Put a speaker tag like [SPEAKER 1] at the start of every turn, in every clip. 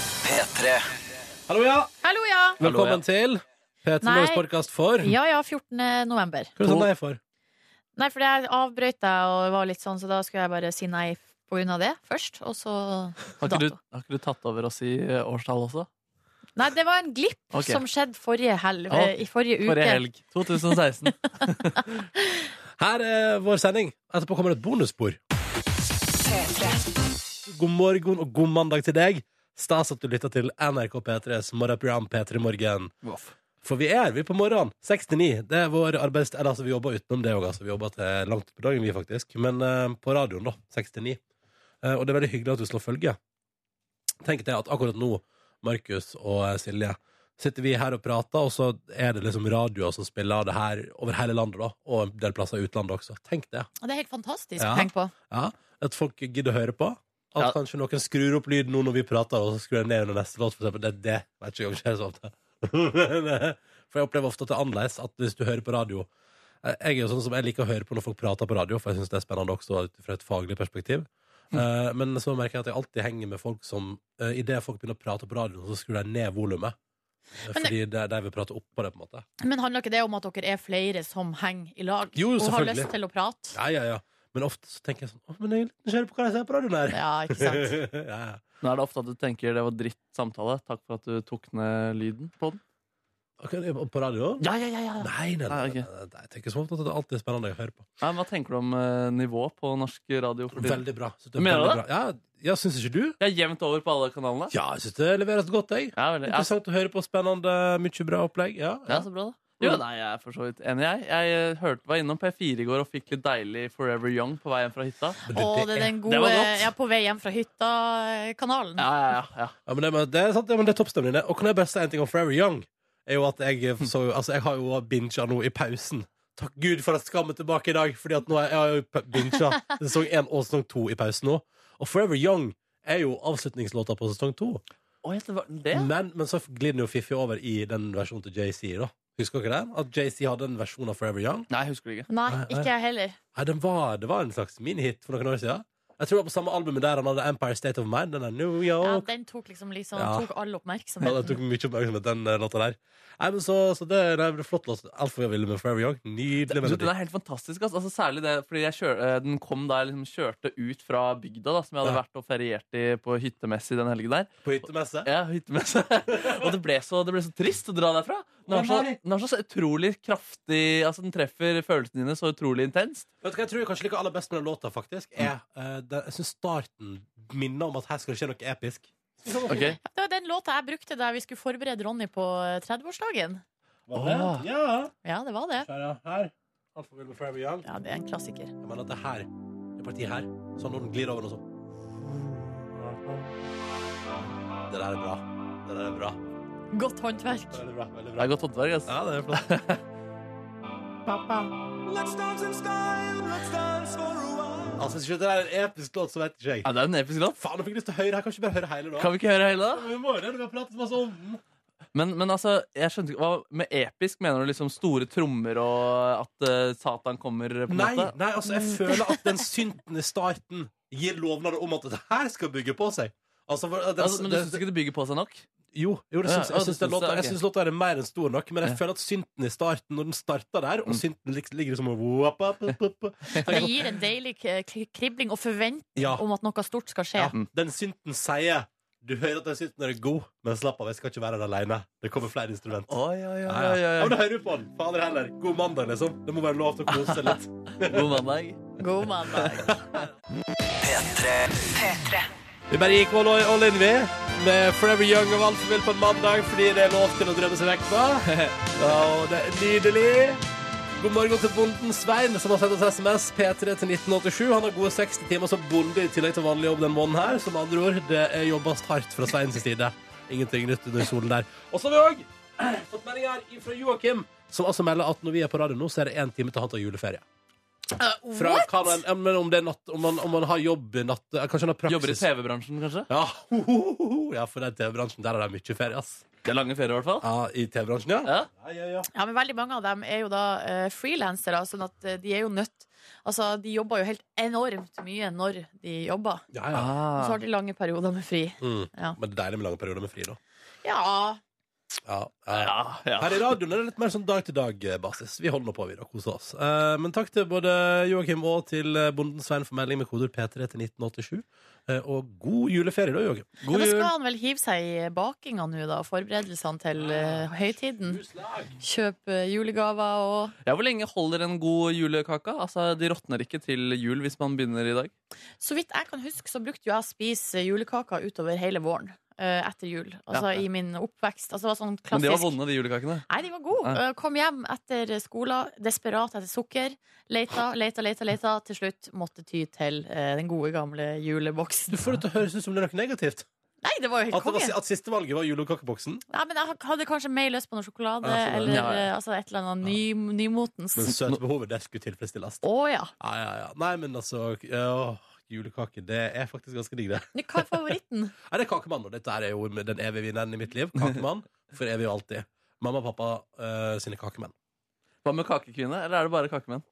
[SPEAKER 1] P3.
[SPEAKER 2] Hallo, ja.
[SPEAKER 3] Hallo, ja.
[SPEAKER 2] Velkommen til P3
[SPEAKER 3] Nei.
[SPEAKER 2] Morgens podkast for Hva
[SPEAKER 3] Ja, ja, 14. november.
[SPEAKER 2] er det sånn det er for?
[SPEAKER 3] Nei, for jeg avbrøt deg og var litt sånn, så da skulle jeg bare si nei på grunn av det først, og så
[SPEAKER 4] Har ikke,
[SPEAKER 3] dato.
[SPEAKER 4] du, har ikke du tatt over oss i eh, årstall også?
[SPEAKER 3] Nei, det var en glipp
[SPEAKER 4] Ok.
[SPEAKER 3] som skjedde forrige helv...
[SPEAKER 4] Ja,
[SPEAKER 3] i forrige uke.
[SPEAKER 4] Forrige helg. 2016.
[SPEAKER 2] Her er vår sending. Etterpå kommer et bonusspor. God morgen og god mandag til deg. Stas at du lytter til NRK P3s morgenprogram P3 Morgen. For vi er vi på morgenen. 69. Det er vår arbeidstid. Eller, Altså, vi jobber utenom det òg, altså. Vi jobber til langt på dagen, vi, faktisk. Men eh, på radioen, da. 69. Eh, og det er veldig hyggelig at du slår følge. Tenk deg at akkurat nå, Markus og eh, Silje, sitter vi her og prater, og så er det liksom radioer som spiller det her over hele landet, da. Og en del plasser i utlandet også. Tenk det.
[SPEAKER 3] Og Det er helt fantastisk
[SPEAKER 2] Ja.
[SPEAKER 3] å tenke på.
[SPEAKER 2] Ja, At folk gidder å høre på. At
[SPEAKER 4] Ja.
[SPEAKER 2] kanskje noen skrur opp lyden nå når vi prater, og så skrur de ned under neste låt. For eksempel. det, det vet ikke jeg om skjer så ofte. for jeg opplever ofte at det er annerledes at hvis du hører på radio Eh, Jeg er jo sånn som jeg liker å høre på når folk prater på radio, for jeg syns det er spennende også ut fra et faglig perspektiv.
[SPEAKER 3] Mm.
[SPEAKER 2] Eh, men så merker jeg at jeg alltid henger med folk som uh, Idet folk begynner å prate på radioen, så skrur de ned volumet. Eh,
[SPEAKER 3] Men det-
[SPEAKER 2] Fordi de, de vil prate opp på det, på en måte.
[SPEAKER 3] Men handler ikke det om at dere er flere som henger i lag
[SPEAKER 2] Jo,
[SPEAKER 3] og har
[SPEAKER 2] selvfølgelig.
[SPEAKER 3] lyst til å prate?
[SPEAKER 2] Ja, ja, ja. Men ofte så tenker jeg sånn Å, men jeg er litt nysgjerrig på hva de ser på radioen her.
[SPEAKER 3] Ja, ikke sant?
[SPEAKER 2] ja, ja.
[SPEAKER 4] Nå er det ofte at du tenker det var dritt samtale. Takk for at du tok ned lyden på den.
[SPEAKER 2] Ok, på radio?
[SPEAKER 4] Ja, ja, ja, ja.
[SPEAKER 2] Nei, nei, nei,
[SPEAKER 4] Nei,
[SPEAKER 2] nei,
[SPEAKER 4] ok.
[SPEAKER 2] nei, nei, jeg tenker som ofte at det alltid er spennende å høre på.
[SPEAKER 4] Nei, men hva tenker du om eh, nivå på norsk radio? for tiden?
[SPEAKER 2] Veldig bra. Synes det er
[SPEAKER 4] Mener du
[SPEAKER 2] veldig bra. Ja, ja syns ikke du?
[SPEAKER 4] Det er jevnt over på alle kanalene.
[SPEAKER 2] Ja, jeg syns det leveres godt, jeg.
[SPEAKER 4] Ja, veldig. Ja,
[SPEAKER 2] Interessant å høre på spennende, mye bra opplegg. Ja,
[SPEAKER 4] ja, så bra da. Jo, nei, jeg er for så vidt enig, jeg. Jeg eh, hørte, var innom P4 i går og fikk litt deilig Forever Young på vei hjem fra hytta.
[SPEAKER 2] Men
[SPEAKER 3] Å, det er den
[SPEAKER 4] Det
[SPEAKER 3] gode
[SPEAKER 4] var godt.
[SPEAKER 3] ja, På vei hjem fra hytta-kanalen.
[SPEAKER 4] Ja, ja, ja, ja.
[SPEAKER 2] Ja, men det, men det er sant, ja, men det er toppstemning, det. Og kan jeg bare si en ting om Forever Young? Er jo at jeg, så, altså, jeg har jo binga nå i pausen. Takk Gud for at Skam er tilbake i dag, Fordi at nå har jeg, jeg har jo p- binga sesong én og sesong to i pausen nå. Og Forever Young er jo avslutningslåta på sesong to.
[SPEAKER 4] Oi, det var det?
[SPEAKER 2] Men, men så glir den jo fiffig over i den versjonen til JC, da. Husker dere den? At JC hadde en versjon av Forever Young?
[SPEAKER 4] Nei, jeg husker det ikke.
[SPEAKER 3] Nei,
[SPEAKER 2] Nei,
[SPEAKER 3] ikke jeg heller.
[SPEAKER 2] Nei, den var, det var en slags minihit for noen år siden. Jeg tror det var på samme albumet der han hadde Empire State of Mind. Den der New
[SPEAKER 3] Ja,
[SPEAKER 2] York
[SPEAKER 3] den tok liksom, liksom
[SPEAKER 2] Ja.
[SPEAKER 3] tok all
[SPEAKER 2] ja, Den
[SPEAKER 3] oppmerksomheten.
[SPEAKER 2] tok mye oppmerksomhet, den eh, låta der. Nei, men så, så det, nei, det er flott låt. Altfor jeg ville med Forever Young. Nydelig
[SPEAKER 4] Du, den
[SPEAKER 2] melodi.
[SPEAKER 4] er helt fantastisk. ass. Altså, særlig det, fordi jeg kjør, eh, Den kom da jeg liksom kjørte ut fra bygda, da, som jeg hadde
[SPEAKER 2] Ja.
[SPEAKER 4] vært og feriert i på hyttemessig den helgen der.
[SPEAKER 2] På hyttemesse.
[SPEAKER 4] Ja, hyttemessig. og det ble, så, det ble så trist å dra derfra. Den har så, den har så utrolig kraftig altså Den treffer følelsene dine så utrolig intenst.
[SPEAKER 2] Vet du hva jeg tror jeg kanskje liker aller best med den låta, faktisk? Er, eh, den, jeg syns starten minner om at her skal det skje noe episk.
[SPEAKER 4] Ok?
[SPEAKER 3] Det var den låta jeg brukte da vi skulle forberede Ronny på eh, 30-årsdagen.
[SPEAKER 2] Var det?
[SPEAKER 4] Ah.
[SPEAKER 2] Ja.
[SPEAKER 3] Ja, det var det.
[SPEAKER 2] Her, ja. her. Altfor med Forever Young.
[SPEAKER 3] Ja, det er en klassiker.
[SPEAKER 2] Jeg mener at det her Det partiet her Sånn når den glir over noe sånn Det der er bra Det der er bra
[SPEAKER 3] Godt håndverk.
[SPEAKER 2] Veldig bra, veldig
[SPEAKER 4] Det er godt håndverk. ass.
[SPEAKER 2] Ja, det er flott
[SPEAKER 3] Pappa.
[SPEAKER 2] Altså, hvis ikke det er en episk låt, så vet ikke jeg
[SPEAKER 4] Ja, det er en episk låt.
[SPEAKER 2] Faen, jeg fikk lyst til å høre her Kan vi ikke bare høre hele da?
[SPEAKER 4] Kan vi ikke høre hele, da?
[SPEAKER 2] Vi må jo det, vi har pratet masse om den
[SPEAKER 4] Men, men altså, jeg skjønte ikke hva, Med episk mener du liksom store trommer og at eh, Satan kommer? på en
[SPEAKER 2] Nei,
[SPEAKER 4] måte?
[SPEAKER 2] nei, altså, jeg føler at den syntende starten Gir lovnader om at det her skal bygge på seg Altså, for, det,
[SPEAKER 4] Altså, men du
[SPEAKER 2] det,
[SPEAKER 4] syns ikke det bygger på seg nok?
[SPEAKER 2] Jo, jo det
[SPEAKER 4] Ja,
[SPEAKER 2] syns, jeg
[SPEAKER 4] ja, du
[SPEAKER 2] syns
[SPEAKER 4] syns
[SPEAKER 2] den
[SPEAKER 4] det,
[SPEAKER 2] låta, jeg
[SPEAKER 4] ok.
[SPEAKER 2] syns låta er mer enn stor nok, men jeg
[SPEAKER 4] Ja.
[SPEAKER 2] føler at synten i starten, når den starter der, og
[SPEAKER 4] Mm.
[SPEAKER 2] synten liksom, ligger liksom og wop, wop, wop, wop.
[SPEAKER 3] Det gir en deilig k- k- kribling og forventning
[SPEAKER 2] Ja,
[SPEAKER 3] om at noe stort skal skje.
[SPEAKER 2] ja. Den synten sier Du hører at den synten er god, men slapp av, jeg skal ikke være her alene. Det kommer flere instrumenter.
[SPEAKER 4] Oi, oi,
[SPEAKER 2] Ja, ja. Ja, men da hører du på den. Fader heller. God mandag, liksom. Det må være lov til å kose seg litt.
[SPEAKER 4] God mandag.
[SPEAKER 3] God mandag.
[SPEAKER 2] Vi bare gikk all, all in, vi. Med Forever Young og alt som vil på en mandag, fordi det er lov til å drømme seg vekk fra. Ja, og det er nydelig. God morgen til bonden Svein, som har sendt oss SMS P3 til 1987. Han har gode 60 timer som bonde i tillegg til vanlig jobb den måneden her. Som med andre ord, det er jobbast hardt fra Sveins side. Ingenting nytt under solen der. Og så har vi òg fått melding her fra Joakim, som altså melder at når vi er på radio nå, så er det én time til han tar juleferie. Fra
[SPEAKER 3] Eh, what?
[SPEAKER 2] hva han- ja, men om, det er natt, om, han, om han har jobb i natt eh, Kanskje han har praksis?
[SPEAKER 4] Jobber i TV-bransjen, kanskje?
[SPEAKER 2] Ja, ho, ho, ho, ho. ja for det er TV-bransjen. Der er det mye ferie, ass.
[SPEAKER 4] Det er lange ferier, i hvert fall.
[SPEAKER 2] Ja, I TV-bransjen, ja.
[SPEAKER 4] Ja.
[SPEAKER 1] Ja, ja, ja.
[SPEAKER 3] Ja, men veldig mange av dem er jo da uh, frilansere, sånn at eh, de er jo nødt Altså, de jobber jo helt enormt mye når de jobber.
[SPEAKER 2] ja, ja.
[SPEAKER 3] Og så
[SPEAKER 4] Ah.
[SPEAKER 3] har de lange perioder med fri.
[SPEAKER 2] Mm.
[SPEAKER 3] Ja.
[SPEAKER 2] Men det er deilig med lange perioder med fri, da.
[SPEAKER 3] Ja,
[SPEAKER 2] Ja, ja.
[SPEAKER 4] Ja, ja.
[SPEAKER 2] Her i radioen er det litt mer sånn dag-til-dag-basis. Vi holder på, vi, da. Koser oss. Eh, men takk til både Joakim og til eh, Bonden Svein for melding med koder P3 til 1987. Eh, og god juleferie, da, Joakim.
[SPEAKER 3] Ja,
[SPEAKER 4] God
[SPEAKER 3] da skal
[SPEAKER 4] jul.
[SPEAKER 3] han vel hive seg i bakinga nå, da. Forberedelsene til eh, høytiden. Kjøpe julegaver og
[SPEAKER 4] Ja, hvor lenge holder en god julekake? Altså, De råtner ikke til jul hvis man begynner i dag.
[SPEAKER 3] Så vidt jeg kan huske, så brukte jo jeg å spise julekaker utover hele våren. eh, etter jul. Altså
[SPEAKER 4] Ja.
[SPEAKER 3] i min oppvekst. Altså, det var sånn
[SPEAKER 4] Men de var
[SPEAKER 3] klassisk
[SPEAKER 4] vonde, de julekakene.
[SPEAKER 3] Nei, de var gode.
[SPEAKER 4] Ja.
[SPEAKER 3] Eh, Kom hjem etter skolen, desperat etter sukker. Leita, leita, leita, leita. Til slutt måtte ty til eh, den gode, gamle
[SPEAKER 2] Du
[SPEAKER 3] juleboksen.
[SPEAKER 2] får det til å høres ut som det er noe negativt.
[SPEAKER 3] Nei, det var jo
[SPEAKER 2] At,
[SPEAKER 3] helt
[SPEAKER 2] det var,
[SPEAKER 3] konge.
[SPEAKER 2] at siste valget var julekakeboksen.
[SPEAKER 3] Nei, men jeg hadde kanskje mer lyst på noe sjokolade
[SPEAKER 2] Ja, sånn, ja.
[SPEAKER 3] eller
[SPEAKER 4] Ja, ja.
[SPEAKER 3] eh, Altså, et eller annet ny, nymotens.
[SPEAKER 2] Men
[SPEAKER 3] Å
[SPEAKER 2] søtebehovet, det skulle tilfredsstilles.
[SPEAKER 3] ja.
[SPEAKER 2] Ja, ja, ja. Nei, men altså ja, Julekake, det er faktisk ganske digg, det.
[SPEAKER 3] Men Hva er favoritten?
[SPEAKER 2] Nei, det er Kakemann, og dette her er jo den evige vinneren i mitt liv. Kakemann for evig og alltid. Mamma og pappa eh, sine kakemenn.
[SPEAKER 4] Hva med kakekvinne, eller er det bare kakemenn?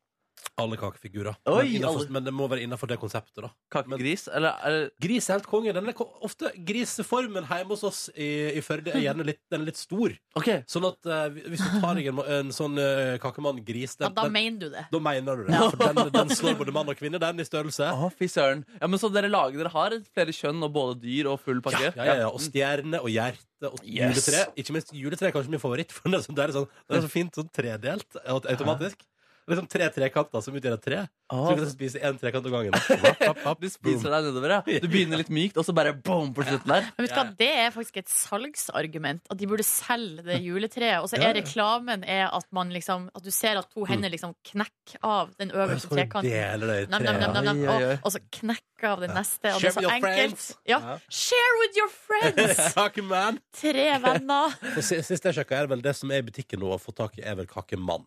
[SPEAKER 2] Alle kakefigurer.
[SPEAKER 4] Oi,
[SPEAKER 2] men, innenfor,
[SPEAKER 4] alle-
[SPEAKER 2] men det må være innafor det konseptet, da.
[SPEAKER 4] Kakegris? Eller, eller
[SPEAKER 2] Gris er helt konge. Den er ko- ofte Griseformen hjemme hos oss i, i Førde er gjerne litt, den er litt stor.
[SPEAKER 4] OK.
[SPEAKER 2] Sånn at eh, hvis du tar deg en, en sånn eh, kakemann-gris,
[SPEAKER 3] Ja,
[SPEAKER 2] den,
[SPEAKER 3] da
[SPEAKER 2] den,
[SPEAKER 3] mener du det.
[SPEAKER 2] da mener du det. For den, den slår både mann og kvinne, den, i størrelse.
[SPEAKER 4] Å, fy søren. Ja, men så dere lager dere har flere kjønn og både dyr og full pakke?
[SPEAKER 2] Ja, ja, ja. Og stjerne og hjerte og
[SPEAKER 4] Yes.
[SPEAKER 2] juletre. Ikke minst juletre er kanskje min favoritt, for det er, sånn, det er, sånn, det er så fint sånn tredelt aut- automatisk. Det er sånn tre trekanter som utgjør et tre. Så du
[SPEAKER 4] Å,
[SPEAKER 2] kan spise én trekant om gangen. Opp, opp, opp,
[SPEAKER 4] Du
[SPEAKER 2] boom.
[SPEAKER 4] spiser deg nedover, ja. Du begynner litt mykt, og så bare boom på slutten der.
[SPEAKER 3] Men vet du hva, Det er faktisk et salgsargument. At de burde selge det juletreet. Og så
[SPEAKER 2] Ja,
[SPEAKER 3] er
[SPEAKER 2] ja.
[SPEAKER 3] reklamen er at, man liksom, at du ser at to hender liksom knekker av den
[SPEAKER 2] Og
[SPEAKER 3] øverste
[SPEAKER 2] så kan du
[SPEAKER 3] trekanten.
[SPEAKER 2] dele det i
[SPEAKER 3] Nam, nam, nam,
[SPEAKER 2] tre.
[SPEAKER 3] nam, nam.
[SPEAKER 4] Oi, oi, oi.
[SPEAKER 3] Og, og så knekker av den neste. Og
[SPEAKER 2] Share
[SPEAKER 3] det er så
[SPEAKER 2] with your
[SPEAKER 3] enkelt.
[SPEAKER 2] friends.
[SPEAKER 3] Ja.
[SPEAKER 2] Ja.
[SPEAKER 3] Share with your friends!
[SPEAKER 2] Kakemann.
[SPEAKER 3] Tre venner.
[SPEAKER 2] For si- Sist jeg sjekka, er vel det som er i butikken nå å få tak i, er vel kakemann.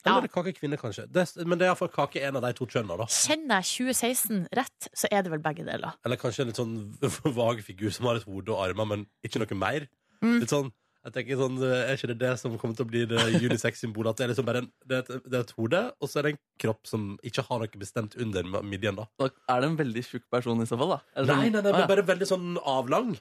[SPEAKER 3] Ja.
[SPEAKER 2] Eller er det kakekvinne, kanskje. Det, men det er iallfall kake en av de to kjønna, da.
[SPEAKER 3] Kjenner jeg 2016 rett, så er det vel begge deler.
[SPEAKER 2] Eller kanskje en litt sånn vag figur som har et hode og armer, men ikke noe mer.
[SPEAKER 3] Mm.
[SPEAKER 2] Litt sånn jeg tenker sånn, Er ikke det det som kommer til å bli det unisex-symbolet? At det er liksom bare en, det er et, det er et hode, og så er det en kropp som ikke har noe bestemt under midjen, da.
[SPEAKER 4] Og er det en veldig tjukk person i så fall, da? Eller
[SPEAKER 2] Nei,
[SPEAKER 4] sånn-
[SPEAKER 2] nei, nei,
[SPEAKER 4] Å, ja.
[SPEAKER 2] men bare veldig sånn avlang.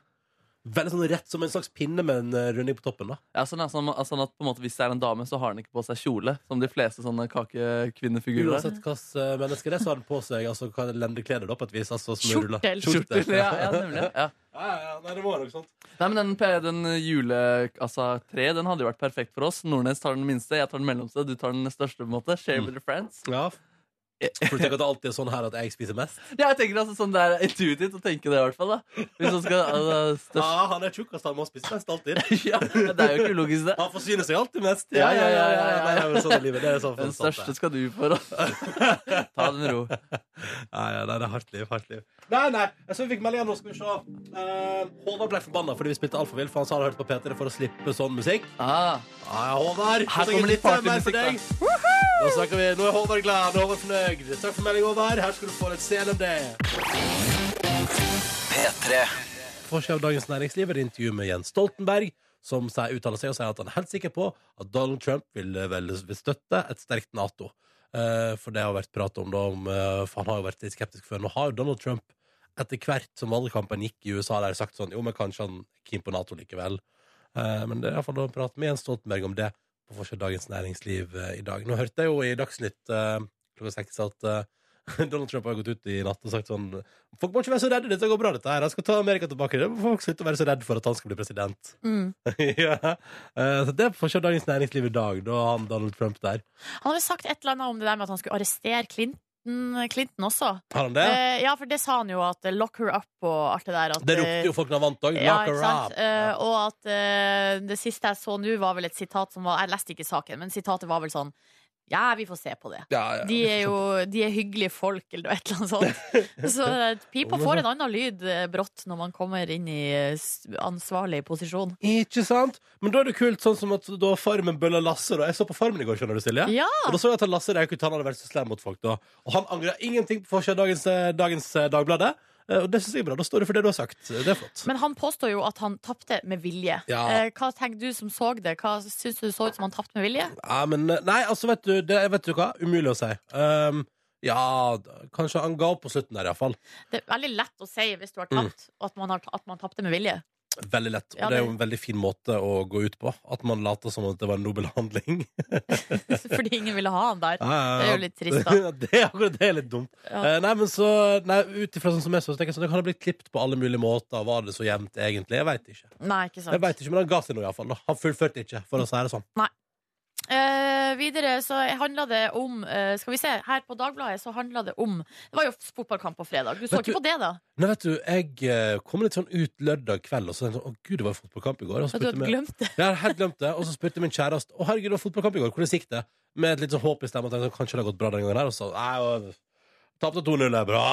[SPEAKER 2] Veldig sånn rett som en slags pinne med en eh, runding på toppen, da.
[SPEAKER 4] Ja, sånn, er- sånn, sånn at på en måte Hvis det er en dame, så har den ikke på seg kjole, som de fleste sånne kakekvinnefigurer. har.
[SPEAKER 2] Uansett hvilket menneske det er, så har den på seg altså, hva er det, lendeklede, da, på et vis. Altså, som er rullet-
[SPEAKER 3] Kjortel.
[SPEAKER 4] Kjortel, ja, ja, nemlig.
[SPEAKER 2] Ja,
[SPEAKER 4] Ja.
[SPEAKER 2] ja, ja, nei, det var nok sånt.
[SPEAKER 4] Nei, men Den, pe- den jule, altså, tre den hadde jo vært perfekt for oss. Nordnes tar den minste, jeg tar den mellomste, du tar den største. på en måte Share with your friends.
[SPEAKER 2] Ja. For du tenker at det alltid er sånn her at jeg spiser mest?
[SPEAKER 4] Ja, jeg tenker altså sånn Det er intuitivt å tenke det, i hvert fall. da Hvis man skal altså,
[SPEAKER 2] Ja,
[SPEAKER 4] størst
[SPEAKER 2] han er tjukkast, han må spise mest alltid.
[SPEAKER 4] ja, Det er jo ikke ulogisk, det.
[SPEAKER 2] Han forsyner seg alltid mest.
[SPEAKER 4] Ja, ja, ja, ja, ja.
[SPEAKER 2] Nei, det er vel sånn i livet. Det er sånn for
[SPEAKER 4] Den
[SPEAKER 2] sant,
[SPEAKER 4] største
[SPEAKER 2] det.
[SPEAKER 4] skal du få. da. Ta den ro.
[SPEAKER 2] Ja, ja, nei, det er hardt liv, hardt liv. Nei, nei, jeg så vi fikk melding nå, skal vi se. Eh, Håvard ble forbanna fordi vi spilte altfor vilt, for han sa han hørte på P3 for å slippe sånn musikk.
[SPEAKER 4] Ah,
[SPEAKER 2] Ja, ja, Håvard, så
[SPEAKER 4] Her kommer
[SPEAKER 2] jeg
[SPEAKER 4] litt
[SPEAKER 2] lytter mer for
[SPEAKER 4] partymusikk,
[SPEAKER 2] deg. Nå snakker vi, nå er Håvard glad, nå er Håvard fornøyd. Takk for melding, Håvard. Her skal du få litt CNMD.
[SPEAKER 5] P3
[SPEAKER 2] Forsida av Dagens Næringsliv er et intervju med Jens Stoltenberg, som sier, uttaler seg og sier at han er helt sikker på at Donald Trump vil, vel, vil støtte et sterkt Nato. Eh, for det har vært prat om, da, om eh, for han har jo vært litt skeptisk før. Nå har jo Donald Trump etter hvert som valgkampen gikk i USA, der sagt sånn Jo, men kanskje han er keen på Nato likevel. Eh, men det er iallfall å prate med Jens Stoltenberg om det på forsida av Dagens Næringsliv eh, i dag. Nå hørte jeg jo i Dagsnytt eh, klokka seks at eh, Donald Trump har gått ut i natt og sagt sånn Folk må ikke være så redde, dette går bra, dette her. Han skal ta Amerika tilbake. Det må folk slutte å være så redde for at han skal bli president.
[SPEAKER 3] Mm.
[SPEAKER 2] ja. Eh, Så det får se Dagens Næringsliv i dag, da han Donald Trump der.
[SPEAKER 3] Han hadde sagt et eller annet om det der med at han skulle arrestere Clinton, Clinton også.
[SPEAKER 2] Har han det?
[SPEAKER 3] Eh, ja, for det sa han jo, at eh, lock her up og alt det der. At,
[SPEAKER 2] Det ropte jo folk når han vant òg.
[SPEAKER 3] eh, ja, ikke sant? Eh, og at eh, det siste jeg så nå, var vel et sitat som var Jeg leste ikke saken, men sitatet var vel sånn Ja, vi får se på det.
[SPEAKER 2] Ja, ja.
[SPEAKER 3] De er jo de er hyggelige folk, eller noe et eller annet sånt. Så eh, pipa får en annen lyd eh, brått når man kommer inn i eh, s- ansvarlig posisjon.
[SPEAKER 2] Ikke sant? Men da er det kult, sånn som at da Farmen bølla Lasse. Da. Jeg så på Farmen i går, skjønner du, Silje.
[SPEAKER 3] Ja!
[SPEAKER 2] Og da så jeg at han Lasse Raukutan hadde vært så slem mot folk da. Og han angra ingenting på forsida av dagens, eh, dagens eh, Dagbladet. Eh, Og det syns jeg er bra. Da står du for det du har sagt. Eh, Det er flott.
[SPEAKER 3] Men han påstår jo at han tapte med vilje.
[SPEAKER 2] Ja.
[SPEAKER 3] Eh, Hva tenker du som så det? Hva Syns du det så ut som han tapte med vilje?
[SPEAKER 2] Ja, men, nei, altså, vet du, det, vet du hva? Umulig å si. Um, ja, da- kanskje han ga opp på slutten der, iallfall.
[SPEAKER 3] Det er veldig lett å si hvis du har tapt, at man, har, at man tapte med vilje.
[SPEAKER 2] Veldig lett. Og
[SPEAKER 3] Ja,
[SPEAKER 2] det er
[SPEAKER 3] det-
[SPEAKER 2] jo en veldig fin måte å gå ut på. At man later som at det var en nobel handling.
[SPEAKER 3] Fordi ingen ville ha han der.
[SPEAKER 2] Ja, ja,
[SPEAKER 3] Det er
[SPEAKER 2] ja.
[SPEAKER 3] jo litt trist, da.
[SPEAKER 2] det, er, akkurat- det er litt dumt.
[SPEAKER 3] Ja.
[SPEAKER 2] Eh, nei, men så nei, Ut ifra sånn som jeg så, så tenker jeg sånn, det kan ha blitt klippet på alle mulige måter. Var det så jevnt, egentlig? Jeg veit ikke.
[SPEAKER 3] Nei, ikke sant.
[SPEAKER 2] Jeg vet ikke, Men han ga seg nå, iallfall. Han fullførte ikke, for å si det sånn.
[SPEAKER 3] Eh, videre så handla det om eh, Skal vi se, her på Dagbladet så handla det om Det var jo fotballkamp på fredag. Du så
[SPEAKER 2] Vet
[SPEAKER 3] ikke på det, da?
[SPEAKER 2] Nei, vet du, jeg eh, kom litt sånn ut lørdag kveld, og så tenkte jeg sånn Å, gud, det var jo fotballkamp i går. Og så
[SPEAKER 3] At du
[SPEAKER 2] spurte
[SPEAKER 3] hadde
[SPEAKER 2] jeg
[SPEAKER 3] glemt det?
[SPEAKER 2] Jeg har helt glemt det, og så spurte min kjæreste Å herregud, det var fotballkamp i går, hvordan gikk det? Med et litt sånn håp i stemmen, og tenkte kanskje det har gått bra den gangen her Og så, nei, og, tapte 2-0, det er bra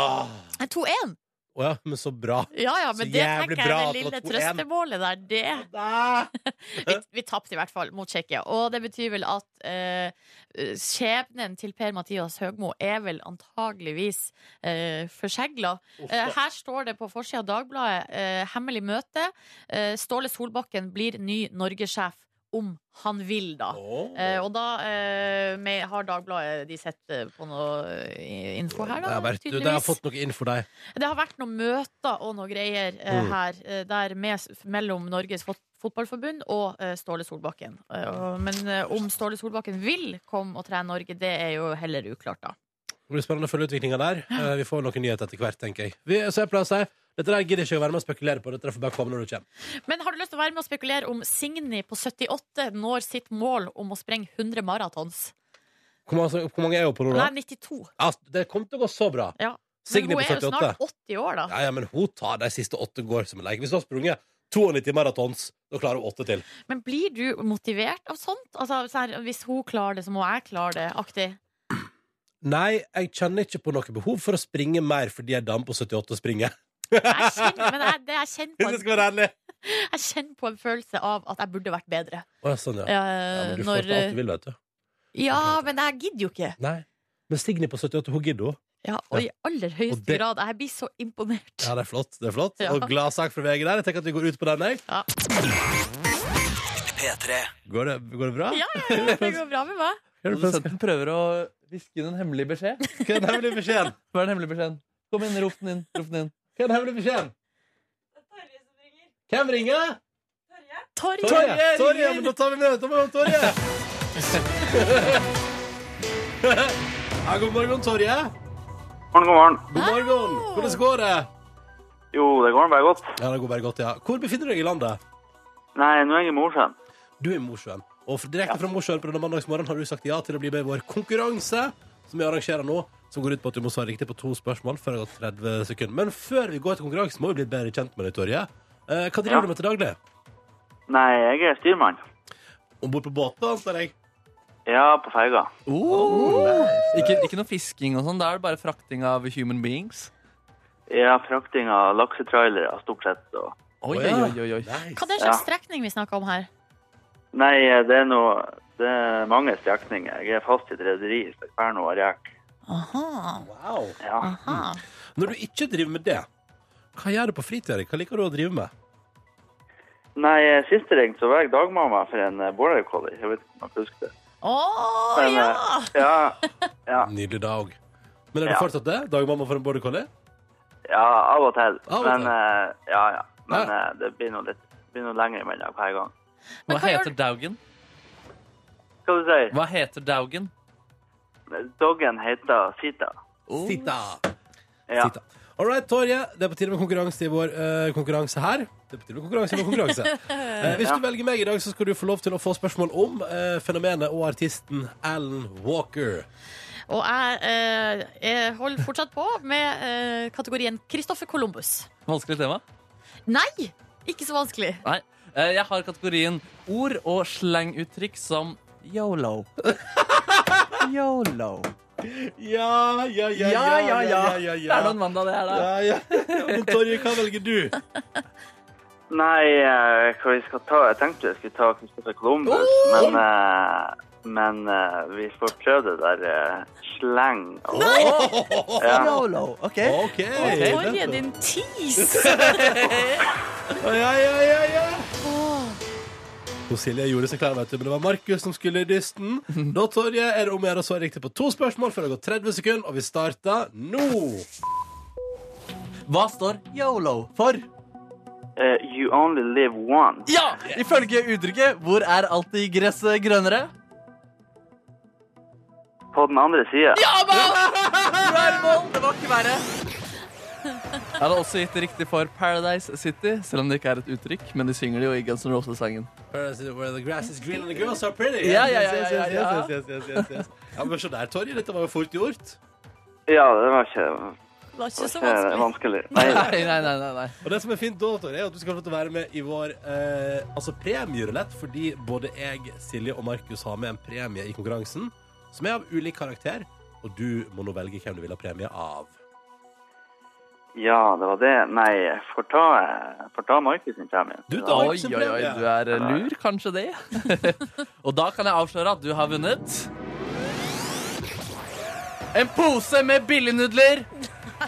[SPEAKER 2] Å
[SPEAKER 3] 2-1,
[SPEAKER 2] ja, men så bra
[SPEAKER 3] ja ja, men
[SPEAKER 2] Så
[SPEAKER 3] det
[SPEAKER 2] jævlig
[SPEAKER 3] tenker jeg
[SPEAKER 2] bra
[SPEAKER 3] det
[SPEAKER 2] at det
[SPEAKER 3] lille
[SPEAKER 2] var 2-1.
[SPEAKER 3] trøstemålet der, det
[SPEAKER 2] Nei
[SPEAKER 3] Vi, vi tapte i hvert fall mot Tsjekkia, og det betyr vel at eh, skjebnen til Per-Mathias Høgmo er vel antageligvis uh, forsegla. Eh, her står det på forsida av Dagbladet eh, 'Hemmelig møte'. Eh, Ståle Solbakken blir ny Norgesjef om han vil, da.
[SPEAKER 2] Åh.
[SPEAKER 3] Eh, og da eh, med, har Dagbladet de sett eh, på noe eh, info her,
[SPEAKER 2] Det
[SPEAKER 3] da?
[SPEAKER 2] har vært- du, det har
[SPEAKER 3] tydeligvis.
[SPEAKER 2] fått noe inn for deg
[SPEAKER 3] Det har vært noen møter og noen greier eh,
[SPEAKER 2] Mm.
[SPEAKER 3] her eh, der med, mellom Norges fot Fotballforbund og eh, Ståle Solbakken. Eh, og- men eh, om Ståle Solbakken vil komme og trene Norge, det er jo heller uklart, da.
[SPEAKER 2] Det blir spennende å følge utviklingen der Eh, Vi får noen nyheter etter hvert, tenker jeg vi, Så jeg pleier å si Dette der gidder jeg ikke å være med og spekulere på Dette der får bare komme når du kommer
[SPEAKER 3] Men har du lyst til å være med og spekulere om Signy på 78 når sitt mål om å sprenge 100 maratons?
[SPEAKER 2] Hvor mange, hvor mange er hun på nå da?
[SPEAKER 3] Nei, 92.
[SPEAKER 2] Ja, det kom til å gå så bra
[SPEAKER 3] Ja. Men
[SPEAKER 2] Signe
[SPEAKER 3] hun
[SPEAKER 2] på
[SPEAKER 3] er jo
[SPEAKER 2] 78
[SPEAKER 3] snart 80 år, da.
[SPEAKER 2] Ja, ja, men hun tar de siste åtte går som en lek. Hvis hun har sprunget 92 maratons, da klarer hun åtte til.
[SPEAKER 3] Men blir du motivert av sånt? Altså, sånn her, hvis hun klarer det, så må jeg klare det, aktig.
[SPEAKER 2] Nei, jeg kjenner ikke på noe behov for å springe mer fordi ei dame på 78 springer.
[SPEAKER 3] Jeg kjenner, men jeg, det jeg, kjenner på
[SPEAKER 2] Hvis jeg skal være ærlig.
[SPEAKER 3] en, jeg kjenner på en følelse av at jeg burde vært bedre.
[SPEAKER 2] Å, ja, sånn, ja. ja
[SPEAKER 3] Eh,
[SPEAKER 2] men du får
[SPEAKER 3] når,
[SPEAKER 2] ikke alt du vil, vet du.
[SPEAKER 3] ja, men jeg gidder jo ikke.
[SPEAKER 2] Nei. Men Signe på 78, hun gidder hun.
[SPEAKER 3] Ja, og i aller høyeste
[SPEAKER 2] Og det-
[SPEAKER 3] grad. Jeg blir så imponert.
[SPEAKER 2] Ja, det er flott. det er flott.
[SPEAKER 3] Ja.
[SPEAKER 2] Og glad sak fra VG der. Jeg tenker at vi går ut på den, jeg.
[SPEAKER 3] Ja.
[SPEAKER 2] Går det, går det bra?
[SPEAKER 3] Ja, ja, ja, det går bra med meg.
[SPEAKER 2] Hva er det for-
[SPEAKER 4] Produsenten sånn prøver å hviske inn en hemmelig beskjed.
[SPEAKER 2] Hva er den hemmelige beskjeden?
[SPEAKER 4] Hva er den hemmelige beskjeden? Kom inn, rop den inn. Rop den inn.
[SPEAKER 2] Hva er den hemmelige beskjeden? Hvem ringer? Torje!
[SPEAKER 3] Torje.
[SPEAKER 4] Torje
[SPEAKER 2] Torje,
[SPEAKER 4] ringer.
[SPEAKER 2] men da tar vi møte med Torje. Ja, god morgen, Torje.
[SPEAKER 1] morgen, god morgen.
[SPEAKER 2] God morgen. Hvordan går det?
[SPEAKER 1] Jo, det går bare godt.
[SPEAKER 2] Ja, det går bare godt, ja. Hvor befinner du deg i landet?
[SPEAKER 1] Nei, nå er jeg i Mosjøen.
[SPEAKER 2] Du er i Mosjøen. Og f- direkte fra Mosjøen på denne mandagsmorgenen har du sagt ja til å bli med i vår konkurranse, som vi arrangerer nå, som går ut på at du må svare riktig på to spørsmål før det har gått 30 sekunder. Men før vi går til konkurransen, må vi bli bedre kjent med deg, Torje. Eh, hva driver
[SPEAKER 1] Ja.
[SPEAKER 2] du med til daglig?
[SPEAKER 1] Nei, jeg er styrmann.
[SPEAKER 2] Om bord på båten, antar jeg.
[SPEAKER 1] Ja, på ferga.
[SPEAKER 4] Ikke, ikke noe fisking og sånn. Da er det bare frakting av human beings.
[SPEAKER 1] Ja, frakting av laksetrailere stort sett. Og...
[SPEAKER 2] Å,
[SPEAKER 4] Oi, oi,
[SPEAKER 2] ja.
[SPEAKER 4] oi, oi.
[SPEAKER 3] Hva er
[SPEAKER 2] Nice.
[SPEAKER 3] det slags strekning vi snakker om her?
[SPEAKER 1] Nei, det er noe... Det er mange strekninger. Jeg er fast i et rederi for Kverno og Rjek.
[SPEAKER 3] Aha.
[SPEAKER 2] Wow.
[SPEAKER 1] Ja.
[SPEAKER 3] Aha.
[SPEAKER 2] Når du ikke driver med det, hva gjør du på fritida? Hva liker du å drive med?
[SPEAKER 1] Nei, siste ring så var jeg dagmamma for en eh, border collie. Jeg vet ikke om jeg husker det.
[SPEAKER 3] Å
[SPEAKER 1] Men, eh,
[SPEAKER 3] ja!
[SPEAKER 1] Ja, ja,
[SPEAKER 2] Nydelig dag. Men er du
[SPEAKER 1] Ja.
[SPEAKER 2] fortsatt det? Dagmamma for en border collie?
[SPEAKER 1] ja, av og til.
[SPEAKER 2] Av og
[SPEAKER 1] Men,
[SPEAKER 2] til.
[SPEAKER 1] eh, ja, ja. Men
[SPEAKER 2] Ja.
[SPEAKER 1] eh, det blir noe litt... Det blir noe lenger imellom hver gang.
[SPEAKER 4] Hva
[SPEAKER 3] Men hva gjør
[SPEAKER 4] heter daugen?
[SPEAKER 1] Hva du sier?
[SPEAKER 4] Hva heter daugen?
[SPEAKER 1] Doggen heter Sita.
[SPEAKER 4] Oh.
[SPEAKER 2] Sitta.
[SPEAKER 1] Ja.
[SPEAKER 2] Sitta. All right, Torje. Det er på tide med konkurranse i vår eh, konkurranse her. Det er på tide med konkurranse i vår konkurranse. Eh, hvis
[SPEAKER 1] Ja.
[SPEAKER 2] du velger meg i dag, så skal du få lov til å få spørsmål om eh, fenomenet og artisten Alan Walker.
[SPEAKER 3] Og jeg, eh, jeg holder fortsatt på med eh, kategorien Christoffer Columbus.
[SPEAKER 4] Vanskelig tema.
[SPEAKER 3] Nei! Ikke så vanskelig.
[SPEAKER 4] Nei. Eh, Jeg har kategorien ord og slanguttrykk som yolo. Yolo.
[SPEAKER 2] Ja, ja, ja,
[SPEAKER 4] Det er noen mandag, det her, da.
[SPEAKER 2] Men Torje, hva velger du?
[SPEAKER 3] Oh!
[SPEAKER 1] Nei, eh, hva vi skal ta Jeg tenkte jeg skulle ta Kristoffer Columbus, men eh, Men eh, vi får prøve det der eh, slang. Og, ja.
[SPEAKER 5] Yolo. OK.
[SPEAKER 2] OK.
[SPEAKER 3] Torje, din tis!
[SPEAKER 2] Ja, ja, ja, ja. Og Silje gjorde seg klar, vet du, men det var Markus som skulle i dysten. Da Torje, er det om å gjøre å svare riktig på to spørsmål før det har gått 30 sekunder, og vi starter nå.
[SPEAKER 4] Hva står
[SPEAKER 5] Yolo.
[SPEAKER 4] for?
[SPEAKER 1] Eh, you only live once.
[SPEAKER 4] Ja! Ifølge uttrykket 'Hvor er alltid gresset grønnere?'
[SPEAKER 1] På den andre sida.
[SPEAKER 4] Du er i mål! Det var ikke verre. Jeg hadde også gitt det riktig for Paradise City, selv om det ikke er et uttrykk. Men de synger det jo i Guns N' Roses-sangen.
[SPEAKER 2] Where is it Where the grass is green and the girls are pretty.
[SPEAKER 4] Ja, ja, ja,
[SPEAKER 2] Yes, yes,
[SPEAKER 4] ja, ja.
[SPEAKER 2] yes, yes, yes, yes, yes, yes. ja, men se der, Torje, dette var jo fort gjort.
[SPEAKER 1] Ja, det var ikke,
[SPEAKER 3] Det var ikke så
[SPEAKER 1] ikke
[SPEAKER 3] vanskelig.
[SPEAKER 1] vanskelig.
[SPEAKER 4] Nei,
[SPEAKER 1] Nei,
[SPEAKER 4] nei, nei, nei, nei.
[SPEAKER 2] Og det som er fint da, Torje, er at du skal få lov til å være med i vår eh, altså premierulett, fordi både jeg, Silje og Markus har med en premie i konkurransen, som er av ulik karakter, og du må nå velge hvem du vil ha premie av.
[SPEAKER 1] ja, det var det. Nei, får ta, eh, får ta Markus sin premie.
[SPEAKER 2] Du
[SPEAKER 1] Ja.
[SPEAKER 2] da,
[SPEAKER 4] Oi,
[SPEAKER 2] Markus, en
[SPEAKER 4] oi, oi,
[SPEAKER 2] premie.
[SPEAKER 4] du er eh, lur, kanskje det. Og da kan jeg avsløre at du har vunnet En pose med billignudler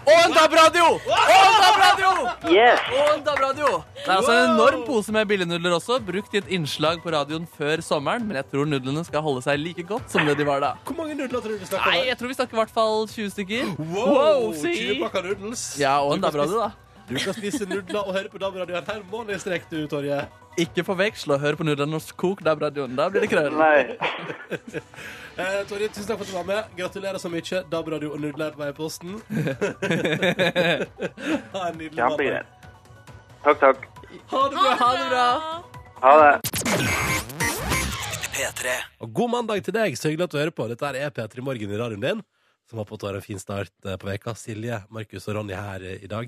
[SPEAKER 4] og en DAB-radio! Og en DAB-radio!
[SPEAKER 1] Yes!
[SPEAKER 4] Og en DAB-radio! Det er altså en enorm pose med billignudler også, brukt i et innslag på radioen før sommeren, men jeg tror nudlene skal holde seg like godt som det de var da.
[SPEAKER 2] Hvor mange nudler tror du vi snakker
[SPEAKER 4] Nei,
[SPEAKER 2] om?
[SPEAKER 4] jeg tror vi snakker i hvert fall 20 stykker.
[SPEAKER 2] Wow,
[SPEAKER 4] si.
[SPEAKER 2] 20 pakker nudels.
[SPEAKER 4] Ja, og en
[SPEAKER 2] Du kan
[SPEAKER 4] DAB-radio, da.
[SPEAKER 2] spise- Du kan spise nudler og høre på DAB-radioen her måned i strekk, du, Torje.
[SPEAKER 4] Ikke forveksle og hør på nudlene hos Kok DAB-radioen. Da blir det krøll.
[SPEAKER 1] Nei.
[SPEAKER 2] Eh, Torje, tusen takk for at du var med. Gratulerer så mye. DAB-radio og nudler er på vei i posten. ha en nydelig mandag.
[SPEAKER 1] Kjempegreit. Takk, takk.
[SPEAKER 2] Ha det bra.
[SPEAKER 4] Ha det bra.
[SPEAKER 1] Ha det.
[SPEAKER 2] Og god mandag til deg. Så hyggelig at du hører på. Dette er P3 Morgen i radioen din, som håper at du har en fin start eh, på veka. Silje, Markus og Ronny her eh, i dag.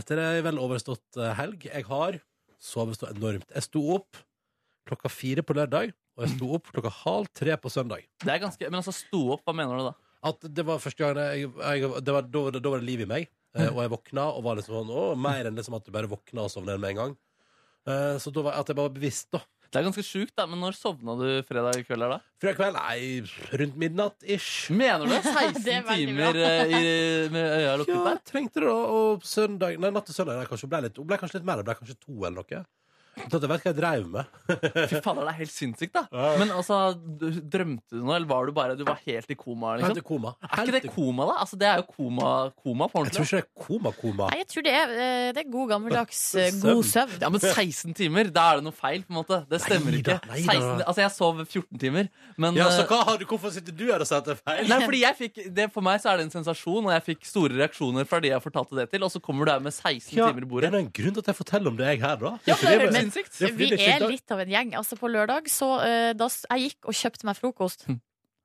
[SPEAKER 2] Etter ei vel overstått eh, helg. Jeg har sovet så enormt. Jeg sto opp klokka fire på lørdag, og jeg sto opp klokka halv tre på søndag.
[SPEAKER 4] Det er ganske, men altså, sto opp, hva mener du da?
[SPEAKER 2] At det var første gang jeg, jeg det var, da, var det- da var det liv i meg. eh, Og jeg våkna og var liksom sånn Å, mer enn liksom at du bare våkna og sovner med en gang. Eh, Så da var at jeg bare var bevisst, da.
[SPEAKER 4] Det er ganske sjukt, da, men når sovna du fredag kveld her, da?
[SPEAKER 2] Fredag kveld? Nei, rundt midnatt ish.
[SPEAKER 4] Mener du det? 16
[SPEAKER 3] Det er veldig bra.
[SPEAKER 4] timer eh, i, med øya lukket
[SPEAKER 2] Ja,
[SPEAKER 4] der?
[SPEAKER 2] jeg trengte det, da. Og søndag Nei, natt til søndag nei, kanskje, hun ble, litt, hun ble kanskje litt mer. Hun ble kanskje to eller noe. Så at jeg vet hva jeg dreiv med.
[SPEAKER 4] Fy fader, det er helt sinnssykt, da. Men altså, du- drømte du noe, eller var du bare du var helt i koma?
[SPEAKER 2] Helt i
[SPEAKER 4] liksom?
[SPEAKER 2] koma.
[SPEAKER 4] Er ikke
[SPEAKER 2] Helt i-
[SPEAKER 4] det koma, da? Altså, Det er jo koma, koma på
[SPEAKER 2] Jeg tror ikke
[SPEAKER 4] ordentlig. da.
[SPEAKER 2] det er koma-koma.
[SPEAKER 3] Nei, jeg tror det er, eh, det er god gammeldags eh, god søvn.
[SPEAKER 4] Ja, men 16 timer, da er det noe feil, på en måte. Det stemmer
[SPEAKER 2] Nei da,
[SPEAKER 4] ikke.
[SPEAKER 2] nei da.
[SPEAKER 4] 16, altså, jeg sov 14 timer, men
[SPEAKER 2] Ja, så
[SPEAKER 4] eh,
[SPEAKER 2] hva har du, hvorfor sitter du her og sier at det er feil?
[SPEAKER 4] Nei, fordi jeg fikk, det, For meg så er det en sensasjon, og jeg fikk store reaksjoner fra de jeg fortalte det til. Og så kommer du her med 16
[SPEAKER 2] Ja,
[SPEAKER 4] timer
[SPEAKER 2] det
[SPEAKER 4] i
[SPEAKER 2] er
[SPEAKER 4] bordet.
[SPEAKER 2] nå en grunn til at jeg forteller om det, jeg her, da.
[SPEAKER 4] Ja, det er
[SPEAKER 2] fordi-
[SPEAKER 4] helt sinnssykt.
[SPEAKER 2] Det er fordi
[SPEAKER 3] Vi
[SPEAKER 2] det ikke
[SPEAKER 3] er
[SPEAKER 2] dag-
[SPEAKER 3] litt av en gjeng. Altså På lørdag så eh, da, s- Jeg gikk og kjøpte meg frokost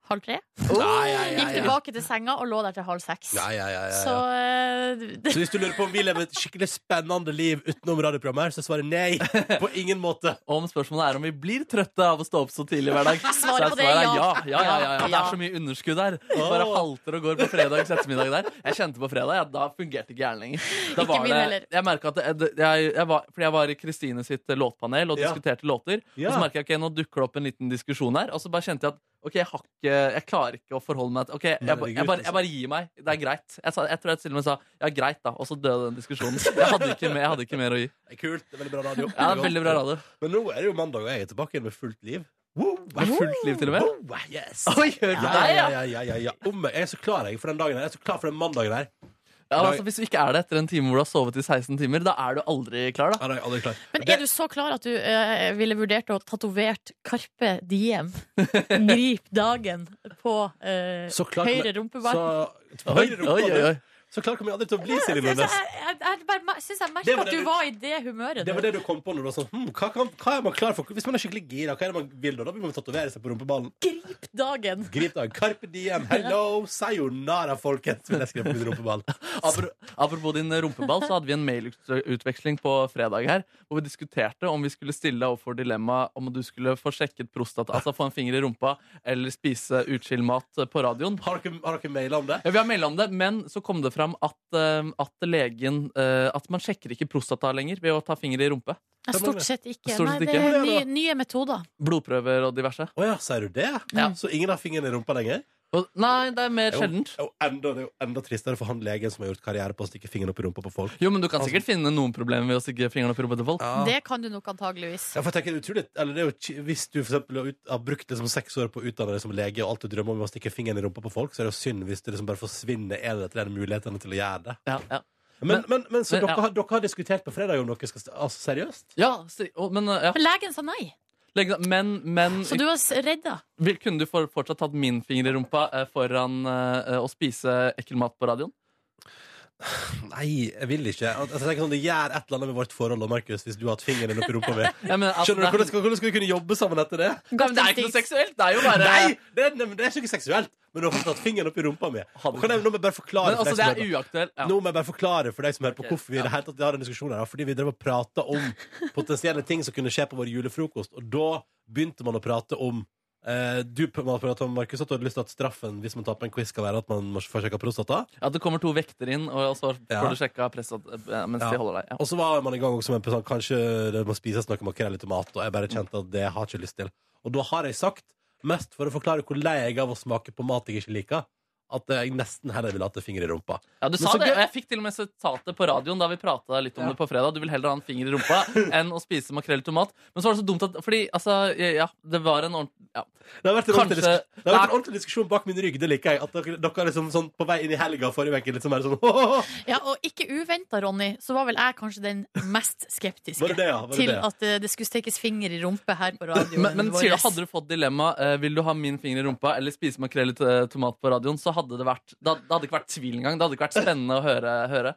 [SPEAKER 3] halv tre.
[SPEAKER 2] Nei, Hm. ja, ja,
[SPEAKER 3] Gikk
[SPEAKER 2] ja.
[SPEAKER 3] tilbake til senga og lå der til halv seks.
[SPEAKER 2] Ja, ja, ja, ja, ja.
[SPEAKER 3] Så eh, det-
[SPEAKER 2] Så hvis du lurer på om vi lever et skikkelig spennende liv utenom radioprogrammet, her, så svarer nei. På ingen måte.
[SPEAKER 4] Om spørsmålet er om vi blir trøtte av å stå opp så tidlig hver dag. Så
[SPEAKER 3] Svaret
[SPEAKER 4] er
[SPEAKER 3] på det
[SPEAKER 4] svaret
[SPEAKER 3] ja.
[SPEAKER 4] ja. Ja, ja, ja, ja. Det
[SPEAKER 3] Ja.
[SPEAKER 4] er så mye underskudd her. Det Bare halter og går på fredags ettermiddag der. Jeg kjente på fredag, ja, da fungerte ikke hjernen lenger. Da
[SPEAKER 3] Ikke min heller.
[SPEAKER 4] jeg merket at det, det- jeg, jeg var, Fordi jeg var i Kristine sitt eh, låtpanel og
[SPEAKER 2] Ja.
[SPEAKER 4] diskuterte låter.
[SPEAKER 2] Ja.
[SPEAKER 4] Og så merka jeg ok, nå dukker det opp en liten diskusjon her. Og så bare kjente jeg at ok, jeg, har ikke, jeg klarer ikke å forholde meg til Ok, jeg, ba- jeg,
[SPEAKER 2] Herregud,
[SPEAKER 4] bare, jeg bare gir meg. Det er greit. Jeg, sa, jeg tror jeg til og med sa ja, greit, da. Og så døde den diskusjonen. Jeg hadde ikke mer, jeg hadde ikke mer å gi.
[SPEAKER 2] Det er kult. Det er veldig bra radio.
[SPEAKER 4] Ja, det er Veldig bra radio.
[SPEAKER 2] Men nå er det jo mandag, og jeg er tilbake igjen med fullt liv. Wow,
[SPEAKER 4] Med fullt liv, til og med.
[SPEAKER 2] Wow, yes.
[SPEAKER 4] Oi, hør på
[SPEAKER 2] Ja,
[SPEAKER 4] deg, ja!
[SPEAKER 2] ja, ja, ja, ja, ja. Om, jeg er så klar jeg, for den dagen her. Jeg er så klar for den mandagen her.
[SPEAKER 4] Ja, men altså, hvis du ikke er det etter en time hvor du har sovet i 16 timer, da er du aldri klar, da.
[SPEAKER 2] Ja, da er jeg aldri klar.
[SPEAKER 3] Men er du så klar at du eh, ville vurdert å tatovert Karpe Diem, Grip dagen, på eh,
[SPEAKER 2] Så klar kommer-
[SPEAKER 3] høyre rumpebarm?
[SPEAKER 2] Så,
[SPEAKER 4] Oi,
[SPEAKER 2] høyre
[SPEAKER 4] oi, oi, oi.
[SPEAKER 2] rumpebarm. så klar kommer jeg aldri til å bli, Silje
[SPEAKER 3] Jeg, Altså, jeg,
[SPEAKER 2] Nordnes.
[SPEAKER 3] jeg, jeg bare mer- synes jeg
[SPEAKER 2] Det
[SPEAKER 3] merket
[SPEAKER 2] var
[SPEAKER 3] at
[SPEAKER 2] det
[SPEAKER 3] du
[SPEAKER 2] du-
[SPEAKER 3] var i det humøret.
[SPEAKER 2] Det var
[SPEAKER 3] nå.
[SPEAKER 2] det du kom på når du var sånn hm, hva, kan, hva er man klar for? Hvis man er skikkelig gira, hva er det man vil da? Da vil man tatovere seg på rumpeballen.
[SPEAKER 3] Grip dagen!
[SPEAKER 2] Grip da. Carpe diem. Hello. Sayonara, folkens. Vil jeg skrive på min rumpeball.
[SPEAKER 4] Apro- Apropos din rumpeball, så hadde vi en mailutveksling på fredag her, hvor vi diskuterte om vi skulle stille deg overfor dilemmaet om du skulle få sjekket prostata, altså få en finger i rumpa, eller spise utskilt mat på radioen.
[SPEAKER 2] Har dere, har dere maila om det?
[SPEAKER 4] Ja, vi har meldt om det, men så kom det fram at, eh, at legen eh, At man sjekker ikke prostata lenger ved å ta finger i rumpe.
[SPEAKER 3] Nei,
[SPEAKER 2] Stemmer
[SPEAKER 3] Stort
[SPEAKER 2] det?
[SPEAKER 3] sett ikke.
[SPEAKER 4] Stort
[SPEAKER 3] Nei,
[SPEAKER 4] sett
[SPEAKER 3] det
[SPEAKER 4] ikke.
[SPEAKER 3] er nye, nye metoder.
[SPEAKER 4] Blodprøver og diverse.
[SPEAKER 2] Å ja, sier du det?
[SPEAKER 4] Ja.
[SPEAKER 2] Så ingen har fingeren i rumpa lenger?
[SPEAKER 4] Og, nei, det er mer
[SPEAKER 2] Det er jo-
[SPEAKER 4] sjeldent.
[SPEAKER 2] Det er jo enda, det er jo enda tristere for han legen som har gjort karriere på å stikke fingeren opp i rumpa på folk.
[SPEAKER 4] Jo, men du kan sikkert finne noen problemer ved å stikke fingeren opp i rumpa til folk.
[SPEAKER 2] Altså- Ja.
[SPEAKER 3] Det kan du nok antageligvis.
[SPEAKER 2] Ja, for jeg tenker det er utrolig eller det er jo, chi- Hvis du for eksempel har ut- har brukt liksom seks år på å utdanne deg som lege, og alt du drømmer om er å stikke fingeren i rumpa på folk, så er det jo synd hvis det liksom bare forsvinner en eller annen mulighetene til å gjøre det.
[SPEAKER 4] Ja, ja.
[SPEAKER 2] Men, men, men så
[SPEAKER 4] men,
[SPEAKER 2] dere,
[SPEAKER 4] ja.
[SPEAKER 2] har- dere har diskutert på fredag om dere skal st- Altså seriøst?
[SPEAKER 4] ja, si, å, men, eh, ja.
[SPEAKER 3] Men legen sa nei,
[SPEAKER 4] Legg deg- men, men
[SPEAKER 3] så du var s- redda.
[SPEAKER 4] vil, kunne du for, fortsatt tatt min finger i rumpa eh, foran eh, å spise ekkel mat på radioen?
[SPEAKER 2] Nei, jeg vil ikke. Al- Altså, jeg tenker sånn, Det gjør et eller annet med vårt forhold, da, Markus, hvis du har hatt fingeren opp i rumpa mi.
[SPEAKER 4] Jeg mener, at
[SPEAKER 2] Skjønner du,
[SPEAKER 4] det-
[SPEAKER 2] hvordan skal, hvordan skal vi kunne jobbe sammen etter det?
[SPEAKER 4] Nei, men det er ikke noe seksuelt! Det er jo bare
[SPEAKER 2] Nei, det, er- nei, men det er ikke seksuelt. Men du har fortsatt fingeren opp i rumpa mi. Og Kan jeg, nå må jeg bare forklare
[SPEAKER 4] Men
[SPEAKER 2] for
[SPEAKER 4] altså,
[SPEAKER 2] deg
[SPEAKER 4] det
[SPEAKER 2] som
[SPEAKER 4] er
[SPEAKER 2] hører på.
[SPEAKER 4] uaktuelt. Ja.
[SPEAKER 2] Nå må jeg bare forklare for deg som hører på
[SPEAKER 4] Ok,
[SPEAKER 2] hvorfor vi i det hele tatt har en diskusjon her. da. Fordi vi drev og prata om potensielle ting som kunne skje på vår julefrokost, og da begynte man å prate om eh, du man pratet om, Markus, at du hadde lyst til at straffen hvis man taper en quiz, skal være at man må får sjekka prostata.
[SPEAKER 4] At det kommer to vekter inn, og så får
[SPEAKER 2] Ja.
[SPEAKER 4] du sjekka presset eh, mens
[SPEAKER 2] Ja.
[SPEAKER 4] de holder deg. Ja.
[SPEAKER 2] Og så var man i gang også med sånn, kanskje det må spises noe makrell i tomat, og jeg bare kjente at det har jeg ikke lyst til. Og da har jeg sagt, mest for å forklare hvor lei jeg er av å smake på mat jeg ikke liker, at jeg nesten heller ville hatt en finger i rumpa.
[SPEAKER 4] Ja, du
[SPEAKER 2] Men
[SPEAKER 4] sa
[SPEAKER 2] så
[SPEAKER 4] det,
[SPEAKER 2] gøy.
[SPEAKER 4] og jeg fikk til og med sitatet på radioen da vi prata litt om det på fredag. Du vil heller ha en finger i rumpa enn å spise makrell i tomat. Men så var det så dumt at Fordi, altså, ja, det var en ordentlig ja.
[SPEAKER 2] Det har vært en, ordentlig,
[SPEAKER 4] Kanskje-
[SPEAKER 2] disk det har vært en ordentlig diskusjon bak min rygg, det liker jeg. At dere, dere er liksom sånn på vei inn i helga forrige uke liksom bare sånn
[SPEAKER 3] Ja, og ikke uventa, Ronny, så var vel jeg kanskje den mest skeptiske
[SPEAKER 2] Var det det, ja? Var det
[SPEAKER 3] til
[SPEAKER 2] det, ja?
[SPEAKER 3] at eh, det skulle stekes finger i rumpe her på radioen.
[SPEAKER 4] Men, men
[SPEAKER 3] vår.
[SPEAKER 4] sier du, hadde du fått dilemma eh, Vil du ha min finger i rumpa eller spise makrell i t- tomat på radioen, så hadde det vært Det, det hadde ikke vært tvil engang. Det hadde ikke vært spennende å høre. høre.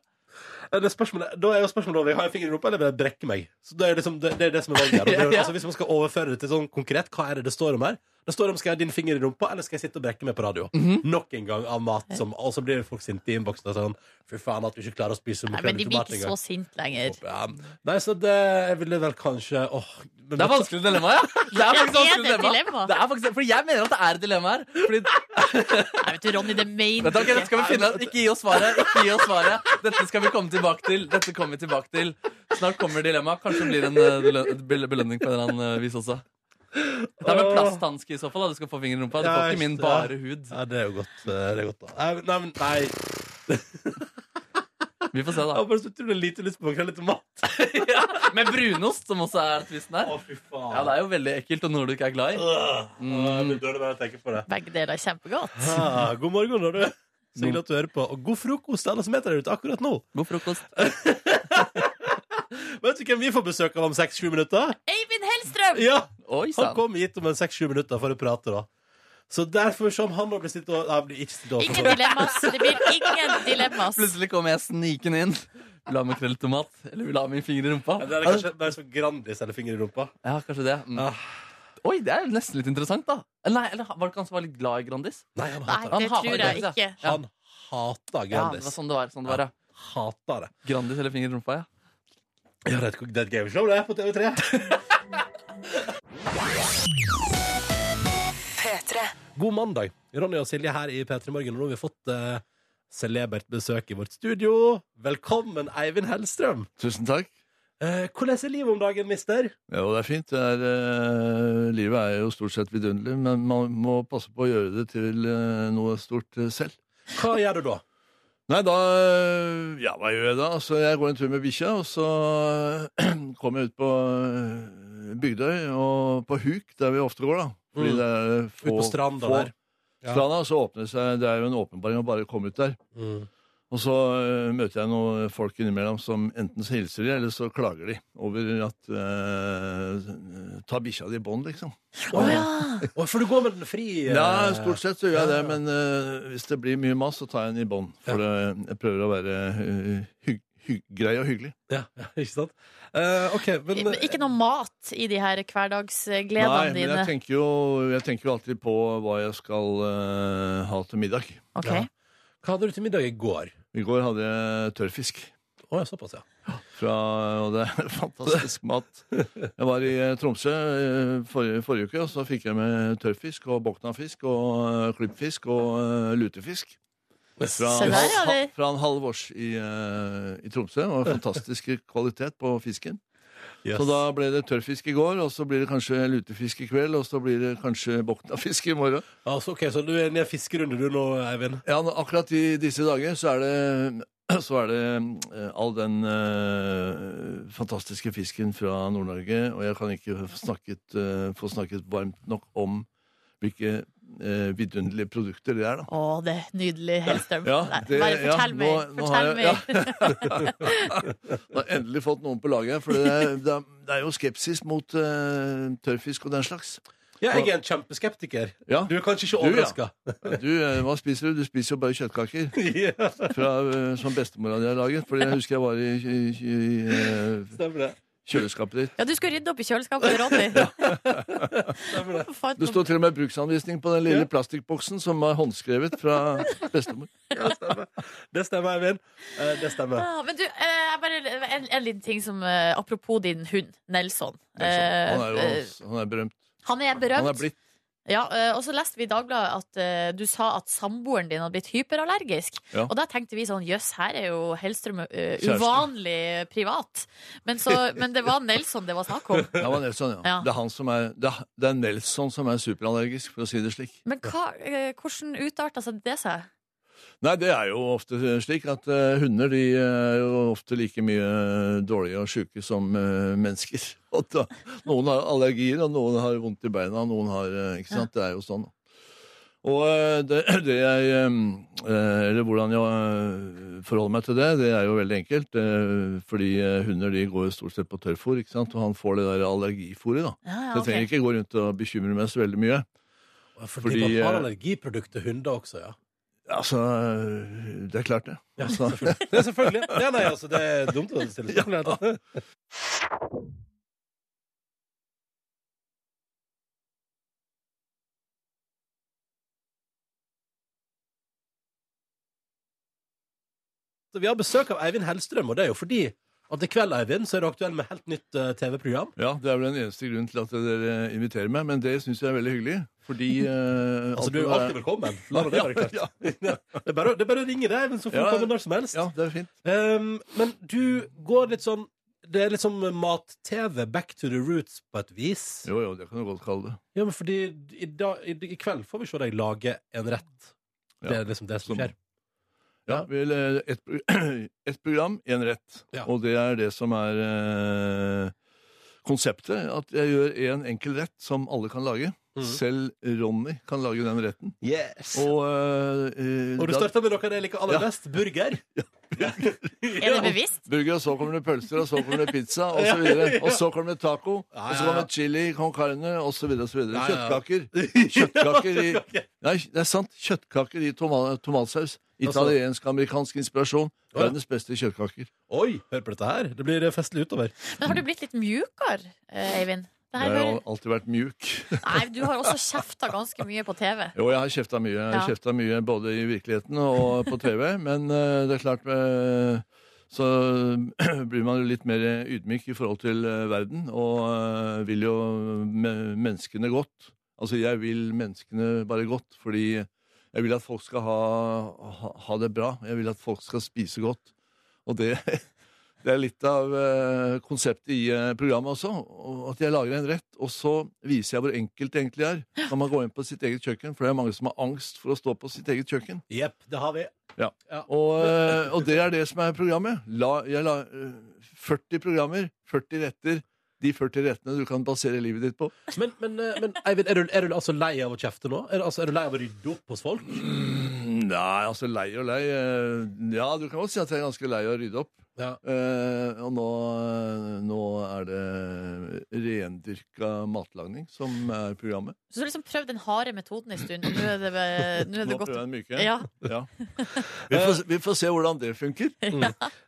[SPEAKER 2] det er spørsmålet, Da er jo spørsmålet om jeg har en finger i rumpa eller vil jeg brekke meg. Så Det er liksom, det, det, er det som er valget her. Og det, er jo-
[SPEAKER 4] Ja.
[SPEAKER 2] altså, hvis man skal overføre det til sånn konkret, hva er det det står om her? Det står om skal jeg ha din finger i rumpa, eller skal jeg sitte og brekke meg på radio?
[SPEAKER 4] Mhm.
[SPEAKER 2] Nok en gang av mat som Og så blir folk sinte i innboksen og sånn Fy faen, at du ikke klarer å spise
[SPEAKER 3] Nei, men
[SPEAKER 2] makrell i
[SPEAKER 3] de blir
[SPEAKER 2] tomat
[SPEAKER 3] ikke så
[SPEAKER 2] engang.
[SPEAKER 3] sinte lenger.
[SPEAKER 2] Ja. Nei, så det jeg ville vel kanskje Åh. men-
[SPEAKER 4] Det er vanskelig dilemma, ja! Det er faktisk
[SPEAKER 3] Ja, er
[SPEAKER 4] vanskelig
[SPEAKER 3] det et
[SPEAKER 4] dilemma.
[SPEAKER 3] dilemma?
[SPEAKER 4] Det er faktisk, fordi jeg mener at det er et dilemma her. Fordi,
[SPEAKER 3] Nei, vet du, Ronny, det mener
[SPEAKER 4] dette,
[SPEAKER 3] du
[SPEAKER 4] ok, dette
[SPEAKER 3] ikke.
[SPEAKER 4] skal vi finne ut. Ikke gi oss svaret. Ikke gi oss svaret. Dette skal vi komme tilbake til. Dette kommer vi tilbake til. Snart kommer dilemmaet. Kanskje det blir en eh, belø- bel- belønning på en eller annen eh, vis også. Det er med plasthanske i så fall. da Du skal få fingeren i rumpa. Du
[SPEAKER 2] Ja,
[SPEAKER 4] får ikke min
[SPEAKER 2] just det.
[SPEAKER 4] bare hud.
[SPEAKER 2] Ja, det er jo godt. eh, Det er godt da. Nei, Nei, men nei.
[SPEAKER 4] Vi får se,
[SPEAKER 2] Jeg har
[SPEAKER 4] da.
[SPEAKER 2] bare så utrolig lite lyst på makrell i tomat.
[SPEAKER 4] Ja, med brunost, som også er tvisten her.
[SPEAKER 2] Å, fy faen.
[SPEAKER 4] Ja, det er jo veldig ekkelt, og noe du ikke er glad i.
[SPEAKER 2] Øh, Jeg blir dårlig bare av å tenke på det.
[SPEAKER 3] Begge deler er kjempegodt.
[SPEAKER 2] Ah, god morgen, da, du. Så hyggelig at du hører på. Og god frokost til alle som heter der ute akkurat nå.
[SPEAKER 4] God frokost.
[SPEAKER 2] Vet du hvem vi får besøk av om 6-7 minutter?
[SPEAKER 3] Eivind Hellstrøm!
[SPEAKER 2] Ja,
[SPEAKER 4] Oi
[SPEAKER 2] Han
[SPEAKER 4] sann.
[SPEAKER 2] kom hit om en 6-7 minutter for å prate, da. Så der får vi se om han nå blir stilt over. Nei, han blir ikke stilt over.
[SPEAKER 3] Ingen dilemmas. Det blir ingen dilemmas.
[SPEAKER 4] Plutselig kom jeg snikende inn. Vil du ha makrell i tomat? Eller vil du ha min finger i rumpa?
[SPEAKER 2] Ja, Det er kanskje bare sånn Grandis eller finger i rumpa.
[SPEAKER 4] Ja, kanskje det. Mm.
[SPEAKER 2] Ah.
[SPEAKER 4] Oi, det er nesten litt interessant, da. Eller Nei, eller var det kanskje han var litt glad i Grandis?
[SPEAKER 2] Nei, han
[SPEAKER 3] Nei,
[SPEAKER 2] hater det.
[SPEAKER 4] Han
[SPEAKER 3] det
[SPEAKER 4] hater
[SPEAKER 3] tror jeg
[SPEAKER 4] det.
[SPEAKER 3] ikke.
[SPEAKER 2] Han hater
[SPEAKER 4] Ja, det
[SPEAKER 2] Grandis.
[SPEAKER 4] var sånn det var. Sånn det var ja.
[SPEAKER 2] Hater det.
[SPEAKER 4] Grandis eller finger i rumpa, ja.
[SPEAKER 2] Ja, det er et- det er et gameshow, det, på TV3. God mandag. Ronny og Silje her i P3 Morgen. Og nå har vi fått eh, celebert besøk i vårt studio. Velkommen, Eivind Hellstrøm.
[SPEAKER 5] Tusen takk.
[SPEAKER 2] Eh, hvordan er livet om dagen, mister?
[SPEAKER 5] Jo, det er fint. Det er, eh, livet er jo stort sett vidunderlig, men man må passe på å gjøre det til eh, noe stort eh, selv.
[SPEAKER 2] Hva gjør du da?
[SPEAKER 5] Nei, da eh, Ja, hva gjør jeg da? Altså, jeg går en tur med bikkja, og så kommer jeg ut på eh, Bygdøy og på Huk, der vi ofte går, da. Fordi
[SPEAKER 2] Mm.
[SPEAKER 5] det er få,
[SPEAKER 2] Ut på stranda
[SPEAKER 5] få-
[SPEAKER 2] der. Ja.
[SPEAKER 5] Stranda, så åpner det seg Det er jo en åpenbaring å bare komme ut der.
[SPEAKER 2] Mm.
[SPEAKER 5] Og så eh, møter jeg noen folk innimellom som enten så hilser de, eller så klager de over at eh, Ta bikkja di i bånd, liksom.
[SPEAKER 3] Å ja.
[SPEAKER 2] Å, for du går med den fri? eh,
[SPEAKER 5] Ja, stort sett så gjør jeg
[SPEAKER 2] ja,
[SPEAKER 5] det,
[SPEAKER 2] ja.
[SPEAKER 5] men eh, hvis det blir mye mas, så tar jeg den i bånd. For eh, jeg prøver å være eh, hygg, hygg, grei og hyggelig.
[SPEAKER 2] Ja, ja, ikke sant? Eh, OK, men
[SPEAKER 3] Men Ikke noe mat i de her
[SPEAKER 5] Nei,
[SPEAKER 3] hverdagsgledene
[SPEAKER 5] men
[SPEAKER 3] dine.
[SPEAKER 5] jeg tenker, jo, jeg tenker jo alltid på hva jeg skal eh, ha til middag.
[SPEAKER 3] Ok.
[SPEAKER 2] Ja. eh, hva hadde du til middag i går?
[SPEAKER 5] I går hadde jeg tørrfisk.
[SPEAKER 2] Å ja, såpass, ja.
[SPEAKER 5] Fra, og det er fantastisk mat. Jeg var i eh, Tromsø eh, forrige, forrige uke, og så fikk jeg med tørrfisk og boknafisk og eh, klippfisk og eh, lutefisk. Fra,
[SPEAKER 3] Se
[SPEAKER 5] en
[SPEAKER 3] der,
[SPEAKER 5] halv-
[SPEAKER 3] ja, det-
[SPEAKER 5] fra en halv års i, eh, i Tromsø. Og fantastisk kvalitet på fisken.
[SPEAKER 2] Yes.
[SPEAKER 5] Så da ble det tørrfisk i går, og så blir det kanskje lutefisk i kveld, og så blir det kanskje boknafisk i morgen.
[SPEAKER 2] Altså, ok, Så du er inne i en fiskerunde du nå, Eivind?
[SPEAKER 5] Ja, nå- akkurat i disse dager så er det så er det eh, all den eh, fantastiske fisken fra Nord-Norge, og jeg kan ikke få snakket, eh, få snakket varmt nok om hvilke eh, vidunderlige produkter det er, da.
[SPEAKER 3] Å, det er nydelig, Hellstrøm.
[SPEAKER 5] Ja,
[SPEAKER 3] Nei,
[SPEAKER 5] det-
[SPEAKER 3] Bare
[SPEAKER 5] ja,
[SPEAKER 3] fortell
[SPEAKER 5] nå-
[SPEAKER 3] mer.
[SPEAKER 5] nå har
[SPEAKER 3] fortell
[SPEAKER 5] jeg- ja.
[SPEAKER 3] mer.
[SPEAKER 5] Jeg har endelig fått noen på laget, for det er, det er, det er jo skepsis mot eh, tørrfisk og den slags.
[SPEAKER 2] Ja, jeg er en kjempeskeptiker.
[SPEAKER 5] Ja.
[SPEAKER 2] Du er kanskje ikke
[SPEAKER 5] Du, ja.
[SPEAKER 2] overraska.
[SPEAKER 5] Du, eh, hva spiser du? Du spiser jo bare kjøttkaker.
[SPEAKER 2] Ja.
[SPEAKER 5] fra, eh, som bestemora di har laget. Fordi jeg husker jeg var i, i, i eh,
[SPEAKER 2] Stemmer det.
[SPEAKER 5] kjøleskapet ditt.
[SPEAKER 3] Ja, du skulle rydde opp i kjøleskapet til Ronny.
[SPEAKER 2] Stemmer det.
[SPEAKER 3] Fant
[SPEAKER 5] Det
[SPEAKER 3] noe-
[SPEAKER 5] står til og med bruksanvisning på den lille plastikkboksen som var håndskrevet fra bestemor.
[SPEAKER 2] Ja, stemmer. Det stemmer, Eivind. Eh, Det stemmer.
[SPEAKER 3] Ja, men du, eh, jeg bare, en, en liten ting som eh, Apropos din hund, Nelson.
[SPEAKER 5] Han er jo
[SPEAKER 3] Eh, eh,
[SPEAKER 5] han er berømt.
[SPEAKER 3] han er
[SPEAKER 5] Han
[SPEAKER 3] berømt.
[SPEAKER 5] er blitt
[SPEAKER 3] Ja, eh, og så leste vi i Dagbladet at eh, du sa at samboeren din hadde blitt hyperallergisk.
[SPEAKER 5] Ja.
[SPEAKER 3] Og da tenkte vi sånn, jøss, her er jo Hellstrøm eh,
[SPEAKER 5] Kjæreste.
[SPEAKER 3] uvanlig privat. Men, så, men det var Nelson det var snakk om.
[SPEAKER 5] ja, det var Nelson, ja.
[SPEAKER 3] Ja.
[SPEAKER 5] Det, er han som er, det, er, det er Nelson som er superallergisk, for å si det slik.
[SPEAKER 3] Men hva, eh, hvordan utarta seg det seg?
[SPEAKER 5] Nei, det er jo ofte slik at eh, hunder de er jo ofte like mye dårlige og sjuke som eh, mennesker. Og da, noen har allergier, og noen har vondt i beina, og noen har eh, Ikke sant? Det er jo sånn. Og eh, det, det jeg eh, eh, Eller hvordan jeg eh, forholder meg til det, det er jo veldig enkelt. eh, Fordi eh, hunder de går jo stort sett på tørrfôr, ikke sant? og han får det der allergifôret, da.
[SPEAKER 3] Ja, ja,
[SPEAKER 5] Så jeg
[SPEAKER 3] ok.
[SPEAKER 5] trenger ikke gå rundt og bekymre meg så veldig mye.
[SPEAKER 2] Fordi,
[SPEAKER 5] Fordi,
[SPEAKER 2] man har
[SPEAKER 5] eh,
[SPEAKER 2] allergiprodukter hunder også, ja.
[SPEAKER 5] Altså, eh, det er klart, det.
[SPEAKER 2] Ja,
[SPEAKER 5] Altså,
[SPEAKER 2] selvfølgelig. Det er selvfølgelig. Ja, nei, altså, det er dumt å stille spørsmål. Ja. Vi har besøk av Eivind Hellstrøm, og det er jo fordi at i kveld Eivind, så er du aktuell med helt nytt eh, TV-program.
[SPEAKER 5] Ja, det er vel den eneste grunnen til at dere inviterer meg, men det syns jeg er veldig hyggelig. Fordi eh,
[SPEAKER 2] Altså, Du er jo
[SPEAKER 5] alt-
[SPEAKER 2] alltid velkommen. La meg det være klart.
[SPEAKER 5] Ja,
[SPEAKER 2] Det er bare, å- det er bare å ringe deg, Eivind, så får du
[SPEAKER 5] Ja.
[SPEAKER 2] komme når som helst.
[SPEAKER 5] ja, det er fint.
[SPEAKER 2] Um, men du går litt sånn Det er litt som mat-TV, back to the roots, på et vis.
[SPEAKER 5] Jo, jo, det kan du godt kalle det.
[SPEAKER 2] Ja, men fordi i, dag, i, i kveld får vi se deg lage en rett.
[SPEAKER 5] Ja.
[SPEAKER 2] Det er liksom det som
[SPEAKER 5] Som-
[SPEAKER 2] skjer.
[SPEAKER 5] Ja, vel, eh, et, pro- et program, én rett.
[SPEAKER 2] Ja.
[SPEAKER 5] Og det er det som er eh, konseptet. At jeg gjør én en enkel rett som alle kan lage.
[SPEAKER 2] Mhm.
[SPEAKER 5] Selv Ronny kan lage den retten.
[SPEAKER 2] Yes! Og,
[SPEAKER 5] Og, eh, eh,
[SPEAKER 2] du
[SPEAKER 5] da-
[SPEAKER 2] starter med noe jeg liker aller
[SPEAKER 5] Ja.
[SPEAKER 2] best. Burger.
[SPEAKER 3] Er det bevisst?
[SPEAKER 5] Burger, og så kommer det pølser, og så kommer det pizza, og så videre. Og så kommer det taco,
[SPEAKER 2] Ja,
[SPEAKER 5] og så
[SPEAKER 2] ja,
[SPEAKER 5] kommer
[SPEAKER 2] ja.
[SPEAKER 5] det chili, con carne, og så videre, og så
[SPEAKER 2] Ja,
[SPEAKER 5] videre.
[SPEAKER 2] ja, ja.
[SPEAKER 5] Kjøttkaker. Kjøttkaker i Nei, det er sant. Kjøttkaker i toma tomatsaus. Italiensk-amerikansk inspirasjon.
[SPEAKER 2] Ja.
[SPEAKER 5] Verdens beste kjøttkaker.
[SPEAKER 2] Oi, hør på dette her. Det blir festlig utover.
[SPEAKER 3] Men har du blitt litt mjukere, eh, Eivind? Det her
[SPEAKER 5] Jeg har
[SPEAKER 3] hører...
[SPEAKER 5] alltid vært mjuk.
[SPEAKER 3] Nei, du har også kjefta ganske mye på TV.
[SPEAKER 5] Jo, jeg har kjefta mye. Jeg har
[SPEAKER 3] Ja.
[SPEAKER 5] kjefta mye både i virkeligheten og på TV, men eh, det er klart eh, så blir man jo litt mer ydmyk i forhold til eh, verden, og eh, vil jo me menneskene godt. Altså, jeg vil menneskene bare godt, fordi jeg vil at folk skal ha, ha, ha det bra. Jeg vil at folk skal spise godt. Og det, det er litt av eh, konseptet i eh, programmet også. og At jeg lager en rett, og så viser jeg hvor enkelt det egentlig er. Når man går inn på sitt eget kjøkken, for det er mange som har angst for å stå på sitt eget kjøkken.
[SPEAKER 2] Jepp, det har vi.
[SPEAKER 5] Ja.
[SPEAKER 2] Ja.
[SPEAKER 5] Og, eh, og det er det som er programmet. La, jeg la, eh, 40 programmer, 40 retter. De 40 rettene du kan basere livet ditt på.
[SPEAKER 2] Men, men, eh, men Eivind, er du, er du altså lei av å kjefte nå? Er du, altså, er du lei av å rydde opp hos folk?
[SPEAKER 5] Nei, altså lei og lei eh, Ja, du kan godt si at jeg er ganske lei av å rydde opp.
[SPEAKER 2] Ja.
[SPEAKER 5] Eh, og nå, eh, nå er det rendyrka matlagning som er programmet.
[SPEAKER 3] Så du har liksom prøvd den harde metoden en stund. Nå er det, nå er
[SPEAKER 5] Nå
[SPEAKER 3] det godt.
[SPEAKER 5] prøver jeg den myke.
[SPEAKER 3] Ja.
[SPEAKER 5] Ja. Vi, får, vi får se hvordan det funker.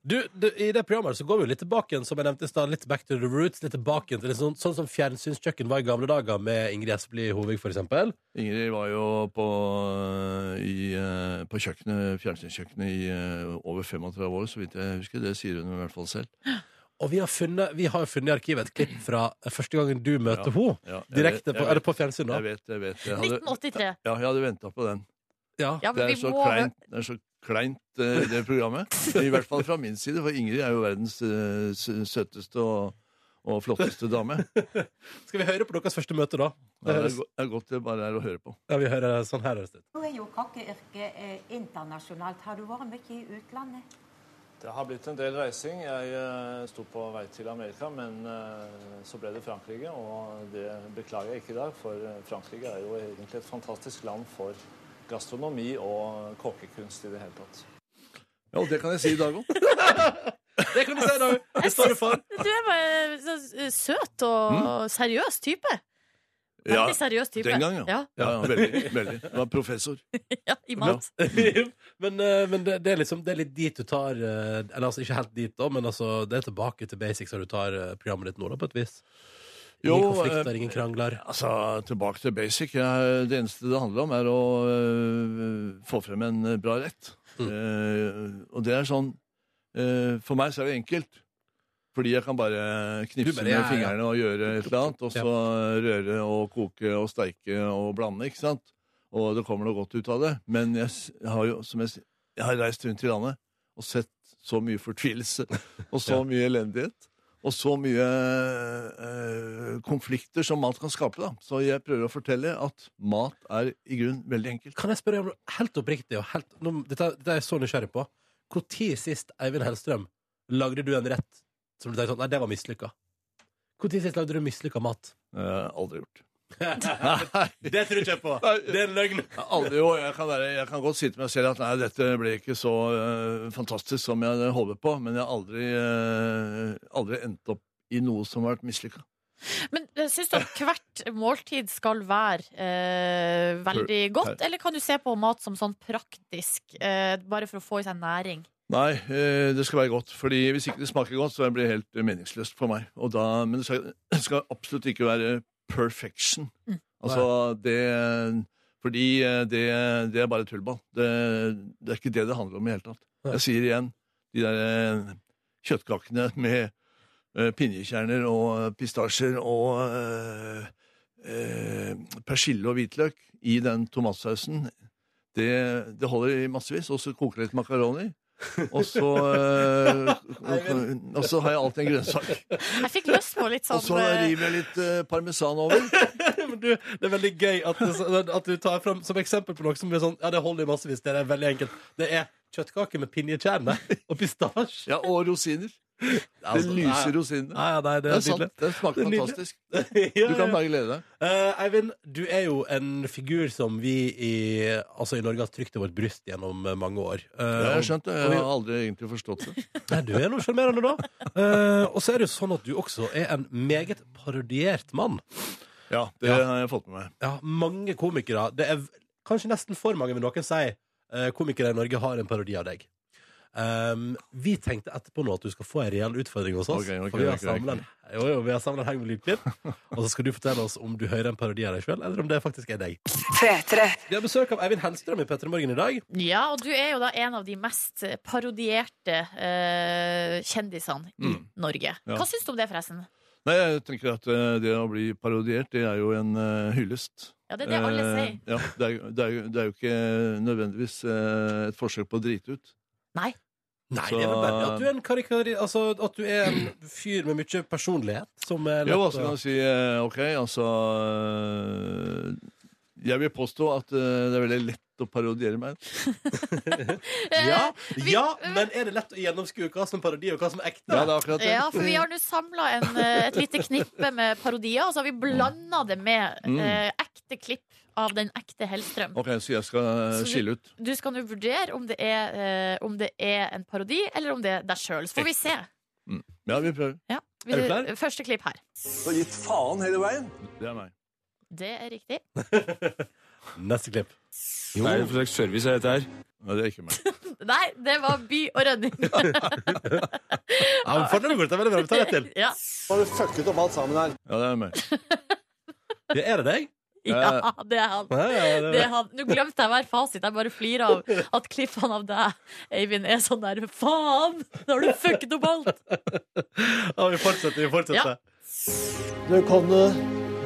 [SPEAKER 2] Du, du, I det programmet så går vi jo litt tilbake igjen, som jeg nevnte i stad. Litt back to the roots. litt tilbake igjen til litt sånn, sånn som fjernsynskjøkken var i gamle dager, med Ingrid Espelid Hovig, for eksempel.
[SPEAKER 5] Ingrid var jo på, eh, i, eh, på kjøkkenet, fjernsynskjøkkenet i eh, over 35 år, så vidt jeg husker. Det sier hun i hvert fall selv.
[SPEAKER 2] Og vi har funnet, vi har jo funnet i arkivet et klipp fra første gangen du møter
[SPEAKER 5] Ja.
[SPEAKER 2] henne.
[SPEAKER 5] Ja, jeg
[SPEAKER 2] Direkte
[SPEAKER 5] vet-
[SPEAKER 2] på, er
[SPEAKER 5] jeg
[SPEAKER 2] det
[SPEAKER 5] vet-
[SPEAKER 2] på fjernsyn, da?
[SPEAKER 5] Jeg vet, jeg vet. Jeg hadde,
[SPEAKER 3] 1983.
[SPEAKER 5] ja, jeg hadde venta på den.
[SPEAKER 2] Ja.
[SPEAKER 3] Ja,
[SPEAKER 5] Det
[SPEAKER 3] men
[SPEAKER 5] er
[SPEAKER 3] vi
[SPEAKER 5] så
[SPEAKER 3] må
[SPEAKER 5] kleint, det, er så kleint eh, det programmet. I hvert fall fra min side, for Ingrid er jo verdens eh, s- søteste og, og flotteste dame.
[SPEAKER 2] Skal vi høre på deres første møte, da?
[SPEAKER 5] Ja,
[SPEAKER 2] Det
[SPEAKER 5] det, er,
[SPEAKER 2] høres,
[SPEAKER 5] go- det er godt det bare er å høre på.
[SPEAKER 2] ja, vi hører sånn her høres det ut.
[SPEAKER 6] Nå er jo kokkeyrket eh, internasjonalt. Har du vært mye i utlandet?
[SPEAKER 7] Det har blitt en del reising. Jeg eh, sto på vei til Amerika, men eh, så ble det Frankrike, og det beklager jeg ikke i dag, for eh, Frankrike er jo egentlig et fantastisk land for gastronomi og kokkekunst i det hele tatt.
[SPEAKER 5] Ja, og det kan jeg si i dag òg.
[SPEAKER 2] Det kan du si, da! Det står du for.
[SPEAKER 3] Du er bare så søt og seriøs type.
[SPEAKER 5] Mm. Ja,
[SPEAKER 3] Veldig seriøs type.
[SPEAKER 5] den gang, ja.
[SPEAKER 3] Ja,
[SPEAKER 5] ja, ja, veldig. veldig. Jeg var professor.
[SPEAKER 3] ja, I mat.
[SPEAKER 2] men eh, men det, det er liksom Det er litt dit du tar eh, Eller altså ikke helt dit, da, men altså det er tilbake til basics når du tar eh, programmet ditt nå, da, på et vis. Ingen
[SPEAKER 5] Jo,
[SPEAKER 2] konflikter,
[SPEAKER 5] eh,
[SPEAKER 2] ingen krangler.
[SPEAKER 5] Altså, tilbake til basic. Ja, det eneste det handler om, er å øh, få frem en øh, bra rett.
[SPEAKER 2] Mm.
[SPEAKER 5] Eh, og det er sånn eh, For meg så er det enkelt. Fordi jeg kan bare knipse
[SPEAKER 2] Du bare,
[SPEAKER 5] med
[SPEAKER 2] ja, ja.
[SPEAKER 5] fingrene og gjøre et eller annet. Og så røre og koke og steike og blande, ikke sant? Og det kommer noe godt ut av det. Men jeg s- har jo, som jeg, s- jeg har reist rundt i landet og sett så mye fortvilelse og så mye elendighet. Og så mye eh, konflikter som mat kan skape. da. Så jeg prøver å fortelle at mat er i grunn veldig enkelt.
[SPEAKER 2] Kan jeg spørre om noe helt oppriktig? Og helt, nå, dette, dette er jeg så nysgjerrig på. Når sist, Eivind Hellstrøm, lagde du en rett som du tenkte sånn Nei, det var mislykka. Når sist lagde du mislykka mat?
[SPEAKER 5] Eh, aldri gjort.
[SPEAKER 2] Det tror ikke jeg på. Det er en løgn.
[SPEAKER 5] Jeg har Aldri, jo, jeg, kan være, jeg kan godt si til meg selv at nei, dette ble ikke så eh, fantastisk som jeg hadde håpet på, men jeg har aldri, eh, aldri endt opp i noe som har vært mislykka.
[SPEAKER 3] Men eh, syns du at hvert måltid skal være eh, veldig godt, eller kan du se på mat som sånn praktisk, eh, bare for å få i seg næring?
[SPEAKER 5] Nei, eh, det skal være godt. fordi Hvis ikke det smaker godt, så blir det helt meningsløst for meg. Og da, men det skal, det skal absolutt ikke være perfection. Altså, det, fordi eh, det, det er bare tullball. Det, det er ikke det det handler om i det hele tatt.
[SPEAKER 2] Nei.
[SPEAKER 5] Jeg sier igjen de der eh, kjøttkakene med eh, pinjekjerner og eh, pistasjer og eh, eh, persille og hvitløk i den tomatsausen. Det, det holder i massevis. Og så koker det litt makaroni. Og så, eh, og så har jeg alltid en grønnsak.
[SPEAKER 3] Jeg fikk lyst på litt sånn
[SPEAKER 5] Og så
[SPEAKER 3] eh,
[SPEAKER 5] river jeg litt eh, parmesan over.
[SPEAKER 2] Men du, det er veldig gøy at du, at du tar fram som eksempel på noe som er sånn Ja, det holder i massevis. Det er veldig enkelt. Det er kjøttkake med pinjekjerne og pistasje.
[SPEAKER 5] Ja, og rosiner. Det
[SPEAKER 2] Altså,
[SPEAKER 5] lyser
[SPEAKER 2] nei.
[SPEAKER 5] rosinene.
[SPEAKER 2] Nei, nei, det
[SPEAKER 5] Det
[SPEAKER 2] er
[SPEAKER 5] er sant.
[SPEAKER 2] nydelig.
[SPEAKER 5] Det
[SPEAKER 2] Det
[SPEAKER 5] smaker
[SPEAKER 2] er nydelig.
[SPEAKER 5] fantastisk.
[SPEAKER 2] Ja,
[SPEAKER 5] Du
[SPEAKER 2] ja.
[SPEAKER 5] kan bare glede deg.
[SPEAKER 2] Eh, Eivind, du er jo en figur som vi i, altså i Norge har trykt til vårt bryst gjennom eh, mange år. Eh,
[SPEAKER 5] Jeg har
[SPEAKER 2] og-
[SPEAKER 5] skjønt det. Jeg har aldri egentlig forstått det.
[SPEAKER 2] Nei, du er noe sjarmerende, da. Eh, og så er det jo sånn at du også er en meget parodiert mann.
[SPEAKER 5] Ja, det
[SPEAKER 2] Ja.
[SPEAKER 5] har jeg fått med meg.
[SPEAKER 2] Ja, mange komikere. Det er v- kanskje nesten for mange, vil noen si. eh, komikere i Norge har en parodi av deg. Um, vi tenkte etterpå nå at du skal få en reell utfordring hos oss.
[SPEAKER 5] Ok, ok,
[SPEAKER 2] for vi har
[SPEAKER 5] ok, ok.
[SPEAKER 2] samlet en- Jo, jo, vi har samlet en haug med lydklipp. Og så skal du fortelle oss om du hører en parodi av deg sjøl, eller om det faktisk er deg. Vi har besøk av Eivind Hellstrøm i P3 Morgen i dag.
[SPEAKER 3] Ja, og du er jo da en av de mest eh, parodierte eh, kjendisene i
[SPEAKER 5] Mm.
[SPEAKER 3] Norge. Hva syns du om det, forresten?
[SPEAKER 5] Nei, jeg tenker at eh, det å bli parodiert, det er jo en eh, hyllest.
[SPEAKER 3] Ja, det er det alle
[SPEAKER 5] Eh,
[SPEAKER 3] sier.
[SPEAKER 5] Ja, det er, jo- det, er, jo- det er jo ikke nødvendigvis eh, et forsøk på å drite ut.
[SPEAKER 3] Nei.
[SPEAKER 2] Nei,
[SPEAKER 5] Så-
[SPEAKER 2] det er vel bare at du er en karikari... Altså, at du er en fyr med mye personlighet som er lett
[SPEAKER 5] Jo, altså
[SPEAKER 2] å-
[SPEAKER 5] kan jeg si eh, OK, altså eh, Jeg vil påstå at eh, det er veldig lett å parodiere meg. Eh,
[SPEAKER 2] ja,
[SPEAKER 3] vi-
[SPEAKER 2] ja, men er det lett å gjennomskue hva som er parodi, og hva som er ekte?
[SPEAKER 5] Ja, det er akkurat det.
[SPEAKER 3] Ja, for vi har nå samla et lite knippe med parodier, og så har vi blanda det med
[SPEAKER 5] Mm.
[SPEAKER 3] eh, ekte klipp av den ekte Hellstrøm.
[SPEAKER 5] OK, så jeg skal eh,
[SPEAKER 3] Så du-
[SPEAKER 5] skille ut.
[SPEAKER 3] Du skal nå vurdere om det, er, eh, om det er en parodi, eller om det er deg sjøl. Så får vi se.
[SPEAKER 5] Ja, vi prøver.
[SPEAKER 3] Ja. Vi,
[SPEAKER 2] Er du klar?
[SPEAKER 3] Første klipp her.
[SPEAKER 7] Så gitt faen hele veien.
[SPEAKER 5] Det er meg.
[SPEAKER 3] Det er riktig.
[SPEAKER 2] Neste klipp.
[SPEAKER 8] Hva er det for slags service er dette her?
[SPEAKER 5] Nei, det er ikke meg.
[SPEAKER 3] Nei, det var By og redning.
[SPEAKER 2] Ja, men fortell meg, det er veldig bra. Vi tar rett til.
[SPEAKER 3] ja.
[SPEAKER 7] Har du fucket opp alt sammen her?
[SPEAKER 5] Ja, det er meg.
[SPEAKER 2] Ja, er det deg?
[SPEAKER 3] ja, det er han.
[SPEAKER 2] Ja, ja, det
[SPEAKER 3] Det er han. Nå glemte jeg hver fasit. Jeg bare flirer av at klippene av deg, Eivind, er sånn der Faen! Nå har du fucket opp alt!
[SPEAKER 2] Ja, vi fortsetter, vi fortsetter.
[SPEAKER 3] Ja.
[SPEAKER 9] Det kan eh,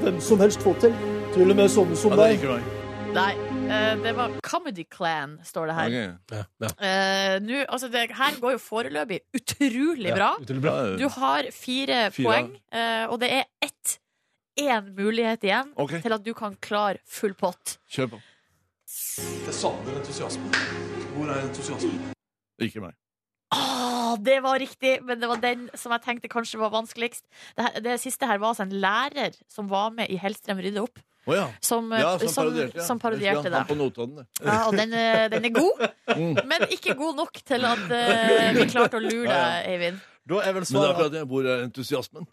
[SPEAKER 9] hvem som helst få til. Til og med sånne som
[SPEAKER 5] Ja, det
[SPEAKER 9] deg.
[SPEAKER 5] er ikke meg.
[SPEAKER 3] Nei, eh, det var Comedy Clan, står det her.
[SPEAKER 5] Ok.
[SPEAKER 2] Ja, ja.
[SPEAKER 3] Eh, nå, altså det her går jo foreløpig utrolig bra.
[SPEAKER 2] Ja, utrolig bra.
[SPEAKER 5] Ja,
[SPEAKER 3] Du har fire,
[SPEAKER 5] Fire.
[SPEAKER 3] poeng, eh, og det er ett én mulighet igjen
[SPEAKER 5] Ok.
[SPEAKER 3] til at du kan klare full pott.
[SPEAKER 5] Kjør på.
[SPEAKER 9] Jeg savner entusiasmen. Hvor er entusiasmen?
[SPEAKER 5] Ikke meg.
[SPEAKER 3] Ah, det var riktig, men det var den som jeg tenkte kanskje var vanskeligst. Det, her, det siste her var altså en lærer som var med i Hellstrøm rydde opp,
[SPEAKER 5] Å ja.
[SPEAKER 3] som, eh,
[SPEAKER 5] ja. Som,
[SPEAKER 3] som,
[SPEAKER 5] parodierte, ja.
[SPEAKER 3] som parodierte
[SPEAKER 5] det. Han Mm.
[SPEAKER 3] det.
[SPEAKER 5] på Notodden, det.
[SPEAKER 3] Ja, og den, eh, den er god, men ikke god nok til at eh, vi klarte å lure deg, Eivind.
[SPEAKER 2] Da er vel
[SPEAKER 5] Men det er
[SPEAKER 2] svaret
[SPEAKER 5] akkurat det. Hvor er entusiasmen?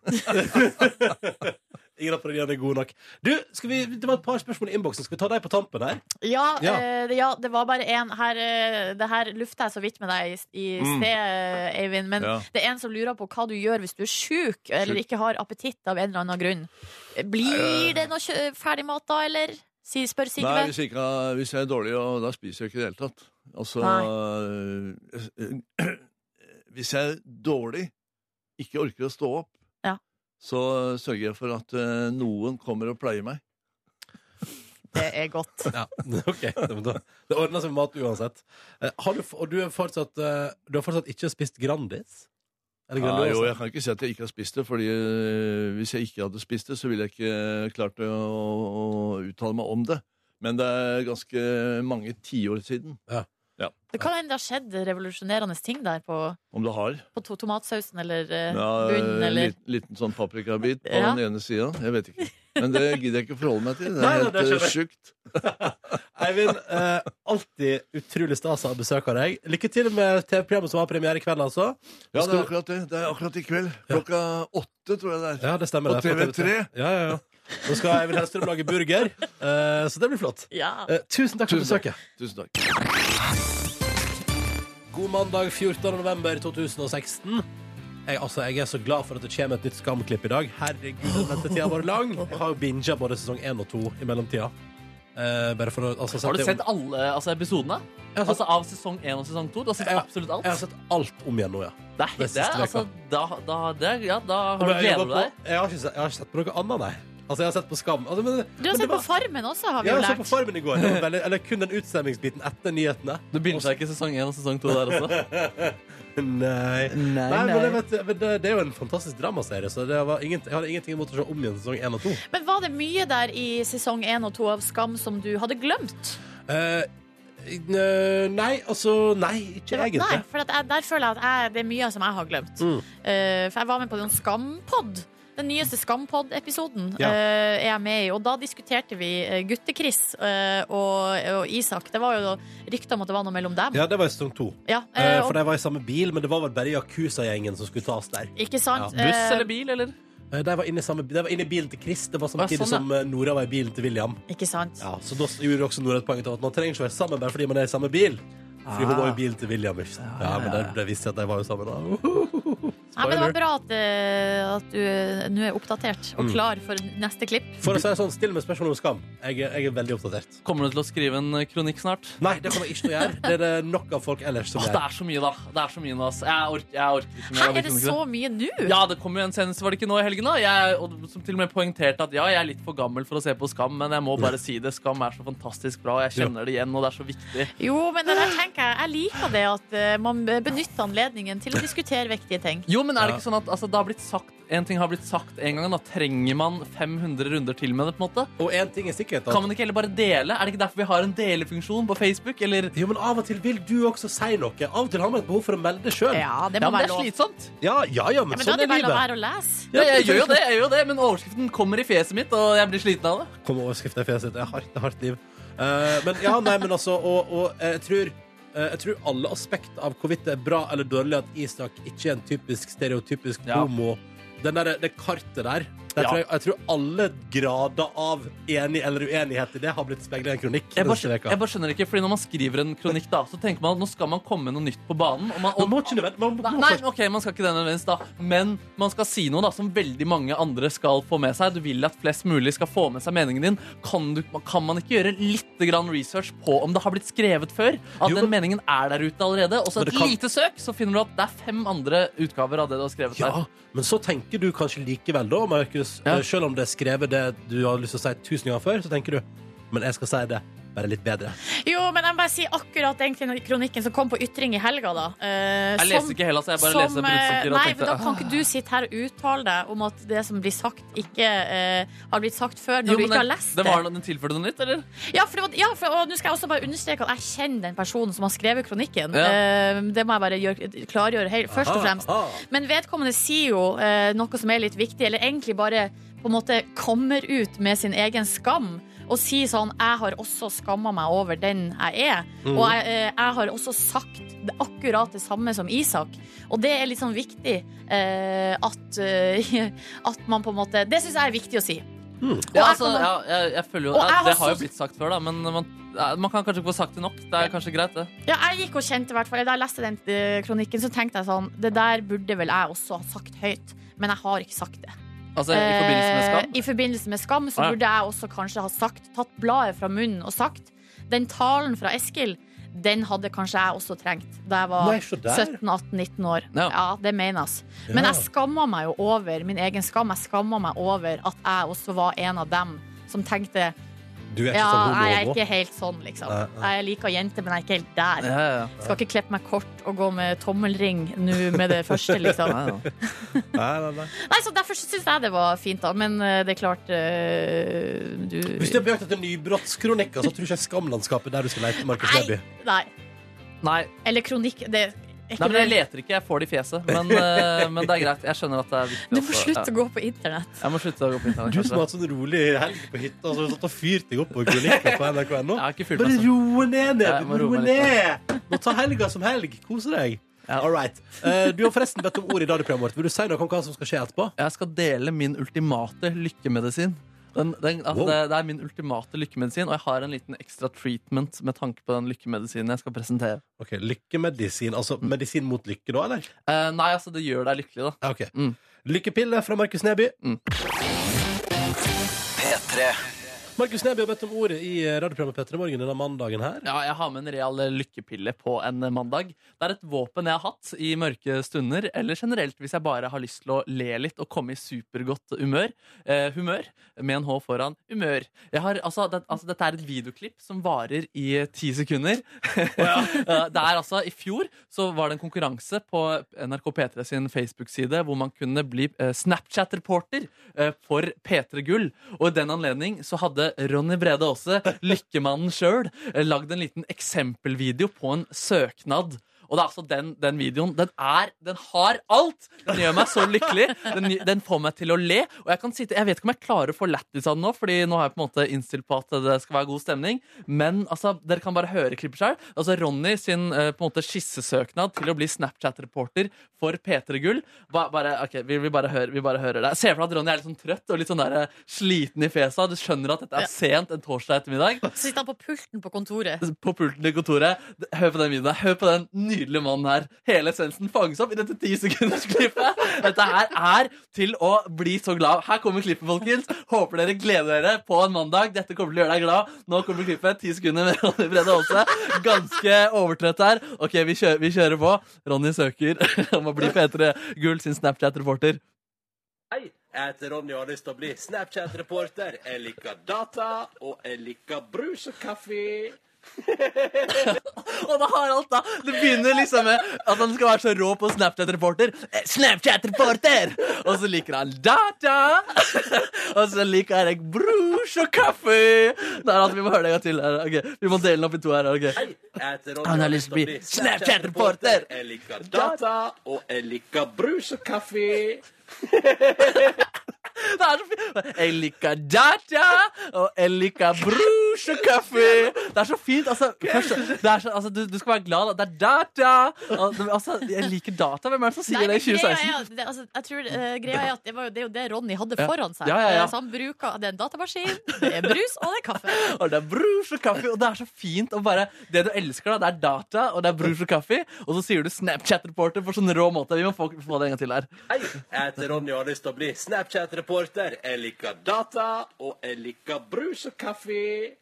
[SPEAKER 2] Ingen av parodiene er gode nok. Du, skal vi, Det var et par spørsmål i innboksen. Skal vi ta deg på tampen her?
[SPEAKER 3] Ja,
[SPEAKER 2] Ja.
[SPEAKER 3] eh, det- ja, det var bare én her eh, Det her lufta jeg så vidt med deg i, i sted, eh, Eivind. Men
[SPEAKER 5] Ja.
[SPEAKER 3] det er en som lurer på hva du gjør hvis du er sjuk eller ikke har appetitt av en eller annen grunn. Eh, Blir det noe kjø- ferdigmat da, eller? Si, spør Sigve.
[SPEAKER 5] Nei, hvis, ikke, hvis jeg er dårlig, og da spiser jeg ikke i det hele tatt. Altså eh, Hvis jeg er dårlig, ikke orker å stå opp,
[SPEAKER 3] Ja.
[SPEAKER 5] så sørger jeg for at eh, noen kommer og pleier meg.
[SPEAKER 3] Det er godt.
[SPEAKER 2] Ja, ok Men da- Det ordner seg med mat uansett. Eh, Har du, f- og du, er fortsatt, eh, du har fortsatt ikke spist Grandis? Eller
[SPEAKER 5] Ja,
[SPEAKER 2] Grandiosa?
[SPEAKER 5] jo, jeg kan ikke si at jeg ikke har spist det, fordi eh, hvis jeg ikke hadde spist det, så ville jeg ikke klart å, å uttale meg om det. Men det er ganske mange tiår siden.
[SPEAKER 3] Det kan hende det har skjedd revolusjonerende ting der på,
[SPEAKER 5] Om det har.
[SPEAKER 3] på to tomatsausen eller eh,
[SPEAKER 5] Ja,
[SPEAKER 3] bunnen
[SPEAKER 5] en
[SPEAKER 3] eller
[SPEAKER 5] liten, liten sånn paprikabit på
[SPEAKER 3] Ja.
[SPEAKER 5] den ene sida. Jeg vet ikke. Men det gidder jeg ikke forholde meg til. Det
[SPEAKER 2] Nei, nei,
[SPEAKER 5] er helt
[SPEAKER 2] det skjønner
[SPEAKER 5] eh,
[SPEAKER 2] jeg.
[SPEAKER 5] sjukt.
[SPEAKER 2] Eivind, eh, alltid utrolig stas å ha besøk av deg. Lykke til med TV-programmet som har premiere i kveld, altså.
[SPEAKER 5] Ja, det
[SPEAKER 2] Skal-
[SPEAKER 5] er akkurat det. Det er akkurat i kveld. Klokka åtte, tror jeg det er.
[SPEAKER 2] Ja, det stemmer.
[SPEAKER 5] På
[SPEAKER 2] det er på
[SPEAKER 5] TV3.
[SPEAKER 2] Ja, ja, ja. Nå skal Eivind Hellstrøm lage burger, eh, så det blir flott.
[SPEAKER 3] Ja.
[SPEAKER 2] Eh, tusen takk for
[SPEAKER 5] Tusen takk.
[SPEAKER 2] besøket.
[SPEAKER 5] Tusen takk.
[SPEAKER 2] God mandag 14. november 2016. Jeg, altså, jeg er så glad for at det kommer et nytt skamklipp i dag. Herregud, den ventetida var lang. Jeg har jo binga både sesong 1 og 2 i mellomtida. Eh, bare for å altså,
[SPEAKER 4] Har du
[SPEAKER 2] sette
[SPEAKER 4] sett
[SPEAKER 2] om-
[SPEAKER 4] alle altså, episodene?
[SPEAKER 2] Jeg har,
[SPEAKER 4] Altså
[SPEAKER 2] sett,
[SPEAKER 4] Av sesong 1 og sesong 2? Du har sett
[SPEAKER 2] Jeg har-
[SPEAKER 4] absolutt alt?
[SPEAKER 2] jeg har sett alt om igjen nå, ja.
[SPEAKER 4] Det er,
[SPEAKER 2] det
[SPEAKER 4] det er,
[SPEAKER 2] siste
[SPEAKER 4] altså, da, da, det er, ja, da
[SPEAKER 2] Og
[SPEAKER 4] har du
[SPEAKER 2] jeg
[SPEAKER 4] gleder
[SPEAKER 2] jobber
[SPEAKER 4] du
[SPEAKER 2] på-
[SPEAKER 4] deg.
[SPEAKER 2] Jeg har, ikke sett, jeg har ikke sett på noe annet, nei. Altså, jeg har sett på Skam. Altså, men,
[SPEAKER 3] Du har sett på Farmen også, har vi
[SPEAKER 2] ja,
[SPEAKER 3] jo
[SPEAKER 2] jeg så på
[SPEAKER 3] lært.
[SPEAKER 2] Farmen i går. Det var veldig, eller kun den utstemmingsbiten etter nyhetene.
[SPEAKER 4] Du begynte ikke sesong 1 og sesong 2 der altså. også?
[SPEAKER 2] Nei. eh, Nei, men jeg vet, men det, det er jo en fantastisk dramaserie, så det var ingen, jeg hadde ingenting imot å se om igjen sesong 1 og 2.
[SPEAKER 3] Men var det mye der i sesong 1 og 2 av Skam som du hadde glemt?
[SPEAKER 2] Eh, n- nei, altså Nei, ikke
[SPEAKER 3] Det var-
[SPEAKER 2] egentlig.
[SPEAKER 3] Nei, for at jeg, der føler jeg at jeg, det er mye som jeg har glemt.
[SPEAKER 2] Mm.
[SPEAKER 3] Eh, for jeg var med på noen Skampod. Den nyeste Skampod-episoden
[SPEAKER 2] Ja.
[SPEAKER 3] eh, er jeg med i, og da diskuterte vi eh, Gutte-Chris eh, og, og Isak. Det var jo rykter om at det var noe mellom dem. Ja.
[SPEAKER 2] Ja, det var i sesong to.
[SPEAKER 3] eh,
[SPEAKER 2] Eh, for
[SPEAKER 3] og,
[SPEAKER 2] de var i samme bil, men det var vel bare Yakuza-gjengen som skulle tas der.
[SPEAKER 3] ikke sant?
[SPEAKER 2] Ja,
[SPEAKER 4] Buss
[SPEAKER 3] Eh,
[SPEAKER 4] eller bil, eller?
[SPEAKER 2] Eh, De var inne i, samme, de var inne i bilen til Chris. Det var
[SPEAKER 4] Ah,
[SPEAKER 2] samtidig
[SPEAKER 4] sånn, ja.
[SPEAKER 2] som eh, Nora var i bilen til William.
[SPEAKER 3] Eh, Ikke sant?
[SPEAKER 2] Ja, Så da gjorde også Nora et poeng ut av at man trenger ikke være sammen bare fordi man er i samme bil. Fordi hun var i bilen til William. ikke sant? Ah. Ja, men det, det visste jeg at de var jo sammen. Da. Uh-huh.
[SPEAKER 3] Nei, men det var
[SPEAKER 2] Spoiler.
[SPEAKER 3] bra at, eh, at du nå er oppdatert og klar for neste klipp.
[SPEAKER 2] For å si det sånn, Still meg spørsmål om skam. Jeg, er- jeg er veldig oppdatert.
[SPEAKER 4] Kommer du til å skrive en eh, kronikk snart?
[SPEAKER 2] Nei, det kommer jeg ikke til å gjøre. Det er det nok av folk ellers som
[SPEAKER 4] Åh, det
[SPEAKER 2] gjør.
[SPEAKER 4] er så mye, da. Det er så mye nå, ass. Jeg orker, jeg orker ikke mer.
[SPEAKER 3] Her
[SPEAKER 4] av
[SPEAKER 3] er det
[SPEAKER 4] kronikk.
[SPEAKER 3] så mye nå!
[SPEAKER 4] Ja, det kom jo en senest, var det ikke nå i helgen da? Jeg, og, som til og med poengterte at ja, jeg er litt for gammel for å se på Skam, men jeg må bare si det. Skam er så fantastisk bra, og jeg kjenner det igjen, og det er så viktig.
[SPEAKER 3] Jo, men det der tenker jeg Jeg liker det at eh, man benytter anledningen til å diskutere viktige ting.
[SPEAKER 4] Jo, men er det ikke sånn at altså, det har blitt sagt, en ting har blitt sagt en gang, da trenger man 500 runder til med det, på en måte?
[SPEAKER 2] Og én ting er sikkert. at
[SPEAKER 4] Kan man ikke heller bare dele? Er det ikke derfor vi har en delefunksjon på Facebook, eller?
[SPEAKER 2] Jo, men Av og til vil du også si noe. Av og til har man et behov for å melde det sjøl.
[SPEAKER 3] Ja, det
[SPEAKER 4] Ja,
[SPEAKER 3] må
[SPEAKER 4] men det
[SPEAKER 3] være
[SPEAKER 4] er
[SPEAKER 3] lov.
[SPEAKER 4] slitsomt.
[SPEAKER 2] Ja, ja, ja, men,
[SPEAKER 3] Ja, men da
[SPEAKER 2] sånn
[SPEAKER 3] er
[SPEAKER 2] er
[SPEAKER 3] det bare å la
[SPEAKER 2] livet.
[SPEAKER 3] være å lese.
[SPEAKER 4] Ja, jeg gjør jo det, jeg gjør jo det, men overskriften kommer i fjeset mitt, og jeg blir sliten av det.
[SPEAKER 2] Kom overskriften i fjeset. Det er hardt, det er hardt liv. Eh, men ja, nei, men altså Og, og jeg, tror, eh, jeg tror alle aspekter av hvorvidt det er bra eller dårlig at Isak ikke er en typisk stereotypisk
[SPEAKER 4] Ja.
[SPEAKER 2] homo Den der, Det kartet der jeg,
[SPEAKER 4] Ja.
[SPEAKER 2] tror, jeg tror alle grader av enig eller uenighet i det har blitt speilet i en kronikk.
[SPEAKER 4] Jeg bare,
[SPEAKER 2] neste
[SPEAKER 4] skjønner,
[SPEAKER 2] veka.
[SPEAKER 4] jeg bare skjønner ikke, fordi når man skriver en kronikk da, så tenker man at nå skal man komme med noe nytt på banen, og man,
[SPEAKER 2] Man
[SPEAKER 4] og,
[SPEAKER 2] må ikke nødvendig- man må-
[SPEAKER 4] Nei,
[SPEAKER 2] må
[SPEAKER 4] nei,
[SPEAKER 2] faktisk-
[SPEAKER 4] ok, man skal ikke det nødvendigvis da Men man skal si noe da som veldig mange andre skal få med seg Du vil at flest mulig skal få med seg meningen din Kan, du, kan man ikke gjøre litt grann research på om det har blitt skrevet før? At
[SPEAKER 2] Jo, men-
[SPEAKER 4] den meningen er der ute allerede Og så
[SPEAKER 2] Men
[SPEAKER 4] et
[SPEAKER 2] det kan-
[SPEAKER 4] lite søk, så finner du at det er fem andre utgaver av det du har skrevet
[SPEAKER 2] Ja, men så tenker du kanskje likevel da, Markus.
[SPEAKER 4] Ja.
[SPEAKER 2] eh, Selv om det er skrevet det du har lyst til å si tusen ganger før, så tenker du Men jeg skal si det bare litt bedre.
[SPEAKER 3] Jo, men jeg må bare si akkurat den kron- kronikken som kom på ytring i helga, da. eh,
[SPEAKER 4] Jeg
[SPEAKER 3] som-
[SPEAKER 4] leste ikke heller, så jeg bare
[SPEAKER 3] som,
[SPEAKER 4] leste
[SPEAKER 3] eh,
[SPEAKER 4] bruddsatire og
[SPEAKER 3] Nei, men
[SPEAKER 4] tenkte
[SPEAKER 3] da kan ikke du sitte her og uttale deg om at det som blir sagt, ikke eh, har blitt sagt før, når
[SPEAKER 4] Jo,
[SPEAKER 3] du
[SPEAKER 4] men
[SPEAKER 3] ikke har
[SPEAKER 4] den-
[SPEAKER 3] lest
[SPEAKER 4] det
[SPEAKER 3] det.
[SPEAKER 4] var noe, Den tilførte noe nytt, eller?
[SPEAKER 3] Ja, for, det var- ja for, og nå skal jeg også bare understreke at jeg kjenner den personen som har skrevet kronikken.
[SPEAKER 4] Ja.
[SPEAKER 3] Eh, det må jeg bare gjøre, klargjøre helt, først
[SPEAKER 2] Aha,
[SPEAKER 3] og fremst.
[SPEAKER 2] aha.
[SPEAKER 3] Men vedkommende sier jo eh, noe som er litt viktig, eller egentlig bare på en måte kommer ut med sin egen skam. Og sier sånn 'Jeg har også skamma meg over den jeg er'. Og jeg, eh, jeg har også sagt det- akkurat det samme som Isak. Og det er litt sånn viktig eh, at, eh, at man på en måte Det syns jeg er viktig å si.
[SPEAKER 4] Ja,
[SPEAKER 3] jeg
[SPEAKER 4] altså,
[SPEAKER 3] kan-
[SPEAKER 4] ja, jeg, jeg føler jo,
[SPEAKER 3] Og altså jeg
[SPEAKER 4] ja,
[SPEAKER 3] har
[SPEAKER 4] det har jo
[SPEAKER 3] så-
[SPEAKER 4] blitt sagt før, da, men man, ja, man kan kanskje ikke få sagt det nok. Det er kanskje greit, det.
[SPEAKER 3] Ja, jeg gikk og kjente i hvert fall Da jeg leste den eh, kronikken, så tenkte jeg sånn Det der burde vel jeg også ha sagt høyt. Men jeg har ikke sagt det.
[SPEAKER 4] Altså, I forbindelse med
[SPEAKER 3] Eh,
[SPEAKER 4] skam.
[SPEAKER 3] I forbindelse med skam så
[SPEAKER 4] Ah, ja.
[SPEAKER 3] burde jeg også kanskje ha sagt Tatt bladet fra munnen og sagt Den talen fra Eskil, den hadde kanskje jeg også trengt da jeg var
[SPEAKER 2] Nei, så der.
[SPEAKER 3] 17-18-19 år. Ja.
[SPEAKER 4] Ja.
[SPEAKER 3] det menes. Men
[SPEAKER 2] Ja.
[SPEAKER 3] jeg skamma meg jo over min egen skam. Jeg skamma meg over at jeg også var en av dem som tenkte
[SPEAKER 2] Du er ikke
[SPEAKER 3] Ja,
[SPEAKER 2] sånn homo
[SPEAKER 3] jeg er
[SPEAKER 2] homo.
[SPEAKER 3] ikke helt sånn, liksom.
[SPEAKER 2] Nei, nei.
[SPEAKER 3] Jeg liker jenter, men jeg er ikke helt der.
[SPEAKER 4] Ja, ja,
[SPEAKER 3] Skal ikke klippe meg kort og gå med tommelring nå med det første, liksom.
[SPEAKER 4] ja. ja.
[SPEAKER 2] Nei, nei, nei.
[SPEAKER 3] Nei, så Derfor syns jeg det var fint, da. Men eh, det er klart eh, du
[SPEAKER 2] Hvis du har bøkt etter nybrottskronikker, så tror jeg ikke skamlandskapet der du skal lete, Markus
[SPEAKER 3] Nei.
[SPEAKER 2] Neby.
[SPEAKER 3] Nei.
[SPEAKER 4] Nei,
[SPEAKER 3] Eller kronikk det er ikke
[SPEAKER 4] nei, men jeg
[SPEAKER 3] det.
[SPEAKER 4] leter ikke. Jeg får det i fjeset. Men, eh, men det er greit. Jeg skjønner at det er viktig.
[SPEAKER 3] Du må slutte å gå på internett.
[SPEAKER 4] Ja. Jeg må slutte å gå på internett.
[SPEAKER 2] Du som
[SPEAKER 4] kanskje.
[SPEAKER 2] har hatt sånn rolig helg på hytta, så har du satt og fyrt deg opp på kronikker på nrk.no.
[SPEAKER 4] Jeg har ikke fyrt
[SPEAKER 2] Bare
[SPEAKER 4] meg sånn.
[SPEAKER 2] roe ned,
[SPEAKER 4] Ja, jeg
[SPEAKER 2] Neby.
[SPEAKER 4] må roe
[SPEAKER 2] Roe
[SPEAKER 4] meg
[SPEAKER 2] ned. Må ta helga som helg. Kose deg.
[SPEAKER 4] Ja.
[SPEAKER 2] All right. Eh, du har forresten bedt om ordet i radioprogrammet vårt. Vil du si noe om hva som skal skje etterpå?
[SPEAKER 4] Jeg skal dele min ultimate lykkemedisin. Den, den, altså,
[SPEAKER 2] Wow.
[SPEAKER 4] det, det er min ultimate lykkemedisin, og jeg har en liten ekstra treatment med tanke på den lykkemedisinen jeg skal presentere.
[SPEAKER 2] Ok, Lykkemedisin. Altså
[SPEAKER 4] Mm.
[SPEAKER 2] medisin mot lykke, da, eller?
[SPEAKER 4] Eh, nei, altså, det gjør deg lykkelig, da.
[SPEAKER 2] Ja, ok.
[SPEAKER 4] Mm.
[SPEAKER 2] Lykkepille fra Markus Neby.
[SPEAKER 4] Mm.
[SPEAKER 2] Markus Neby har bedt om ordet i eh, radioprogrammet Petter i morgen denne mandagen her.
[SPEAKER 4] Ja, jeg har med en real lykkepille på en mandag. Det er et våpen jeg har hatt i mørke stunder, eller generelt hvis jeg bare har lyst til å le litt og komme i supergodt humør. Eh, humør, med en H foran humør. Jeg har, altså, det, altså, dette er et videoklipp som varer i eh, ti sekunder. Eh, det er altså, I fjor så var det en konkurranse på NRK P3 sin Facebook-side hvor man kunne bli eh, Snapchat-reporter eh, for P3 Gull. Og i den anledning så hadde Ronny Brede Aase, lykkemannen sjøl, eh, lagd en liten eksempelvideo på en søknad. Og det er altså den, den videoen den, er, den har alt! Den gjør meg så lykkelig. Den, den får meg til å le. Og jeg kan sitte, jeg vet ikke om jeg klarer å få lættis av den nå, Fordi nå har jeg på en måte innstilt på at det skal være god stemning. Men altså, dere kan bare høre klippet sjøl. Altså, Ronny sin eh, på en måte skissesøknad til å bli Snapchat-reporter for P3 Gull. Ba, bare, ok, vi, vi, bare hører, vi bare hører det. Se for deg at Ronny er litt sånn trøtt og litt sånn der, eh, sliten i fesa. Du skjønner at dette
[SPEAKER 3] Ja.
[SPEAKER 4] er sent en torsdag ettermiddag
[SPEAKER 3] Så sitter han på pulten på kontoret.
[SPEAKER 4] på pulten til kontoret. Hør på den videoen. her. Hør på den nydelige mannen her. Hele essensen fanges opp i dette tisekundersklippet. Dette her er til å bli så glad. Her kommer klippet, folkens. Håper dere gleder dere på en mandag. Dette kommer til å gjøre deg glad. Nå kommer klippet. Ti sekunder med Ronny Brede Aase. Ganske overtrøtt her. OK, vi kjører, vi kjører på. Ronny søker om å bli P3 Gull sin Snapchat-reporter.
[SPEAKER 2] Hei, jeg heter Ronny og har lyst til å bli Snapchat-reporter. Jeg liker data, og jeg liker brus og kaffe.
[SPEAKER 4] Og det har alt, da. Det begynner liksom med at han skal være så rå på Snapchat-reporter. Eh, Snapchat-reporter! Og så liker han data. Og så liker jeg brus og kaffe. Nei, altså, vi må høre det en gang til. her. Ok, Vi må dele den opp i to her. ok
[SPEAKER 2] Jeg heter Ronny
[SPEAKER 4] Han har lyst til å bli Snapchat-reporter.
[SPEAKER 2] Jeg liker data, og jeg liker brus og kaffe.
[SPEAKER 4] Det er så fint. Jeg liker data, og jeg liker brus og kaffe. Det er så fint. Altså, først, det er så, altså, du, du skal være glad. da. Det er data. Og, Altså, jeg liker data. Hvem er det som sier
[SPEAKER 3] Nei,
[SPEAKER 4] det
[SPEAKER 3] men
[SPEAKER 4] i
[SPEAKER 3] greia
[SPEAKER 4] 2016?
[SPEAKER 3] er at det- altså, jeg tror, eh, greia er at det, var jo, det er jo det Ronny hadde
[SPEAKER 4] Ja.
[SPEAKER 3] foran seg.
[SPEAKER 4] Ja, ja, ja.
[SPEAKER 3] Eh, Så han bruker det er en datamaskin, det er brus, og det er kaffe.
[SPEAKER 4] Og det er brus og kaffe, og det er så fint å bare Det du elsker, da, det er data, og det er brus og kaffe, og så sier du Snapchat-reporter på sånn rå måte. Vi må få, få det en gang til her.
[SPEAKER 2] Hei, jeg heter Ronny og har lyst til å bli Snapchat-reporter. Jeg liker data, og jeg liker brus og kaffe.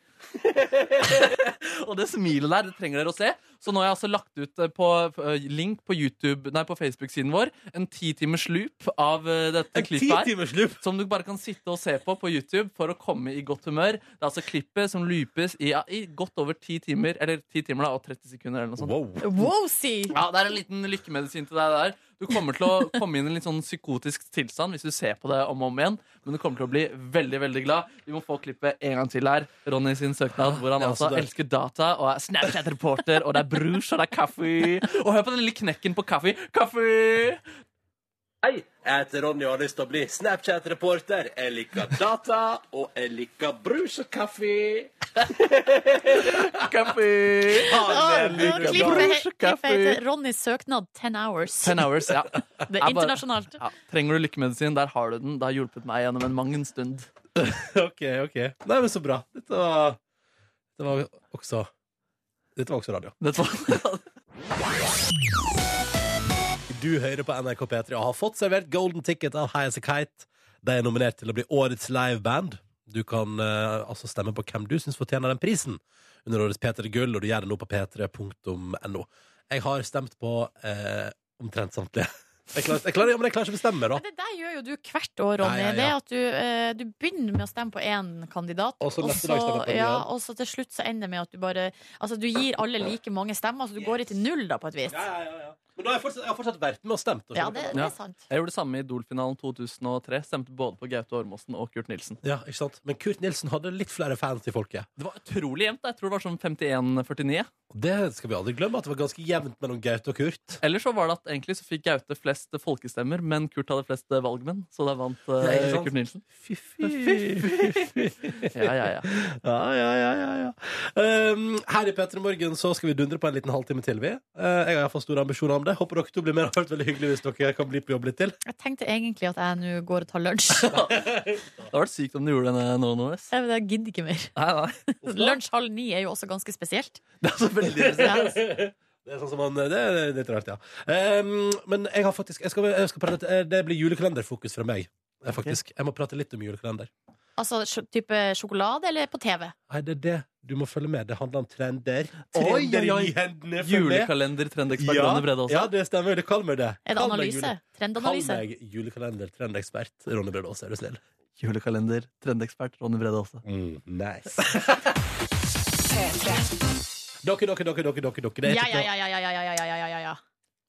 [SPEAKER 4] Og det smilet der, det trenger dere å se. Så nå har jeg altså lagt ut eh, på eh, link på YouTube, nei, på Facebook-siden vår en ti timers loop av eh, dette
[SPEAKER 2] En
[SPEAKER 4] klippet her.
[SPEAKER 2] titimers loop!
[SPEAKER 4] Som du bare kan sitte og se på på YouTube for å komme i godt humør. Det er altså klippet som loopes i, ja, i godt over ti timer, eller ti timer da, og 30 sekunder. eller noe sånt.
[SPEAKER 3] Wow, si!
[SPEAKER 4] Ja, Det er en liten lykkemedisin til deg der. Du kommer til å komme inn i en litt sånn psykotisk tilstand hvis du ser på det om og om igjen. Men du kommer til å bli veldig veldig glad. Vi må få klippet en gang til her. Ronny sin søknad, hvor han
[SPEAKER 2] Ja, så
[SPEAKER 4] altså
[SPEAKER 2] det-
[SPEAKER 4] elsker data og er Snapchat-reporter, og det er brus, og det er kaffe. Og hør på den lille knekken på kaffe. Kaffe!
[SPEAKER 10] Hei, jeg heter Ronny og har lyst til å bli Snapchat-reporter. Jeg liker data, og jeg liker brus og kaffe.
[SPEAKER 4] Kaffe!
[SPEAKER 10] Ah,
[SPEAKER 3] Klippet
[SPEAKER 4] Brus og
[SPEAKER 3] klippet heter
[SPEAKER 4] kaffe.
[SPEAKER 3] 'Ronnys søknad 10 hours'.
[SPEAKER 4] Ten hours, ja.
[SPEAKER 3] Det er internasjonalt.
[SPEAKER 4] Ja, trenger du lykkemedisin, der har du den. Det har hjulpet meg gjennom en mang en stund.
[SPEAKER 2] OK, OK. Nei, men så bra. Dette var, det var også Dette var også radio.
[SPEAKER 4] Dette var
[SPEAKER 2] Du hører på NRK P3 og har fått servert Golden Ticket av High As A Kite. De er nominert til å bli årets liveband. Du kan eh, altså stemme på hvem du syns fortjener den prisen under årets P3 Gull, og du gjør det nå på p3.no. Jeg har stemt på eh, omtrent samtlige. Jeg klarer, jeg, klarer, ja, men jeg klarer ikke å bestemme, da.
[SPEAKER 3] Men det der gjør jo du hvert år, Ronny.
[SPEAKER 2] Ja, ja, ja.
[SPEAKER 3] Det er at du, eh, du begynner med å stemme på én kandidat,
[SPEAKER 2] Og så neste dag stemmer du på en
[SPEAKER 3] ja,
[SPEAKER 2] annen.
[SPEAKER 3] og så til slutt så ender det med at du bare Altså, du gir alle like mange stemmer, så du går i til null, da, på et vis.
[SPEAKER 2] ja, ja, ja. Men da har jeg fortsatt, jeg har fortsatt vært med og stemt. Og
[SPEAKER 3] Ja, det, det
[SPEAKER 4] Ja.
[SPEAKER 3] er sant.
[SPEAKER 4] Jeg gjorde det samme i Idol-finalen 2003. Stemte både på Gaute Ormåsen og Kurt Nilsen.
[SPEAKER 2] ja, ikke sant? Men Kurt Nilsen hadde litt flere fans i folket.
[SPEAKER 4] Det var utrolig jevnt. da. Jeg tror det var sånn 51-49.
[SPEAKER 2] Og det skal vi aldri glemme, at det var ganske jevnt mellom Gaute og Kurt.
[SPEAKER 4] Eller så var det at egentlig så fikk Gaute flest folkestemmer, men Kurt hadde flest valgmenn. Så da vant eh,
[SPEAKER 2] Ja, ikke sant?
[SPEAKER 4] Kurt Nilsen.
[SPEAKER 2] Fy, fy, fy, fy, fy.
[SPEAKER 4] Ja, ja, ja.
[SPEAKER 2] Ja, ja, ja, ja, ja. Um, her i P3 Morgen så skal vi dundre på en liten halvtime til. vi uh, Jeg har iallfall store ambisjoner om det. Håper dere to blir med. Det har vært veldig hyggelig hvis dere kan bli på jobb litt til.
[SPEAKER 3] Jeg tenkte egentlig at jeg nå går og tar lunsj.
[SPEAKER 4] Det hadde vært sykt om du gjorde denne nå, Nordnes.
[SPEAKER 3] Men jeg gidder ikke mer.
[SPEAKER 4] Nei, nei.
[SPEAKER 3] Lunsj halv ni er jo også ganske spesielt.
[SPEAKER 4] Det er altså veldig
[SPEAKER 3] Ja.
[SPEAKER 2] Det er sånn som man, det er litt rart, ja. Um, men jeg har faktisk jeg skal, jeg skal prate, eh, Det blir julekalenderfokus fra meg. eh, Faktisk. Jeg må prate litt om julekalender.
[SPEAKER 3] Altså sj- type sjokolade eller på TV?
[SPEAKER 2] Nei, det er det du må følge med. Det handler om trender.
[SPEAKER 4] Oi, oi, oi.
[SPEAKER 2] i hendene for meg.
[SPEAKER 4] Julekalender-trendekspert
[SPEAKER 2] Ja,
[SPEAKER 4] Ronny Brede
[SPEAKER 2] ja,
[SPEAKER 4] Aase.
[SPEAKER 2] det stemmer. Det kaller meg det.
[SPEAKER 3] Er det
[SPEAKER 2] Kall meg
[SPEAKER 3] analyse?
[SPEAKER 2] jule- Kall
[SPEAKER 3] Trendanalyse?
[SPEAKER 2] meg julekalender-trendekspert. Ronny Brede Aase, er du snill.
[SPEAKER 4] Julekalender-trendekspert Ronny Brede Aase.
[SPEAKER 2] Nice. Dere, dere, dere, dere, dere, dere. Det, er
[SPEAKER 3] Ja,
[SPEAKER 2] ikke
[SPEAKER 3] ja,
[SPEAKER 2] til å-
[SPEAKER 3] ja, ja, ja, ja, ja, ja, ja, ja, ja.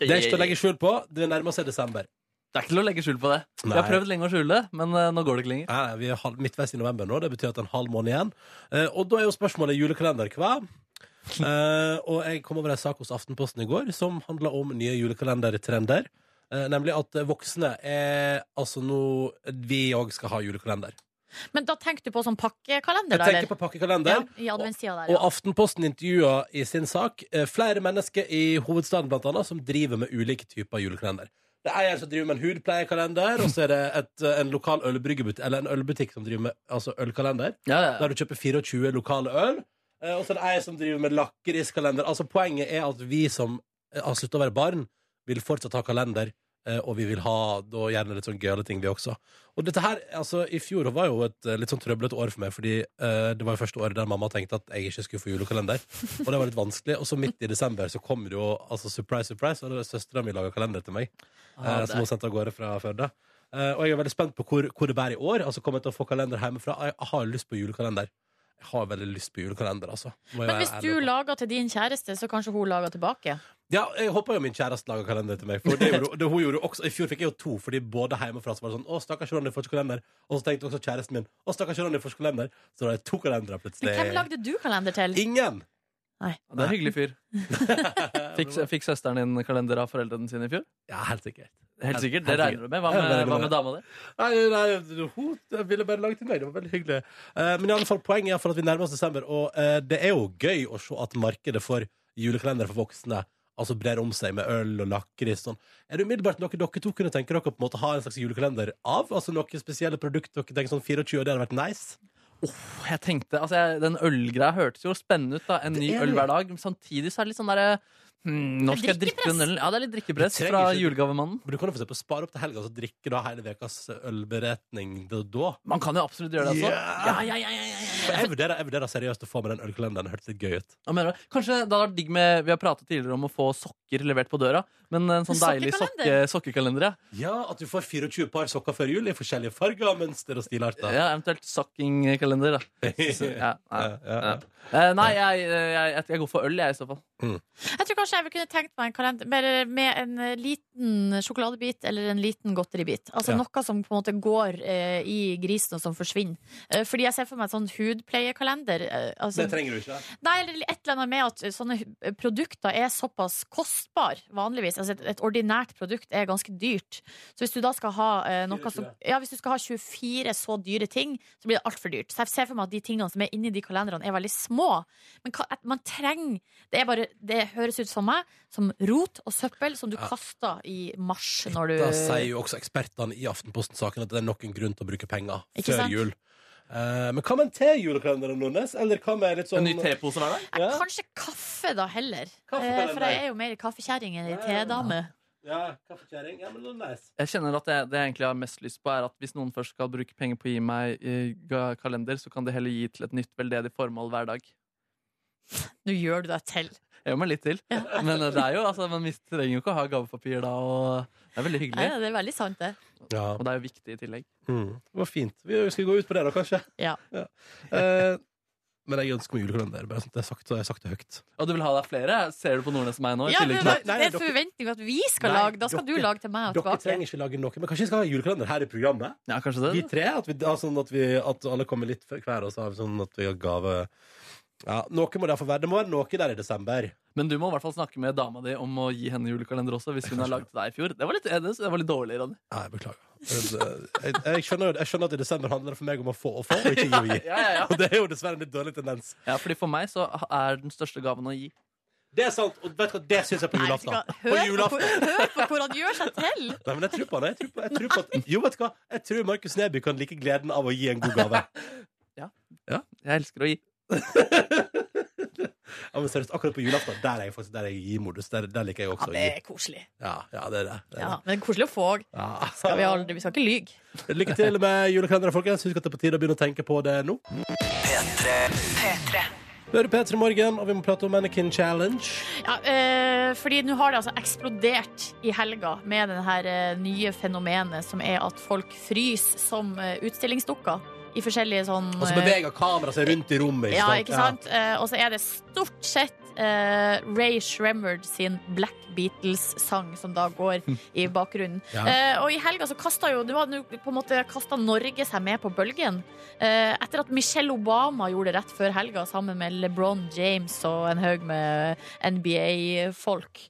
[SPEAKER 2] det er ikke til å legge skjul på. Det nærmer seg desember.
[SPEAKER 4] Det er ikke til å legge skjul på det. Jeg
[SPEAKER 2] Nei.
[SPEAKER 4] har prøvd lenge å skjule det, men eh, nå går det ikke lenger.
[SPEAKER 2] Nei, vi er halv, midtveis i november nå. Det betyr at det er en halv måned igjen. Eh, og da er jo spørsmålet julekalender hva? Eh, og jeg kom over en sak hos Aftenposten i går som handla om nye julekalendertrender. Eh, nemlig at eh, voksne er altså nå Vi òg skal ha julekalender.
[SPEAKER 3] Men da tenker du på sånn pakkekalender,
[SPEAKER 2] Jeg
[SPEAKER 3] da,
[SPEAKER 2] tenker
[SPEAKER 3] eller?
[SPEAKER 2] på pakkekalender.
[SPEAKER 3] Ja, I adventstida der,
[SPEAKER 2] Og
[SPEAKER 3] ja.
[SPEAKER 2] Aftenposten intervjua i sin sak eh, flere mennesker i hovedstaden blant annet, som driver med ulike typer julekalender. Det er en som driver med en hudpleiekalender, og så er det et, eh, en lokal ølbryggebutikk, eller en ølbutikk som driver med altså ølkalender,
[SPEAKER 4] Ja, ja, ja.
[SPEAKER 2] der du kjøper 24 lokale øl. Eh, Og så er det ei som driver med lakriskalender. Altså Poenget er at vi som eh, har slutta å være barn, vil fortsatt ha kalender. eh, Og vi vil ha da gjerne litt sånn gøyale ting, vi også. Og dette her, altså I fjor var jo et eh, litt sånn trøblete år for meg, fordi eh, det var jo første året der mamma tenkte at jeg ikke skulle få julekalender. Og det var litt vanskelig. Og så midt i desember så kom det jo altså surprise, surprise, og søstera mi laga kalender til meg.
[SPEAKER 4] Ah,
[SPEAKER 2] eh, som hun sendte av gårde fra Førde. Eh, og jeg er veldig spent på hvor, hvor det bærer i år. Altså Kommer jeg til å få kalender hjemmefra? Jeg har lyst på julekalender. Jeg har veldig lyst på julekalender, altså. Må jeg
[SPEAKER 3] Men
[SPEAKER 2] være
[SPEAKER 3] hvis
[SPEAKER 2] ærlig
[SPEAKER 3] du
[SPEAKER 2] på.
[SPEAKER 3] lager til din kjæreste, så kanskje hun lager tilbake?
[SPEAKER 2] Ja, jeg håper jo min kjæreste lager kalender til meg. For det gjorde, det, hun gjorde også, I fjor fikk jeg jo to, fordi både hjemmefra så var det sånn Å, stakkars Ronny får ikke kalender. Og så tenkte også kjæresten min Å, stakkars Ronny får ikke kalender. Så da er det to kalendere
[SPEAKER 3] Men
[SPEAKER 2] plutselig.
[SPEAKER 3] hvem lagde du kalender til?
[SPEAKER 2] Ingen!
[SPEAKER 4] Det er en hyggelig fyr. Fikk, fikk søsteren din kalender av foreldrene sine i fjor?
[SPEAKER 2] Ja, helt sikkert.
[SPEAKER 4] Helt sikkert. Det
[SPEAKER 2] Helt
[SPEAKER 4] regner du med. Hva
[SPEAKER 2] Jeg
[SPEAKER 4] med,
[SPEAKER 2] regner
[SPEAKER 4] hva
[SPEAKER 2] med
[SPEAKER 4] med dama di?
[SPEAKER 2] Nei, nei, hun ville bare lage til meg. Det var veldig hyggelig. Eh, men i alle fall, poenget er for at vi nærmer oss desember, og eh, det er jo gøy å se at markedet for julekalender for voksne Altså brer om seg med øl og lakris. Sånn. Er det umiddelbart noe dere to kunne tenke dere å på en måte ha en slags julekalender av? Altså Noen spesielle produkter dere tenker sånn 24, det hadde vært nice?
[SPEAKER 4] Jeg tenkte, altså jeg, Den ølgreia hørtes jo spennende ut. da En ny
[SPEAKER 2] er
[SPEAKER 4] øl
[SPEAKER 2] det.
[SPEAKER 4] hver dag. Men samtidig så er det litt sånn derre hmm, Når skal jeg drikke den ølen? Ja, det er litt drikkepress
[SPEAKER 2] Du trenger
[SPEAKER 4] fra
[SPEAKER 2] ikke-
[SPEAKER 4] julegavemannen.
[SPEAKER 2] Men du kan jo for eksempel spare opp til helga og drikke da hele ukas ølberetning da. da.
[SPEAKER 4] Man kan jo absolutt gjøre det. altså
[SPEAKER 2] Ja.
[SPEAKER 4] ja, ja, ja, ja, ja,
[SPEAKER 2] For jeg vurderer, jeg vurderer seriøst å få med den ølkalenderen. Det hørtes litt gøy ut.
[SPEAKER 4] Ja, mener du? Kanskje det hadde vært digg med Vi har pratet tidligere om å få sokker levert på døra. Men en sånn deilig sokke,
[SPEAKER 2] Sokkekalender?
[SPEAKER 4] sokkekalender, ja.
[SPEAKER 2] Ja, at du får 24 par sokker før jul i forskjellige farger, mønster og stilarter.
[SPEAKER 4] Ja, eventuelt sokkingkalender, da. Så, ja, nei, ja. Eh, nei jeg, jeg, jeg, jeg går for øl, jeg, i så fall.
[SPEAKER 3] Jeg tror kanskje jeg ville kunne tenkt meg en kalender med, med en eh, liten sjokoladebit eller en liten godteribit. Altså
[SPEAKER 2] Ja.
[SPEAKER 3] noe som på en måte går eh, i grisen og som forsvinner. Eh, fordi jeg ser for meg en sånn hudpleiekalender. eh, altså,
[SPEAKER 2] Det trenger du ikke.
[SPEAKER 3] Nei, eller et eller annet med at eh, sånne hu- produkter er såpass kostbar vanligvis. Altså et, et ordinært produkt er ganske dyrt. Så hvis du da skal ha eh, noe som
[SPEAKER 11] 24.
[SPEAKER 3] Ja, hvis du skal ha 24 så dyre ting, så blir det altfor dyrt. Så jeg ser for meg at de tingene som er inni de kalenderne, er veldig små. Men hva- at man trenger Det er bare Det høres ut som meg, som rot og søppel som du
[SPEAKER 2] Ja.
[SPEAKER 3] kaster i mars når du
[SPEAKER 2] Da sier jo også ekspertene i Aftenposten-saken at det er nok en grunn til å bruke penger
[SPEAKER 3] Ikke
[SPEAKER 2] før
[SPEAKER 3] sant?
[SPEAKER 2] jul. Eh, men hva med en tejulekalender, Nordnes? Eller hva med litt sånn
[SPEAKER 4] En ny tepose hver dag?
[SPEAKER 3] Nei, Eh, Kanskje kaffe, da, heller.
[SPEAKER 2] Kaffekalender.
[SPEAKER 3] Eh, For jeg er jo mer kaffekjerring enn ei tedame.
[SPEAKER 2] Ja, kaffekjerring. Ja, men Nordnes.
[SPEAKER 4] Jeg kjenner at det, det jeg egentlig har mest lyst på, er at hvis noen først skal bruke penger på å gi meg eh, ga- kalender, så kan de heller gi til et nytt veldedig formål hver dag.
[SPEAKER 3] Nå gjør du deg til.
[SPEAKER 4] Jeg gjør meg litt til. Men eh, det er jo, altså, man mis- trenger jo ikke å ha gavepapir da, og det er veldig hyggelig.
[SPEAKER 3] Nei, det er veldig sant, det.
[SPEAKER 4] Og det er jo viktig i tillegg.
[SPEAKER 2] mm. Det var fint. Vi skal gå ut på det, da, kanskje.
[SPEAKER 3] Ja.
[SPEAKER 2] Eh, men jeg ønsker meg julekalender. Bare sånn at jeg har sagt, jeg har sagt det høyt.
[SPEAKER 4] Og du vil ha deg flere? Ser du på Nordnes og meg nå? i
[SPEAKER 3] Ja,
[SPEAKER 4] tillegg
[SPEAKER 3] men,
[SPEAKER 4] til at-
[SPEAKER 3] det er forventning at vi skal
[SPEAKER 2] Nei,
[SPEAKER 3] lage. Da skal
[SPEAKER 2] dere-
[SPEAKER 3] du lage til meg og
[SPEAKER 2] Dere
[SPEAKER 3] tilbake.
[SPEAKER 2] trenger ikke lage noe, men kanskje vi skal ha julekalender her i programmet?
[SPEAKER 4] Ja, kanskje det
[SPEAKER 2] Vi tre, at, vi, da, sånn at, vi, at alle kommer litt før hver, og så har vi sånn at vi har gave Ja, Noe må det få være. Det må være noe der i desember.
[SPEAKER 4] Men du må i hvert fall snakke med dama di om å gi henne julekalender også, hvis hun har lagd til deg i fjor. Det var litt, det var litt dårlig, Ronny.
[SPEAKER 2] Nei, beklager. Men, eh, Jeg, jeg, skjønner, jeg skjønner at i desember handler det for meg om å få og få, og ikke gi og gi.
[SPEAKER 4] Ja, ja, ja.
[SPEAKER 2] Og det er jo dessverre en litt dårlig tendens.
[SPEAKER 4] Ja, fordi for meg så er den største gaven å gi.
[SPEAKER 2] Det er sant, og vet du hva, det syns jeg på julaften. På
[SPEAKER 3] Hør på,
[SPEAKER 2] julaften.
[SPEAKER 3] hør på hvor han gjør seg til!
[SPEAKER 2] Nei, men jeg tror på det. Jeg tror på, jeg tror på at, jo, vet du hva? Jeg tror Markus Neby kan like gleden av å gi en god gave.
[SPEAKER 4] Ja.
[SPEAKER 2] ja.
[SPEAKER 4] Jeg elsker å gi.
[SPEAKER 2] ja, men seriøst, akkurat på julaften, der er jeg faktisk der er jeg i modus. Der, der liker jeg
[SPEAKER 3] Ja,
[SPEAKER 2] også å
[SPEAKER 3] det er
[SPEAKER 2] gi.
[SPEAKER 3] koselig.
[SPEAKER 2] Ja, ja, det er det. det, er
[SPEAKER 3] Ja, men koselig å få òg.
[SPEAKER 2] det.
[SPEAKER 3] Skal vi, aldri, vi skal ikke lyge.
[SPEAKER 2] Ja. Lykke til med julekalenderen, folkens. Husk at det er på tide å begynne å tenke på det nå. Vi hører P3 Morgen, og vi må prate om Mannequin Challenge.
[SPEAKER 3] Ja, eh, fordi nå har det altså eksplodert i helga med det her eh, nye fenomenet som er at folk fryser som eh, utstillingsdukker i forskjellige sånn
[SPEAKER 2] Og så
[SPEAKER 3] eh,
[SPEAKER 2] Altså, beveger kameraet seg rundt i rommet.
[SPEAKER 3] Ja, ikke sant? Eh, og så er det stort sett eh, Ray Shremmerd sin Black Beatles-sang som da går i bakgrunnen.
[SPEAKER 11] Ja.
[SPEAKER 3] Eh, og i helga så kasta jo Det var nå på en måte kastet Norge seg med på bølgen. Eh, etter at Michelle Obama gjorde det rett før helga sammen med LeBron James og en haug med NBA-folk.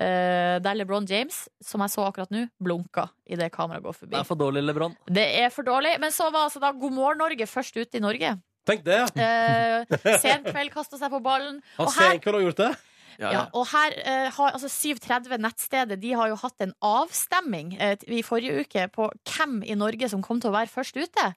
[SPEAKER 3] Eh, der LeBron James, som jeg så akkurat nå, blunka idet kameraet går forbi.
[SPEAKER 4] Det er for dårlig, LeBron.
[SPEAKER 3] Det er for dårlig. Men så var altså da God morgen Norge først ut i Norge.
[SPEAKER 2] Tenk det.
[SPEAKER 3] Eh, sen kveld kasta seg på ballen.
[SPEAKER 2] Har
[SPEAKER 3] Og her,
[SPEAKER 2] Senkveld også gjort det?
[SPEAKER 3] ja, og her eh, har altså 730 nettstedet De har jo hatt en avstemming eh, i forrige uke på hvem i Norge som kom til å være først ute.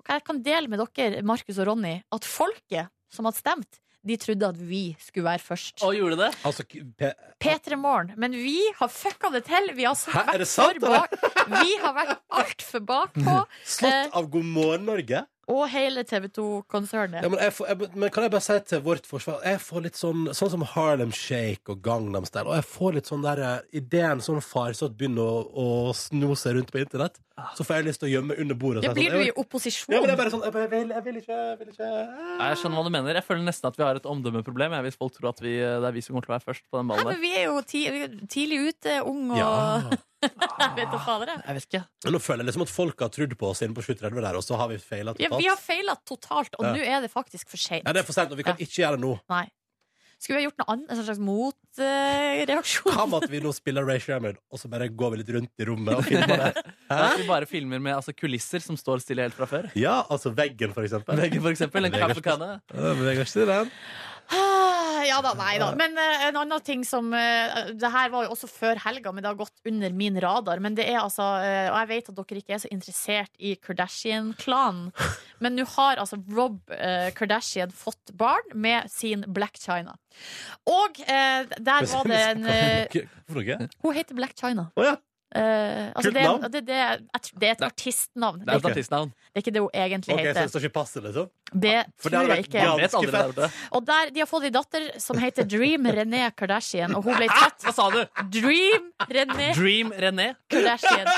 [SPEAKER 3] Og jeg kan dele med dere, Markus og Ronny, at folket som hadde stemt, de trodde at vi skulle være først.
[SPEAKER 4] Og gjorde det?
[SPEAKER 2] Altså, k- P-
[SPEAKER 3] P3 Morgen. Men vi har fucka det til. Vi har
[SPEAKER 2] Hæ, er
[SPEAKER 3] vært
[SPEAKER 2] det sant,
[SPEAKER 3] for
[SPEAKER 2] eller?
[SPEAKER 3] bak. Vi har vært altfor bakpå.
[SPEAKER 2] Slått av God morgen, Norge.
[SPEAKER 3] Og hele TV 2-konsernet.
[SPEAKER 2] Ja, men, jeg får, jeg, men kan jeg bare si til vårt forsvar Jeg får litt sånn, sånn som Harlem Shake og Gangnam Style Og jeg får litt sånn der eh, Ideen sånn farsott begynner å, å sno seg rundt på internett Så får jeg lyst til å gjemme meg under bordet og si
[SPEAKER 3] Ja, Ah. blir
[SPEAKER 2] sånn,
[SPEAKER 3] du i
[SPEAKER 2] jeg-
[SPEAKER 3] opposisjon?
[SPEAKER 2] Ja, men det er bare sånn Jeg, bare, jeg, vil, jeg vil ikke, jeg vil ikke
[SPEAKER 4] Nei, Jeg skjønner hva du mener. Jeg føler nesten at vi har et omdømmeproblem. Jeg, hvis folk tror at vi, eh, det er vi som kommer til å være først på den
[SPEAKER 3] Nei,
[SPEAKER 4] ballen
[SPEAKER 3] men
[SPEAKER 4] der.
[SPEAKER 3] vi er jo ti vi er tidlig ute, ung og
[SPEAKER 2] Ja.
[SPEAKER 3] Vet du fader, jeg.
[SPEAKER 4] Jeg vet ikke
[SPEAKER 2] Men Nå føler jeg liksom at folk har trudd på oss inne på 730 der Og så har vi feilet
[SPEAKER 3] Ja,
[SPEAKER 2] totalt
[SPEAKER 3] vi har feila totalt, og
[SPEAKER 2] Ja.
[SPEAKER 3] nå er det faktisk for seint.
[SPEAKER 2] Ja, det er for sent Og vi kan ikke gjøre det nå
[SPEAKER 3] Nei. Skulle vi ha gjort noe annet? En slags motreaksjon?
[SPEAKER 2] Hva med at vi nå spiller Ray Shremmerd Og så bare går vi litt rundt i rommet og filmer det
[SPEAKER 4] At vi bare filmer med altså, kulisser som står stille helt fra før.
[SPEAKER 2] Ja, altså veggen for eksempel
[SPEAKER 4] Veggen, for eksempel. En
[SPEAKER 2] Veggen.
[SPEAKER 4] kaffekanne.
[SPEAKER 2] Ja, men jeg kan ikke si den
[SPEAKER 3] Ah, Ja da, nei da. Men eh, en annen ting som eh, Det her var jo også før helga, men det har gått under min radar. Men det er altså eh, Og jeg vet at dere ikke er så interessert i Kardashian-klanen, men nå har altså Rob eh, Kardashian fått barn med sin Black China. Og eh, der var det en eh,
[SPEAKER 2] Hvorfor ikke?
[SPEAKER 3] Hun heter Black China.
[SPEAKER 2] Å ja.
[SPEAKER 3] Eh, altså
[SPEAKER 2] Kult
[SPEAKER 3] det, er-
[SPEAKER 2] navn.
[SPEAKER 3] det, det, er- jeg tror- det er et artistnavn.
[SPEAKER 2] Det er et
[SPEAKER 3] ikke-
[SPEAKER 2] artistnavn.
[SPEAKER 3] Det er ikke det hun egentlig
[SPEAKER 2] Ok, Så
[SPEAKER 3] heter.
[SPEAKER 2] det står ikke i passet, liksom?
[SPEAKER 3] Det
[SPEAKER 2] For det
[SPEAKER 3] tror
[SPEAKER 2] hadde
[SPEAKER 3] jeg
[SPEAKER 2] vært
[SPEAKER 3] ikke.
[SPEAKER 2] ganske fett.
[SPEAKER 3] Og der, De har fått en datter som heter Dream René Kardashian, og hun ble
[SPEAKER 2] Ah!
[SPEAKER 3] tatt
[SPEAKER 4] Hva sa du?
[SPEAKER 3] Dream René
[SPEAKER 4] Dream René.
[SPEAKER 3] Kardashian.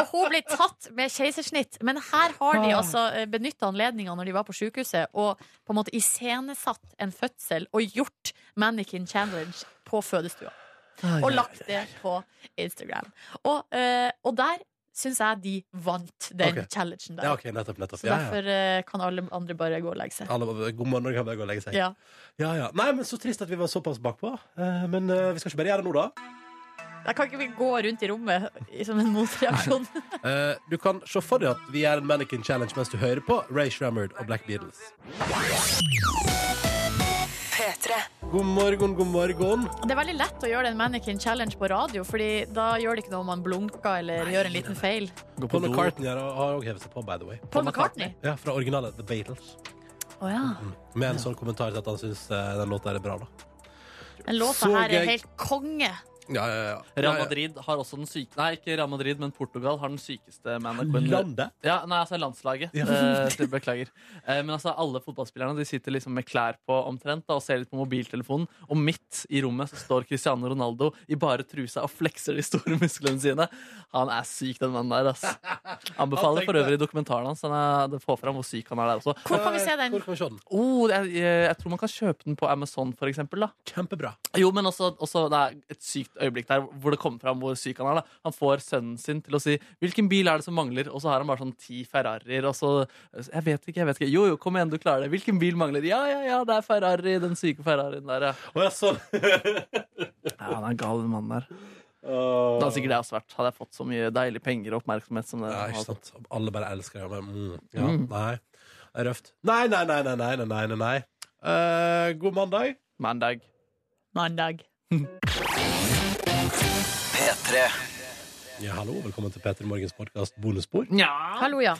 [SPEAKER 3] Og hun ble tatt med keisersnitt. Men her har de altså benytta anledninga når de var på sjukehuset, og på en måte iscenesatt en fødsel og gjort Mannequin Challenge på fødestua. Og lagt det på Instagram. Og, eh, og der syns jeg de vant den
[SPEAKER 2] Ok.
[SPEAKER 3] challengen der.
[SPEAKER 2] Ja, ok, nettopp, nettopp.
[SPEAKER 3] Så
[SPEAKER 2] Ja, ja.
[SPEAKER 3] derfor eh, kan alle andre bare gå og legge seg.
[SPEAKER 2] Alle, bare, god morgen, kan bare gå og legge seg.
[SPEAKER 3] Ja.
[SPEAKER 2] Ja, ja. Nei, men Så trist at vi var såpass bakpå. Eh, Men eh, vi skal ikke bare gjøre det nå, da.
[SPEAKER 3] Da kan ikke vi gå rundt i rommet i- som en motreaksjon.
[SPEAKER 2] Eh, du kan se for deg at vi gjør en mannequin challenge mens du hører på Ray Shrammerd og Black Beatles. God morgen, god morgen.
[SPEAKER 3] Det er veldig lett å gjøre den mannequin challenge på radio, Fordi da gjør det ikke noe om man blunker eller gjør en liten feil.
[SPEAKER 2] Gå Paul McCartney har har også hevet seg på, by the way.
[SPEAKER 3] Paul McCartney?
[SPEAKER 2] Ja, Fra originalet The Beatles.
[SPEAKER 3] Å ja.
[SPEAKER 2] Med en sånn kommentar til at han syns den låta her er bra, da.
[SPEAKER 3] Den låta
[SPEAKER 2] Så
[SPEAKER 3] her
[SPEAKER 2] gøy.
[SPEAKER 3] er helt konge.
[SPEAKER 2] Ja, ja, ja.
[SPEAKER 4] Real Madrid har også den syke Nei, ikke Real Madrid, men Portugal har den sykeste manageren.
[SPEAKER 2] Landet?
[SPEAKER 4] Ja, nei, altså landslaget.
[SPEAKER 2] Ja.
[SPEAKER 4] Eh, så beklager. Eh, men altså, alle fotballspillerne de sitter liksom med klær på omtrent da, og ser litt på mobiltelefonen. Og midt i rommet så står Cristiano Ronaldo i bare trusa og flekser de store musklene sine. Han er syk, den mannen der. ass Anbefaler for øvrig dokumentaren hans. Han er, det får fram hvor syk han er der også.
[SPEAKER 3] Hvor kan vi se den?
[SPEAKER 2] Hvor kan vi se den?
[SPEAKER 4] Oh, jeg, jeg, jeg tror man kan kjøpe den på Amazon, for eksempel. Da.
[SPEAKER 2] Kjempebra.
[SPEAKER 4] Jo, men også, også det er et sykt øyeblikk der hvor det kommer fram hvor syk han er. Da. Han får sønnen sin til å si 'Hvilken bil er det som mangler?' Og så har han bare sånn ti Ferrarier, og så 'Jeg vet ikke, jeg vet ikke'. 'Jo, jo, kom igjen, du klarer det'. 'Hvilken bil mangler?' 'Ja, ja, ja, det er Ferrari, den syke Ferrarien der', ja. ja, han er gal, den mannen der. Det hadde sikkert jeg også vært, hadde jeg fått så mye deilige penger og oppmerksomhet som det.
[SPEAKER 2] Ja, ikke
[SPEAKER 4] har fått.
[SPEAKER 2] sant. Alle bare elsker det. men, Mm, ja,
[SPEAKER 4] Mm.
[SPEAKER 2] Nei. Det er røft. Nei, nei, nei, nei, nei, nei, nei, nei, nei. Eh, god mandag.
[SPEAKER 4] Mandag.
[SPEAKER 3] Mandag.
[SPEAKER 2] P3. Ja, hallo. Velkommen til P3 Morgens podkast Bonusspor.
[SPEAKER 3] Ah. Hallo, ja.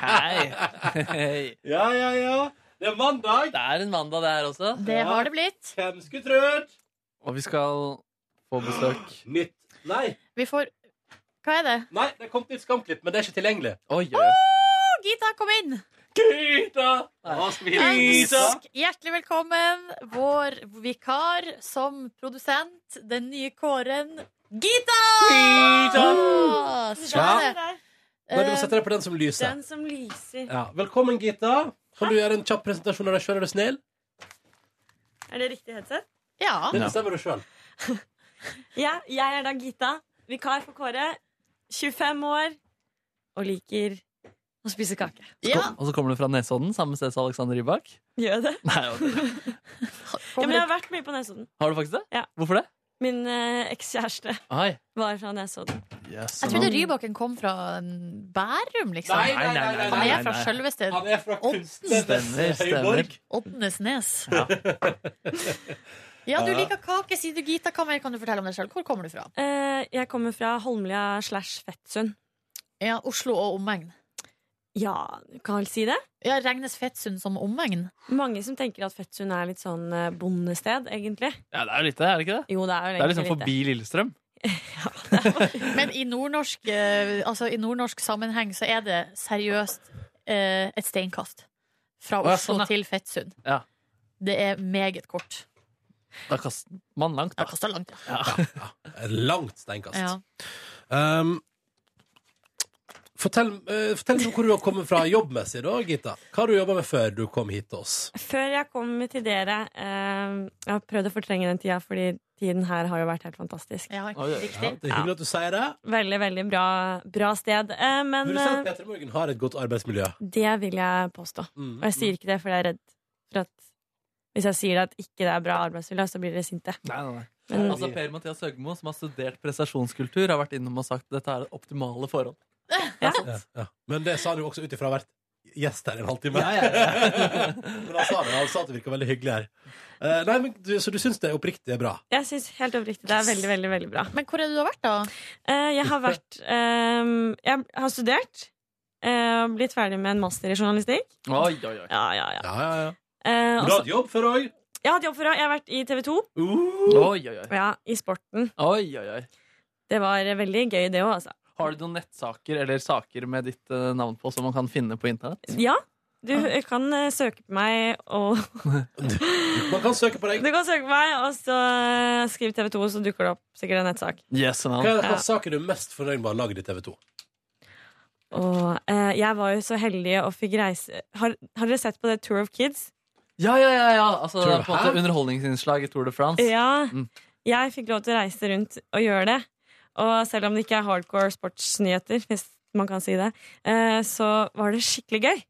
[SPEAKER 4] Hei.
[SPEAKER 2] ja, ja, ja. Det er mandag.
[SPEAKER 4] Det er en mandag, det her også.
[SPEAKER 3] Det har det blitt.
[SPEAKER 2] Hvem skulle trodd?
[SPEAKER 4] Og vi skal få besøk.
[SPEAKER 2] Nytt. Nei,
[SPEAKER 3] Vi får Hva er det?
[SPEAKER 2] nei, det kom til et skamklipp, men det er ikke tilgjengelig.
[SPEAKER 4] Oi,
[SPEAKER 3] Å, Gita, kom inn!
[SPEAKER 4] Gita!
[SPEAKER 3] Ønsk hjertelig velkommen vår vikar som produsent, den nye kåren Gita!
[SPEAKER 2] Gita!
[SPEAKER 3] Sånn er det.
[SPEAKER 2] Nei, du må
[SPEAKER 3] Eh,
[SPEAKER 2] sette deg på den som lyser.
[SPEAKER 12] Eh, Den som lyser.
[SPEAKER 2] Ja. Velkommen, Gita. Kan du gjøre en kjapp presentasjon av deg sjøl, er du snill?
[SPEAKER 12] Er det riktig headset?
[SPEAKER 3] Ja.
[SPEAKER 2] Det bestemmer du sjøl.
[SPEAKER 12] ja. Jeg er da Gita, vikar for Kåre. 25 år og liker å spise kake.
[SPEAKER 4] Kom- Og så kommer du fra Nesodden, samme sted som Alexander Rybak.
[SPEAKER 12] Gjør jeg det?
[SPEAKER 4] Nei, jo, det-
[SPEAKER 12] Ja, men jeg har vært mye på Nesodden.
[SPEAKER 4] har du faktisk det?
[SPEAKER 12] Ja.
[SPEAKER 4] Hvorfor det?
[SPEAKER 12] Min eh, ekskjæreste sånn
[SPEAKER 4] Oi.
[SPEAKER 12] var fra Nesodden.
[SPEAKER 3] Jeg trodde Rybaken kom fra en Bærum, liksom.
[SPEAKER 12] Nei, nei, nei, nei, nei,
[SPEAKER 3] Han
[SPEAKER 12] nei,
[SPEAKER 3] er fra
[SPEAKER 12] nei.
[SPEAKER 3] sjølveste
[SPEAKER 4] Stemmer, stemmer.
[SPEAKER 3] Oddenesnes.
[SPEAKER 4] Ja.
[SPEAKER 3] Ja, du liker kake, sier du, Gita. Hva mer kan du fortelle om deg sjøl? Hvor kommer du fra?
[SPEAKER 12] Eh, jeg kommer fra Holmlia slash Fettsund.
[SPEAKER 3] Ja, Oslo og omegn.
[SPEAKER 12] Ja, kan vel si det?
[SPEAKER 3] Ja, Regnes Fettsund som omegn?
[SPEAKER 12] Mange som tenker at Fettsund er litt sånn eh, bondested, egentlig.
[SPEAKER 4] Ja, det er jo litt det, er det ikke det?
[SPEAKER 12] Jo, det er jo
[SPEAKER 4] Det er liksom
[SPEAKER 12] egentlig litt
[SPEAKER 4] forbi Lillestrøm.
[SPEAKER 3] Men i nordnorsk, eh, altså, i nordnorsk sammenheng så er det seriøst eh, et steinkast. Fra
[SPEAKER 4] Å, ja,
[SPEAKER 3] Oslo
[SPEAKER 4] sånn, ja.
[SPEAKER 3] til Fettsund.
[SPEAKER 4] Ja.
[SPEAKER 3] Det er meget kort.
[SPEAKER 4] Da kaster man langt, da.
[SPEAKER 3] Da kaster langt, ja.
[SPEAKER 2] Et Eh, Langt steinkast.
[SPEAKER 3] Ja.
[SPEAKER 2] Um, fortell, eh, fortell meg hvor du har kommet fra jobbmessig, da, Gita. Hva har du jobba med før du kom hit til oss?
[SPEAKER 12] Før jeg kom til dere eh, Jeg har prøvd å fortrenge den tida, fordi tiden her har jo vært helt fantastisk.
[SPEAKER 3] Ja,
[SPEAKER 2] Oi, oi, ja,
[SPEAKER 12] Eh,
[SPEAKER 2] riktig. det er hyggelig at du sier det.
[SPEAKER 12] Veldig, veldig bra, bra sted. Eh, men
[SPEAKER 2] Vil du si at
[SPEAKER 12] eh,
[SPEAKER 2] Peter Morgen har et godt arbeidsmiljø?
[SPEAKER 12] det vil jeg påstå.
[SPEAKER 2] Mm,
[SPEAKER 12] Og jeg sier ikke det fordi jeg er redd for at hvis jeg sier at ikke det er bra arbeidsmiljø, så blir dere sinte. Men-
[SPEAKER 4] Altså, per Mathias Høgmo, som har studert prestasjonskultur, har vært innom og sagt at dette er det optimale forhold.
[SPEAKER 2] Ja, ja. Men det sa du også ut ifra å ha vært gjest her i en halvtime.
[SPEAKER 4] Ja, ja, ja.
[SPEAKER 2] men han sa det, han sa at det virka veldig hyggelig her. Eh, nei, men du, Så du syns det er oppriktig bra?
[SPEAKER 12] Jeg syns helt oppriktig det er veldig, veldig veldig bra.
[SPEAKER 3] Men hvor er det du har vært, da?
[SPEAKER 12] jeg har vært eh, Jeg har studert. eh, og blitt ferdig med en master i journalistikk.
[SPEAKER 4] Oi, oi, oi.
[SPEAKER 12] Ja, ja, ja. Eh,
[SPEAKER 2] Men du
[SPEAKER 12] også-
[SPEAKER 2] har hatt jobb før òg? Uh.
[SPEAKER 12] Jeg har hatt jobb før, ja. jeg har vært i TV 2.
[SPEAKER 4] Oi, oi, oi.
[SPEAKER 12] Ja, I sporten.
[SPEAKER 4] Oi, oi, oi.
[SPEAKER 12] Det var veldig gøy, det òg, altså.
[SPEAKER 4] Har du noen nettsaker eller saker med ditt eh, navn på som man kan finne på internett?
[SPEAKER 12] Ja, du kan eh, søke på meg og
[SPEAKER 2] Man kan søke på deg.
[SPEAKER 12] Du kan søke på meg, og så eh, skriv TV 2, så dukker det opp sikkert en nettsak.
[SPEAKER 4] Yes,
[SPEAKER 2] Hva er hva er saken du er mest fornøyd med å ha lagd i TV 2?
[SPEAKER 12] Og eh, jeg var jo så heldig og fikk reise har, har dere sett på det Tour of Kids?
[SPEAKER 4] Ja, ja, ja, ja. Altså,
[SPEAKER 12] Tror
[SPEAKER 4] det
[SPEAKER 12] du-
[SPEAKER 4] er på en måte
[SPEAKER 12] Hæ?
[SPEAKER 4] underholdningsinnslag i Tour de France.
[SPEAKER 12] Ja.
[SPEAKER 4] Mm.
[SPEAKER 12] Jeg fikk lov til å reise rundt og gjøre det. Og selv om det ikke er hardcore sportsnyheter, hvis man kan si det, eh, så var det skikkelig gøy.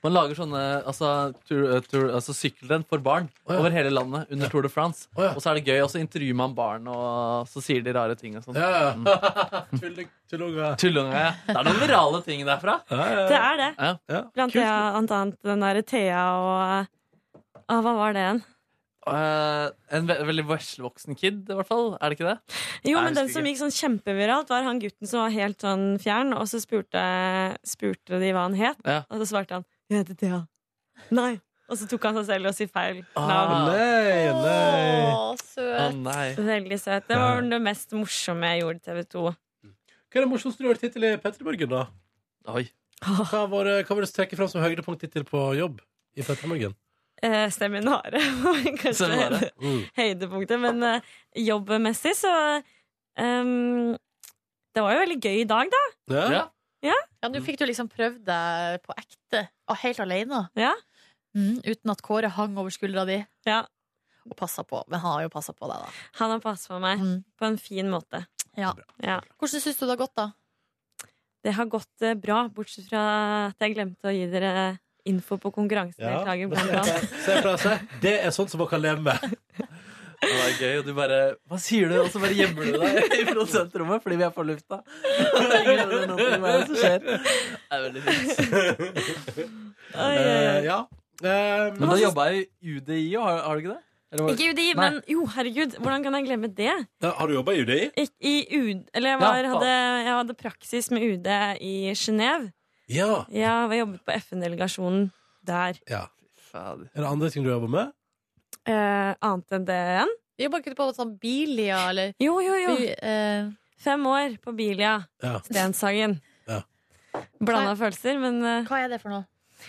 [SPEAKER 4] Man lager sånne altså, tur, eh, tur, altså sykkelrenn for barn over hele landet under Tour de France. Og så er det gøy, og så intervjuer man barn, og så sier de rare ting og sånn. Mm.
[SPEAKER 2] Tullunga.
[SPEAKER 4] Tullunga, ja. Det er noen virale ting derfra.
[SPEAKER 12] Det er det.
[SPEAKER 4] Ja.
[SPEAKER 12] Blant, det, blant annet den derre Thea og ah, Hva var det igjen?
[SPEAKER 4] Eh, en ve veldig veslevoksen kid, i hvert fall. Er det ikke det?
[SPEAKER 12] Jo,
[SPEAKER 4] Nei,
[SPEAKER 12] men
[SPEAKER 4] jeg
[SPEAKER 12] den
[SPEAKER 4] husker
[SPEAKER 12] som
[SPEAKER 4] ikke.
[SPEAKER 12] gikk sånn kjempeviralt, var han gutten som var helt sånn fjern, og så spurte, spurte de hva han het,
[SPEAKER 4] Ja.
[SPEAKER 12] og så svarte han 'Jeg heter Thea'. Nei. Og så tok han seg selv og sier feil
[SPEAKER 4] Ah,
[SPEAKER 12] navn.
[SPEAKER 2] nei, nei.
[SPEAKER 3] Å, søt.
[SPEAKER 4] Å, nei.
[SPEAKER 12] Veldig søt. Det var det mest morsomme jeg gjorde i TV 2.
[SPEAKER 2] Hva er det morsomste du har vært hittil i P3 Morgen, da?
[SPEAKER 4] Oi.
[SPEAKER 2] Hva var det hva var det som trekker fram som høydepunkt hittil på jobb i P3 Morgen?
[SPEAKER 12] Eh, seminaret var kanskje
[SPEAKER 2] Seminaret.
[SPEAKER 12] høyde- høydepunktet. Men eh, jobbmessig så ehm, Det var jo veldig gøy i dag, da.
[SPEAKER 2] Ja.
[SPEAKER 12] Ja.
[SPEAKER 3] Ja, Nå fikk du liksom prøvd deg på ekte, og helt alene. Mm, uten at Kåre hang over skuldra di og passa på. Men han har jo passa på deg, da.
[SPEAKER 12] Han har passet på meg på en fin måte.
[SPEAKER 3] Ja. Hvordan syns du det har gått, da?
[SPEAKER 12] Det har gått eh, bra, bortsett fra at jeg glemte å gi dere info på konkurransedeltaker. blant annet.
[SPEAKER 2] Se fra seg. Det er sånt som man kan leve med.
[SPEAKER 4] Det var gøy, og du bare Hva sier du? Og så bare gjemmer du deg i produsentrommet fordi vi er på lufta. Ingen hører noe til hva som skjer. Det er veldig fint.
[SPEAKER 12] Oi, oi, oi.
[SPEAKER 2] Eh, ja. Eh,
[SPEAKER 4] Men da jobba jeg i UDI òg, har, har du ikke det? Eller var-
[SPEAKER 12] Ikke UDI,
[SPEAKER 4] Nei.
[SPEAKER 12] men jo, herregud, hvordan kan jeg glemme det?
[SPEAKER 2] Ja, har du jobba i UDI?
[SPEAKER 12] Ikk- I UD, eller jeg,
[SPEAKER 2] Ja,
[SPEAKER 12] var,
[SPEAKER 2] faen.
[SPEAKER 12] hadde, jeg hadde praksis med UD i Genéve.
[SPEAKER 2] Ja.
[SPEAKER 12] Ja, jeg jobbet på FN-delegasjonen der.
[SPEAKER 2] ja. Er det andre ting du jobber med?
[SPEAKER 12] Eh, annet enn det igjen?
[SPEAKER 3] Jobba ikke du på sånn Bilia, eller? eh,
[SPEAKER 12] Jo, jo, jo.
[SPEAKER 3] Bi-
[SPEAKER 12] Fem år på Bilia.
[SPEAKER 2] Ja.
[SPEAKER 12] Stenshagen.
[SPEAKER 2] Ja.
[SPEAKER 12] Blanda følelser, men eh,
[SPEAKER 3] Hva er det for noe?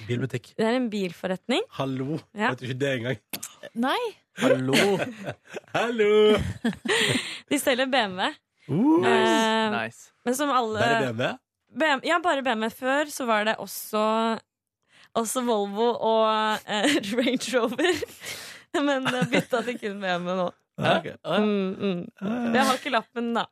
[SPEAKER 2] Bilbutikk.
[SPEAKER 12] Det er en bilforretning.
[SPEAKER 2] Hallo.
[SPEAKER 12] Ja.
[SPEAKER 2] Vet du ikke det engang?
[SPEAKER 3] Nei.
[SPEAKER 4] Hallo.
[SPEAKER 2] Hallo.
[SPEAKER 12] De selger BMW.
[SPEAKER 2] Uh.
[SPEAKER 12] Eh,
[SPEAKER 4] Nice.
[SPEAKER 12] Men som alle
[SPEAKER 2] Bare BMW?
[SPEAKER 12] BM ja, bare BMW. Før så var det også Også Volvo og eh, Range Rover. Men eh, bytta til kun BMW nå.
[SPEAKER 2] Ja, ok.
[SPEAKER 12] Mm, mm. Jeg har ikke lappen, da.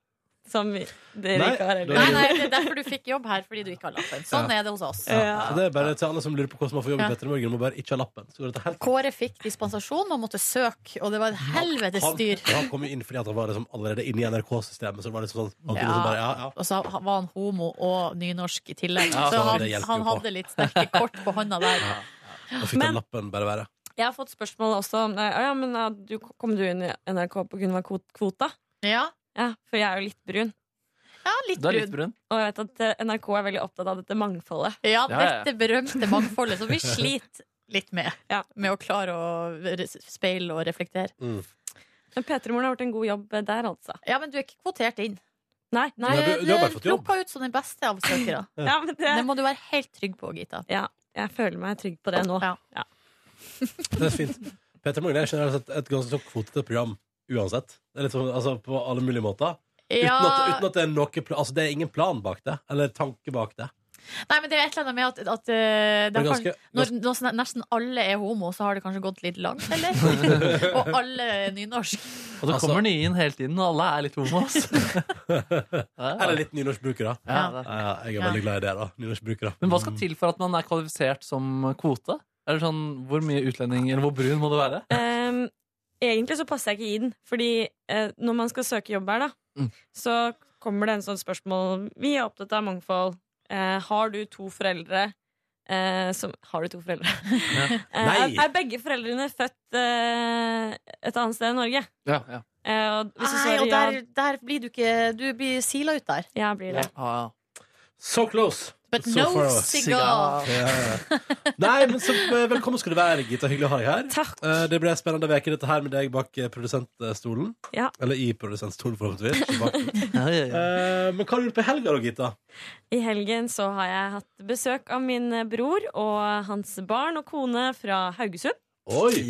[SPEAKER 12] Som vi- dere
[SPEAKER 2] Nei,
[SPEAKER 12] ikke har
[SPEAKER 2] da-
[SPEAKER 12] heller.
[SPEAKER 3] Nei, nei, det er derfor du fikk jobb her, fordi du ikke har lappen. Sånn
[SPEAKER 2] Ja.
[SPEAKER 3] er det hos oss.
[SPEAKER 2] Så det er bare til alle som lurer på hvordan man får jobb i
[SPEAKER 3] Ja.
[SPEAKER 2] P3 Morgen, må bare ikke ha lappen. Så går dette helt
[SPEAKER 3] Kåre fikk dispensasjon, man måtte søke, og det var et helvetes
[SPEAKER 2] han,
[SPEAKER 3] styr.
[SPEAKER 2] han kom jo inn fordi at han var liksom allerede inne i NRK-systemet. Så det var liksom sånn, han kunne
[SPEAKER 3] Ja.
[SPEAKER 2] liksom bare, ja, ja.
[SPEAKER 3] Og så var han homo og nynorsk i tillegg.
[SPEAKER 2] Ja,
[SPEAKER 3] så
[SPEAKER 2] så
[SPEAKER 3] han,
[SPEAKER 2] det hjelper
[SPEAKER 3] han
[SPEAKER 2] jo på.
[SPEAKER 3] hadde litt sterke kort på hånda der.
[SPEAKER 2] Da fikk den lappen bare være.
[SPEAKER 12] Jeg har fått spørsmål også om eh, ja, men, eh, du, Kom du inn i NRK på grunn av kvot- kvota?
[SPEAKER 3] Ja.
[SPEAKER 12] For jeg er jo litt brun.
[SPEAKER 3] Ja, litt Du er litt brun.
[SPEAKER 12] Og jeg vet at eh, NRK er veldig opptatt av dette mangfoldet.
[SPEAKER 3] Ja, dette berømte mangfoldet som vi sliter litt med. Med å klare å re- speile og reflektere.
[SPEAKER 12] Men P3-moren har gjort en god jobb eh, der, altså.
[SPEAKER 3] Ja, men du er ikke kvotert inn.
[SPEAKER 12] Nei, nei.
[SPEAKER 3] Du- du er plukka ut som den beste av søkere.
[SPEAKER 12] Ja, men det...
[SPEAKER 3] må du være helt trygg på, Gita.
[SPEAKER 12] Ja, jeg føler meg trygg på det nå. Ja.
[SPEAKER 2] Det er fint. P3 Morgen er generelt sett et ganske så kvotete program uansett. Det er litt sånn, altså, på alle mulige måter. Uten,
[SPEAKER 3] Ja.
[SPEAKER 2] at, uten at det er noe pla- Altså, det er ingen plan bak det, eller tanke bak det.
[SPEAKER 3] Nei, men det er et eller annet med at, at eh,
[SPEAKER 2] Men
[SPEAKER 3] det har
[SPEAKER 2] ganske-
[SPEAKER 3] kanskje- når, når sånn- nesten alle er homo, så har det kanskje gått litt langt, eller? og alle er nynorsk.
[SPEAKER 4] Og så kommer nye inn hele tiden, og alle er litt homo. ass.
[SPEAKER 2] Eller litt nynorskbrukere.
[SPEAKER 4] Ja,
[SPEAKER 2] Ja,
[SPEAKER 4] det-
[SPEAKER 2] ja, jeg er veldig glad i det, da. Nynorskbrukere. Mm.
[SPEAKER 4] Men hva skal til for at man er kvalifisert som kvote? Er det sånn, Hvor mye utlending, eller hvor brun må du være?
[SPEAKER 12] Ehm, egentlig så passer jeg ikke inn, fordi eh, når man skal søke jobb her, da, så kommer det en sånn spørsmål Vi er opptatt av mangfold. Eh, har du to foreldre eh, som Har du to foreldre? Eh, er,
[SPEAKER 4] Nei.
[SPEAKER 12] er begge foreldrene født eh, et annet sted enn Norge?
[SPEAKER 4] Ja, ja.
[SPEAKER 12] Eh, og hvis du
[SPEAKER 3] Nei,
[SPEAKER 12] svarer
[SPEAKER 3] og
[SPEAKER 12] ja,
[SPEAKER 3] der, der blir du ikke Du blir sila ut der.
[SPEAKER 12] Ja, blir det.
[SPEAKER 4] Ah,
[SPEAKER 2] So close.
[SPEAKER 3] But
[SPEAKER 2] So far
[SPEAKER 3] no
[SPEAKER 2] away.
[SPEAKER 3] cigar.
[SPEAKER 2] Ja, ja, ja. Nei, men så eh, velkommen skal du være, Gita. Hyggelig å ha deg her. Eh, Det ble en spennende uke, dette her med deg bak eh, produsentstolen.
[SPEAKER 12] Ja.
[SPEAKER 2] Eller i produsentstolen, forhåpentligvis. ikke bak den. Eh, Men hva har du gjort på helga da, Gita?
[SPEAKER 12] I helgen så har jeg hatt besøk av min eh, bror og hans barn og kone fra Haugesund.
[SPEAKER 2] Oi!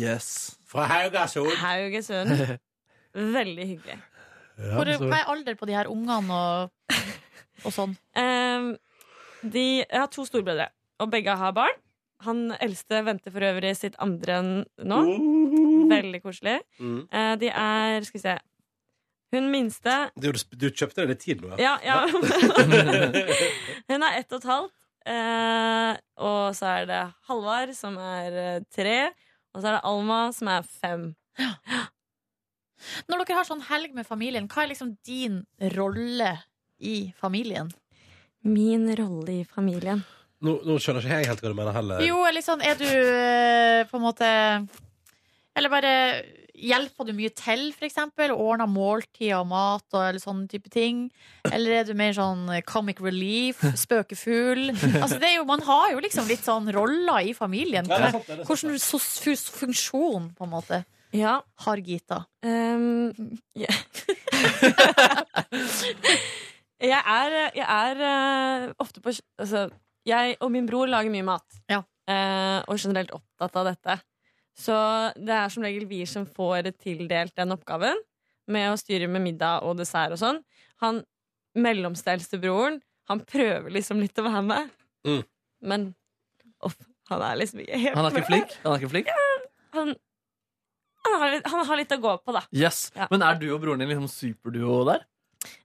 [SPEAKER 2] Fra
[SPEAKER 12] Haugesund. Veldig hyggelig.
[SPEAKER 3] Hvor, hva er alder på de her ungene og, og sånn?
[SPEAKER 12] Ehm, de, jeg har to storbrødre, og begge har barn. Han eldste venter for øvrig sitt andre n- nå.
[SPEAKER 2] Oh.
[SPEAKER 12] Veldig koselig.
[SPEAKER 2] Mm.
[SPEAKER 12] Eh, de er Skal vi se Hun minste
[SPEAKER 2] Du, du kjøpte deg litt tid nå,
[SPEAKER 12] Ja, ja. Hun er ett og et halvt. Eh, og så er det Halvard, som er eh, tre. Og så er det Alma, som er fem.
[SPEAKER 3] Når dere har sånn helg med familien, hva er liksom din rolle i familien?
[SPEAKER 12] Min rolle i familien.
[SPEAKER 2] Nå, nå skjønner ikke jeg helt hva du mener heller.
[SPEAKER 3] Jo, eller sånn, er du eh, på en måte Eller bare hjelper du mye til, for eksempel? Og ordner måltider og mat og eller sånne type ting? Eller er du mer sånn comic relief, spøkefugl? Altså, det er jo, man har jo liksom litt sånn roller i familien.
[SPEAKER 12] Ja, det er sant, det er sant.
[SPEAKER 3] Hvilken sos- fus- funksjon, på en måte,
[SPEAKER 12] Ja.
[SPEAKER 3] har Gita?
[SPEAKER 12] Ehm, ja. jeg er, jeg er eh, ofte på altså, Jeg og min bror lager mye mat. Eh, og generelt opptatt av dette. Så det er som regel vi som får tildelt den oppgaven med å styre med middag og dessert og sånn. Han mellomsteldste broren, han prøver liksom litt å være med,
[SPEAKER 2] Mm.
[SPEAKER 12] men off, han er liksom ikke helt
[SPEAKER 4] Han er ikke
[SPEAKER 12] med.
[SPEAKER 4] flink? Han er ikke flink?
[SPEAKER 12] Han, han, har litt, han har litt å gå på, da.
[SPEAKER 4] Yes.
[SPEAKER 12] Ja.
[SPEAKER 4] Men er du og broren din liksom superduo der?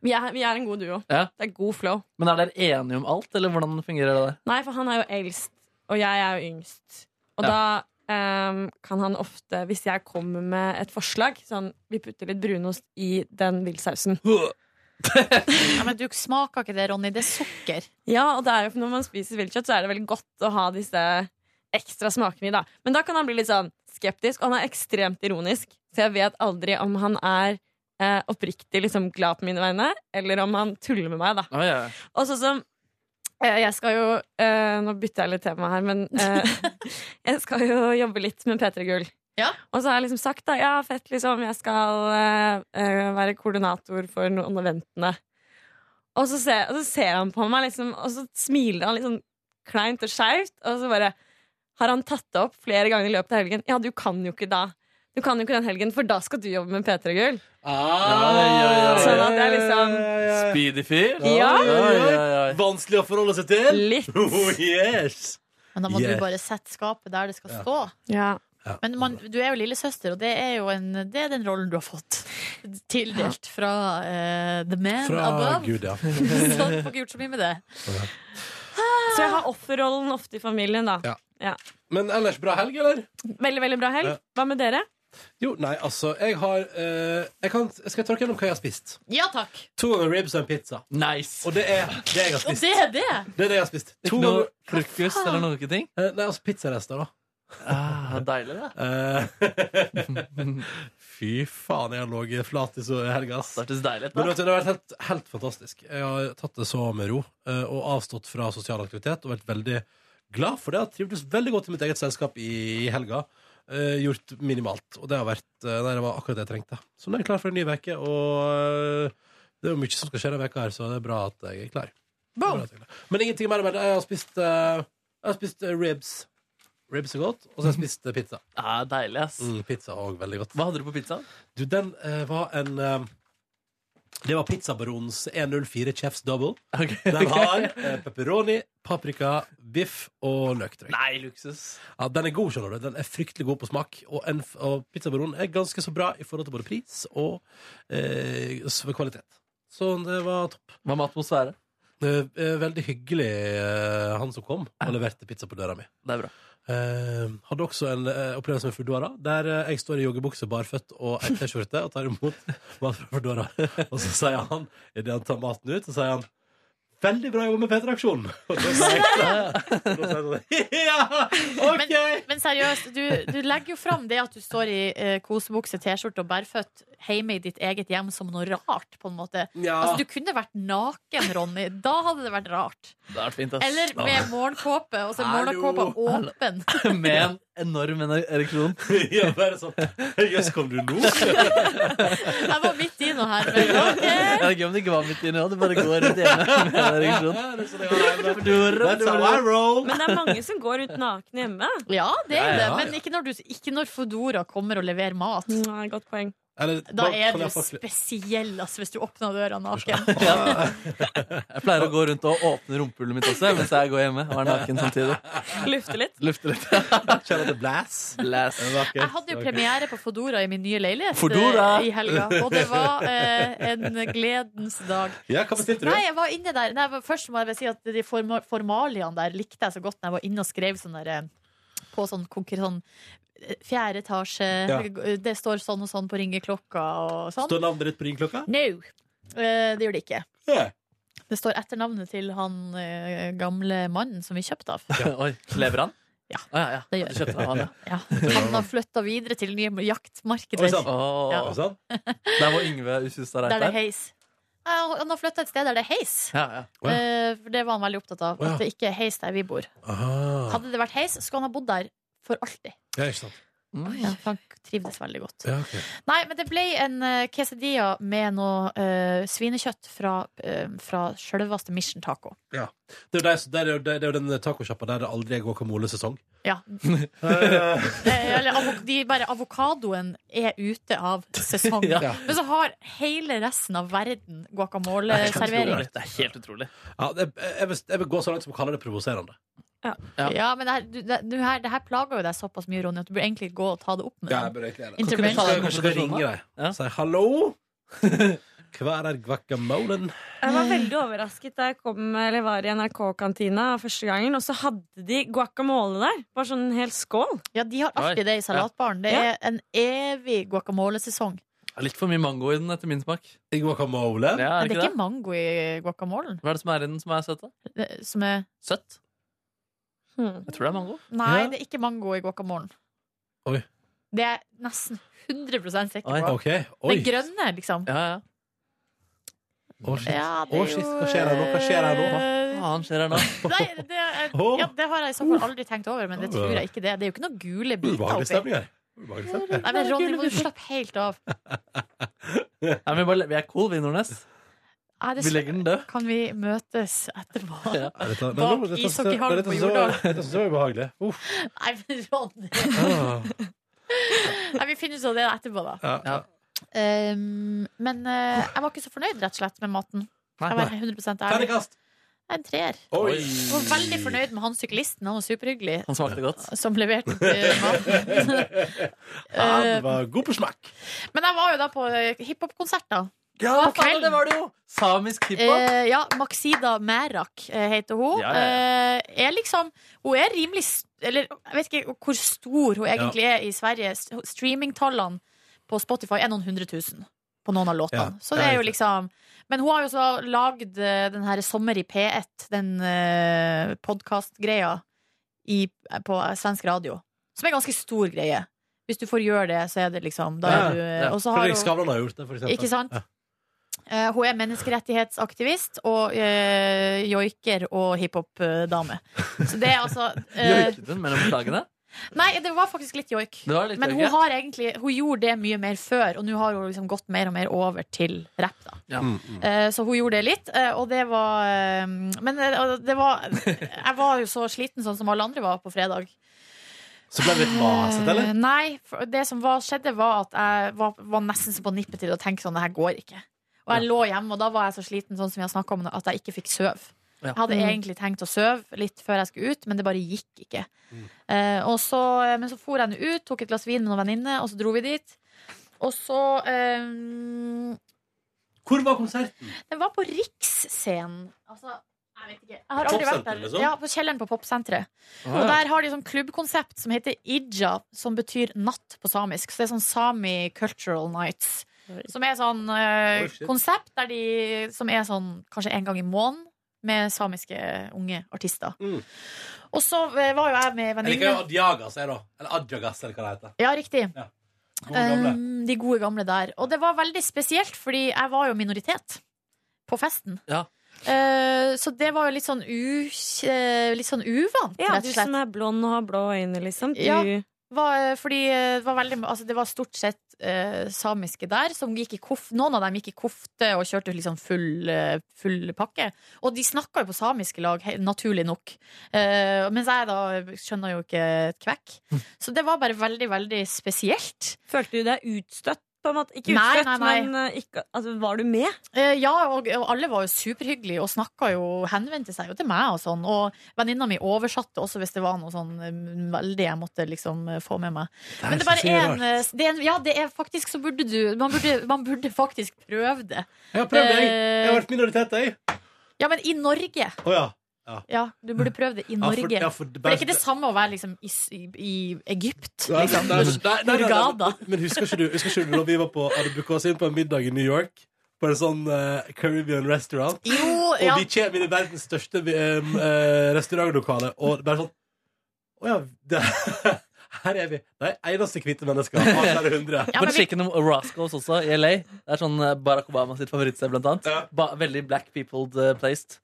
[SPEAKER 12] Vi er, vi er en god duo.
[SPEAKER 4] Ja.
[SPEAKER 12] Det er god flow.
[SPEAKER 4] Men er dere enige om alt, eller hvordan fungerer det der?
[SPEAKER 12] Nei, for han er jo eldst, og jeg er jo yngst. Og
[SPEAKER 4] Ja.
[SPEAKER 12] da ehm, kan han ofte, hvis jeg kommer med et forslag Sånn, vi putter litt brunost i den villsausen.
[SPEAKER 3] Ja, men du smaker ikke det, Ronny. Det er sukker.
[SPEAKER 12] Ja, og det er jo, når man spiser viltkjøtt, så er det veldig godt å ha disse ekstra smakene i, da. Men da kan han bli litt sånn skeptisk, og han er ekstremt ironisk. Så jeg vet aldri om han er eh, oppriktig liksom, glad på mine vegne, eller om han tuller med meg, da. Og sånn som eh, Jeg skal jo eh, Nå bytter jeg litt tema her, men eh, jeg skal jo jobbe litt med P3 Gull. Og så har jeg liksom sagt da, ja, fett, liksom, jeg skal eh, eh, være koordinator for noen av eventene. Og så ser, og så ser han på meg, liksom, og så smiler han litt sånn kleint og skeivt, og så bare har han tatt det opp flere ganger i løpet av helgen. Ja, du kan jo ikke da. Du kan jo ikke den helgen, for da skal du jobbe med P3 Gull. Sånn at det er liksom
[SPEAKER 5] Eh,
[SPEAKER 4] Speedy fyr?
[SPEAKER 12] Ja.
[SPEAKER 2] Oi, oi, oi.
[SPEAKER 4] oi.
[SPEAKER 2] Vanskelig å forholde seg til?
[SPEAKER 12] Litt.
[SPEAKER 2] Oh, yes.
[SPEAKER 3] Men da må
[SPEAKER 2] Yes.
[SPEAKER 3] du bare sette skapet der det skal
[SPEAKER 2] Ja.
[SPEAKER 3] stå.
[SPEAKER 12] Ja.
[SPEAKER 3] Men man, du er jo lillesøster, og det er jo en, det er den rollen du har fått tildelt fra eh, the man
[SPEAKER 2] Fra
[SPEAKER 3] above.
[SPEAKER 2] Gud, ja.
[SPEAKER 3] så du får ikke gjort så mye med det.
[SPEAKER 12] Så jeg har offerrollen ofte i familien, da. Ja.
[SPEAKER 2] Men ellers bra helg, eller?
[SPEAKER 12] Veldig, veldig bra helg.
[SPEAKER 2] Ja.
[SPEAKER 12] Hva med dere?
[SPEAKER 2] Jo, nei, altså, jeg har eh, jeg kan, Skal jeg tråkke gjennom hva jeg har spist?
[SPEAKER 3] Ja takk.
[SPEAKER 2] To ganger ribs og en pizza.
[SPEAKER 4] Nice.
[SPEAKER 2] Og det er det jeg har
[SPEAKER 3] Og
[SPEAKER 2] spist.
[SPEAKER 3] det er det!
[SPEAKER 2] Det er det jeg har spist.
[SPEAKER 4] Ikke noe frokost eller noe ting?
[SPEAKER 2] Nei, altså pizzarester, da.
[SPEAKER 4] Ah, deilig, det.
[SPEAKER 2] Eh, Fy faen, jeg har ligget flat i så i helga. ass.
[SPEAKER 4] Det hørtes deilig ut.
[SPEAKER 2] Men vet du,
[SPEAKER 4] da.
[SPEAKER 2] det har vært helt, helt fantastisk. Jeg har tatt det så med ro eh, og avstått fra sosial aktivitet og vært veldig glad for det. Jeg har trivdes veldig godt i mitt eget selskap i helga. eh, gjort minimalt. Og det har vært eh, nei, det var akkurat det jeg trengte. Så nå er jeg klar for en ny uke, og eh, det er jo mye som skal skje denne uka her, så det er bra at jeg er klar. Det er bra at jeg er klar. Men ingenting mer enn det. Jeg har spist, eh, jeg har spist eh, ribs. Ribs er godt. Og så har jeg spist eh, pizza.
[SPEAKER 4] Ah, deilig, ass.
[SPEAKER 2] Mm, pizza òg, veldig godt.
[SPEAKER 4] Hva hadde du på pizzaen?
[SPEAKER 2] Du, den eh, var en eh, Det var Pizzabaronens 104 Chefs Double. Den har eh, pepperoni, paprika, biff og løktrykk.
[SPEAKER 4] Nei, luksus.
[SPEAKER 2] Ja, den er god, skjønner du. Den er fryktelig god på smak. Og, en, f- og Pizzabaronen er ganske så bra i forhold til både pris og eh, s- kvalitet. Så det var topp.
[SPEAKER 4] Hva med atmosfære?
[SPEAKER 2] Eh, eh, veldig hyggelig eh, han som kom og leverte pizza på døra mi.
[SPEAKER 4] Det er bra.
[SPEAKER 2] Eh, hadde også en eh, opplevelse med Foodora, der eh, jeg står i joggebukse, barføtt og ei T-skjorte og tar imot mat fra Foodora. Og så sier han, idet han tar maten ut, så sier han 'Veldig bra jobba med P3-aksjonen'. Og da sier jeg, da sier jeg sånn,
[SPEAKER 3] Men, men seriøst, du, du legger jo fram det at du står i eh, kosebukse, T-skjorte og bærføtt hjemme i ditt eget hjem som noe rart, på en måte.
[SPEAKER 4] Ja.
[SPEAKER 3] Altså, du kunne vært naken, Ronny. Da hadde det vært rart.
[SPEAKER 4] Det hadde vært fint, ass.
[SPEAKER 3] Eller
[SPEAKER 2] Ah.
[SPEAKER 3] med morgenkåpe, og så er
[SPEAKER 4] Hallo.
[SPEAKER 3] morgenkåpa åpen.
[SPEAKER 4] Med en enorm ereksjon.
[SPEAKER 13] ja, bare sånn Jøss, kom du nå?
[SPEAKER 3] Jeg var midt i noe her. Men,
[SPEAKER 4] Ja, Det er gøy om det ikke var midt inne òg. Du bare går rundt hjemme med en
[SPEAKER 2] sånn,
[SPEAKER 13] That's how I roll.
[SPEAKER 4] ereksjon.
[SPEAKER 12] Men det er mange som går rundt nakne hjemme.
[SPEAKER 3] Ja, det er
[SPEAKER 4] Ja,
[SPEAKER 3] det.
[SPEAKER 4] ja,
[SPEAKER 3] Men ikke når, du, ikke når Foodora kommer og leverer mat.
[SPEAKER 12] Mm, godt poeng.
[SPEAKER 13] Eller,
[SPEAKER 3] Da
[SPEAKER 13] kan
[SPEAKER 3] er du
[SPEAKER 13] jeg få fl-
[SPEAKER 3] spesiell ass, hvis du åpner døra naken.
[SPEAKER 4] Jeg pleier å gå rundt og åpne rumpehullet mitt også mens jeg går hjemme og er naken samtidig.
[SPEAKER 12] Lufte litt.
[SPEAKER 4] Lufte litt.
[SPEAKER 13] Kjenner til blass?
[SPEAKER 4] Blass.
[SPEAKER 3] Jeg hadde jo premiere på Fodora i min nye leilighet
[SPEAKER 4] Foodora!
[SPEAKER 3] eh, i helga, og det var eh, en gledens dag.
[SPEAKER 13] Ja, hva bestilte du?
[SPEAKER 3] Nei, jeg var inne der. Nei, jeg var- først må jeg bare si at de forma- formaliene der likte jeg så godt når jeg var inne og skrev sånn der eh, på sånn konkret sånn eh, Fjerde etasje,
[SPEAKER 13] Ja.
[SPEAKER 3] det står sånn og sånn på ringeklokka og sånn.
[SPEAKER 13] Står navnet ditt på ringklokka?
[SPEAKER 3] No. Eh, det gjør det ikke.
[SPEAKER 13] Ja.
[SPEAKER 3] Det står etternavnet til han eh, gamle mannen som vi kjøpte av.
[SPEAKER 4] Oi, Lever han?
[SPEAKER 3] Ja.
[SPEAKER 4] Å, ja, ja.
[SPEAKER 3] Det gjør
[SPEAKER 4] Du kjøpte han, ja.
[SPEAKER 3] Ja. Han har flytta videre til nye jaktmarkeder.
[SPEAKER 4] Oi sann.
[SPEAKER 3] Ja.
[SPEAKER 4] Der hvor Yngve
[SPEAKER 3] Der
[SPEAKER 4] Kjustad
[SPEAKER 3] det
[SPEAKER 4] Reitberg.
[SPEAKER 3] er heis. Ja, Han har flytta et sted der det er heis.
[SPEAKER 4] Ja, ja.
[SPEAKER 3] Eh, For det var han veldig opptatt av. At det ikke er heis der vi bor.
[SPEAKER 13] Aha.
[SPEAKER 3] Hadde det vært heis, skulle han ha bodd der for alltid.
[SPEAKER 13] Ja, ikke sant.
[SPEAKER 4] Mm.
[SPEAKER 3] Ja, for han trivdes veldig godt.
[SPEAKER 13] Ja, ok.
[SPEAKER 3] Nei, men det ble en eh, quesadilla med noe eh, svinekjøtt fra, uh, fra sjølveste Mission Taco.
[SPEAKER 13] Ja. Det, er jo de som- det, er jo, det er jo den tacosjappa der det aldri er guacamole-sesong.
[SPEAKER 3] Ja. Eh, Eller avo- de bare avokadoen er ute av sesong.
[SPEAKER 13] Ja.
[SPEAKER 3] Men så har hele resten av verden guacamole-servering.
[SPEAKER 4] Det er helt utrolig.
[SPEAKER 13] Ja, det, jeg, vil, jeg vil gå så langt som å kalle det provoserende.
[SPEAKER 4] Ja.
[SPEAKER 3] Ja, men det her, du, det, du her, det her plager jo deg såpass mye, Ronny, at du burde egentlig gå og ta det opp med
[SPEAKER 13] Ja, jeg
[SPEAKER 3] dem.
[SPEAKER 13] burde egentlig gjøre det.
[SPEAKER 3] Intervention.
[SPEAKER 13] Kanskje jeg skal ringe deg og si hallo? Hvor er guacamolen?
[SPEAKER 12] Jeg var veldig overrasket da jeg kom, eller var i NRK-kantina første gangen, og så hadde de guacamole der. Bare sånn en hel skål.
[SPEAKER 3] Ja, de har
[SPEAKER 4] Oi.
[SPEAKER 3] alltid det i salatbaren. Det
[SPEAKER 12] Ja.
[SPEAKER 3] er en evig guacamolesesong.
[SPEAKER 4] Det er Litt for mye mango i den, etter min smak.
[SPEAKER 13] I guacamole?
[SPEAKER 4] Ja,
[SPEAKER 3] Men
[SPEAKER 4] er
[SPEAKER 3] det
[SPEAKER 4] det
[SPEAKER 3] er
[SPEAKER 4] ikke
[SPEAKER 3] ikke
[SPEAKER 4] det?
[SPEAKER 3] mango i guacamolen.
[SPEAKER 4] Hva er det som er i den som er søt, da?
[SPEAKER 3] Det- Som er
[SPEAKER 4] Søtt?
[SPEAKER 12] Hmm.
[SPEAKER 4] Jeg tror det er mango.
[SPEAKER 3] Nei,
[SPEAKER 13] Ja.
[SPEAKER 3] det er ikke mango i guacamolen.
[SPEAKER 13] Oi.
[SPEAKER 3] Det er jeg nesten 100 sikker
[SPEAKER 4] Oi.
[SPEAKER 3] på.
[SPEAKER 13] OK. Oi.
[SPEAKER 3] Den grønne, liksom.
[SPEAKER 4] Ja, ja.
[SPEAKER 13] Å, shit.
[SPEAKER 3] Ja, det
[SPEAKER 13] Å,
[SPEAKER 3] er
[SPEAKER 13] shit.
[SPEAKER 3] jo, eh,
[SPEAKER 13] Hva skjer her nå? Hva skjer her nå?
[SPEAKER 4] Hva faen skjer her nå?
[SPEAKER 3] Nei, det, er,
[SPEAKER 13] Åh.
[SPEAKER 3] ja, det har jeg i så fall aldri tenkt over, men det tror jeg ikke det. Det er jo ikke noen gule biter
[SPEAKER 13] Ubehagelig
[SPEAKER 3] oppi.
[SPEAKER 13] stemning her. Ubehagelig stemning.
[SPEAKER 3] Nei, men Ronny, må du slappe helt av.
[SPEAKER 4] Nei, men vi, bare, vi er cool, vi, Nordnes.
[SPEAKER 3] Nei, det
[SPEAKER 4] Vi legger den død.
[SPEAKER 3] Kan vi møtes etterpå?
[SPEAKER 4] Ja.
[SPEAKER 13] Nei, dette- nei,
[SPEAKER 3] Bak
[SPEAKER 13] nå- dette-
[SPEAKER 3] ishockeyhallen
[SPEAKER 13] dette-
[SPEAKER 3] på
[SPEAKER 13] dette-
[SPEAKER 3] Jordal.
[SPEAKER 13] Dette synes jeg var ubehagelig. Uff.
[SPEAKER 3] Nei, men Ronny
[SPEAKER 13] Ah.
[SPEAKER 3] Nei, Vi finner ut av det etterpå, da.
[SPEAKER 13] Ja.
[SPEAKER 4] Ja.
[SPEAKER 3] Um, men eh, jeg var ikke så fornøyd, rett og slett, med maten. Jeg var 100 ærlig.
[SPEAKER 13] Terningkast.
[SPEAKER 3] En treer.
[SPEAKER 13] Oi.
[SPEAKER 3] Jeg var veldig fornøyd med han syklisten. Han var superhyggelig.
[SPEAKER 4] Han smakte godt.
[SPEAKER 3] Som leverte eh, maten. Eh,
[SPEAKER 13] Han var god på smakk.
[SPEAKER 3] Ehm, Men jeg var jo da på eh, hiphop-konsert, da.
[SPEAKER 4] Ja,
[SPEAKER 3] faen, kvelden.
[SPEAKER 4] det var det jo! Samisk hiphop.
[SPEAKER 3] Eh, ja, Maxida Merak eh, heter hun.
[SPEAKER 4] Ja, ja,
[SPEAKER 3] Eh, er liksom, hun er rimelig s- Eller jeg vet ikke hvor stor hun egentlig er i Sverige. S- Streamingtallene på Spotify er noen hundre tusen på noen av låtene.
[SPEAKER 13] Ja, ja,
[SPEAKER 3] så det er jo
[SPEAKER 13] riktig.
[SPEAKER 3] liksom Men hun har jo så lagd eh, den her Sommer i P1, den eh, podkastgreia i- på eh, svensk radio, som er ganske stor greie. Hvis du får gjøre det, så er det liksom da
[SPEAKER 13] Ja,
[SPEAKER 3] er du,
[SPEAKER 4] ja.
[SPEAKER 3] Og så har
[SPEAKER 13] Fredrik
[SPEAKER 3] hun
[SPEAKER 13] Skavlan har gjort det, for eksempel.
[SPEAKER 3] Ikke sant?
[SPEAKER 13] Ja.
[SPEAKER 3] Eh, hun er menneskerettighetsaktivist og eh, joiker og hiphop-dame. Så det er altså eh,
[SPEAKER 4] Joiket hun mellom slagene?
[SPEAKER 3] Nei, det var faktisk litt joik.
[SPEAKER 4] Det var litt
[SPEAKER 3] Men hun,
[SPEAKER 4] joiket.
[SPEAKER 3] har egentlig, hun gjorde det mye mer før, og nå har hun liksom gått mer og mer over til rapp. da
[SPEAKER 4] Ja.
[SPEAKER 3] Eh, Så hun gjorde det litt, eh, og det var eh, Men eh, og det var Jeg var jo så sliten sånn som alle andre var på fredag.
[SPEAKER 13] Så ble det litt masete,
[SPEAKER 3] Eh,
[SPEAKER 13] eller?
[SPEAKER 3] Nei, for det som var, skjedde var at jeg var, var nesten så på nippet til å tenke sånn, det her går ikke. Og jeg lå hjemme, og da var jeg så sliten sånn som vi har snakket om, at jeg ikke fikk søv.
[SPEAKER 4] Ja.
[SPEAKER 3] Jeg hadde
[SPEAKER 12] Mm.
[SPEAKER 3] egentlig tenkt å søve litt før jeg skulle ut, men det bare gikk ikke. Eh, og så, men så for jeg nå ut, tok et glass vin med noen venninne, og så dro vi dit. Og så eh,
[SPEAKER 13] Hvor var konserten?
[SPEAKER 3] Den var på Riksscenen. Altså, jeg vet ikke. Jeg har aldri vært der.
[SPEAKER 13] Popsenteret, liksom?
[SPEAKER 3] Ja, på kjelleren på Popsenteret. Og der har de sånn klubbkonsept som heter Ija, som betyr natt på samisk. Så det er sånn Sami Cultural Nights. Som er sånn eh,
[SPEAKER 13] Oi, shit.
[SPEAKER 3] konsept der de, som er sånn kanskje en gang i måneden. med samiske unge artister.
[SPEAKER 13] Mm.
[SPEAKER 3] Og så eh, var jo jeg med ei
[SPEAKER 2] Jeg liker jo
[SPEAKER 3] venninne.
[SPEAKER 2] Adjagas, jeg, da. Eller Adjagas, eller hva det heter.
[SPEAKER 3] Ja, riktig.
[SPEAKER 2] Gode gamle.
[SPEAKER 3] Um, de gode gamle der. Og det var veldig spesielt, fordi jeg var jo minoritet på festen.
[SPEAKER 4] Ja.
[SPEAKER 3] Eh, så det var jo litt sånn, u, eh, litt sånn uvant,
[SPEAKER 12] Ja,
[SPEAKER 3] rett
[SPEAKER 12] du
[SPEAKER 3] og slett.
[SPEAKER 12] som er blond og har blå øyne, liksom. Du,
[SPEAKER 3] Ja, var, fordi eh, det var, veldig, altså det var stort sett eh, samiske der. Som gikk i kof, noen av dem gikk i kofte og kjørte liksom full, eh, full pakke. Og de snakka jo på samiske lag, he- naturlig nok. Eh, mens jeg da skjønner jo ikke et kvekk.
[SPEAKER 2] Hm.
[SPEAKER 3] Så det var bare veldig, veldig spesielt.
[SPEAKER 12] Følte du deg utstøtt? På en måte. Ikke
[SPEAKER 3] Nei,
[SPEAKER 12] utstøtt,
[SPEAKER 3] nei, nei.
[SPEAKER 12] men eh, ikke, altså, var du med?
[SPEAKER 3] Eh, ja, og, og alle var jo superhyggelige og snakka jo Henvendte seg jo til meg og sånn. Og venninna mi oversatte også hvis det var noe sånn eh, veldig jeg måtte liksom eh, få med meg.
[SPEAKER 12] er
[SPEAKER 3] Men det er
[SPEAKER 12] så
[SPEAKER 3] bare
[SPEAKER 12] sier
[SPEAKER 3] en, eh, det er en Ja, det er faktisk så burde du Man burde, man burde faktisk prøve det.
[SPEAKER 2] Jeg har prøvd, jeg. Jeg har
[SPEAKER 3] Eh,
[SPEAKER 2] vært minoritet, jeg.
[SPEAKER 3] Ja, men i Norge.
[SPEAKER 2] Å ja. ja.
[SPEAKER 3] Ja, du burde prøve det i
[SPEAKER 2] Mm. Ja, for-
[SPEAKER 3] Norge. for,
[SPEAKER 2] ja, for
[SPEAKER 3] det,
[SPEAKER 2] det
[SPEAKER 3] er
[SPEAKER 2] bare-
[SPEAKER 3] ikke det samme å være liksom i, s- i, i Egypt.
[SPEAKER 2] Nei,
[SPEAKER 3] Liksom.
[SPEAKER 2] nei, nei, nei, nei, nei,
[SPEAKER 3] Hurghada.
[SPEAKER 2] men- Men husker ikke du, husker ikke du da vi var på Adebukas inn på en middag i New York? På en sånn eh, Caribbean restaurant.
[SPEAKER 3] Jo,
[SPEAKER 2] og
[SPEAKER 3] ja.
[SPEAKER 2] vi kommer inn i verdens største eh, eh, restaurantlokale, og det er bare sånn Å ja, det, her er vi. De eneste hvite menneskene av flere hundre.
[SPEAKER 4] Bare Chicken and Rascals også, i LA. Det er sånn eh, Barack Obama sitt favorittsted, blant annet. Ba veldig black peopled eh, placed.
[SPEAKER 2] Og du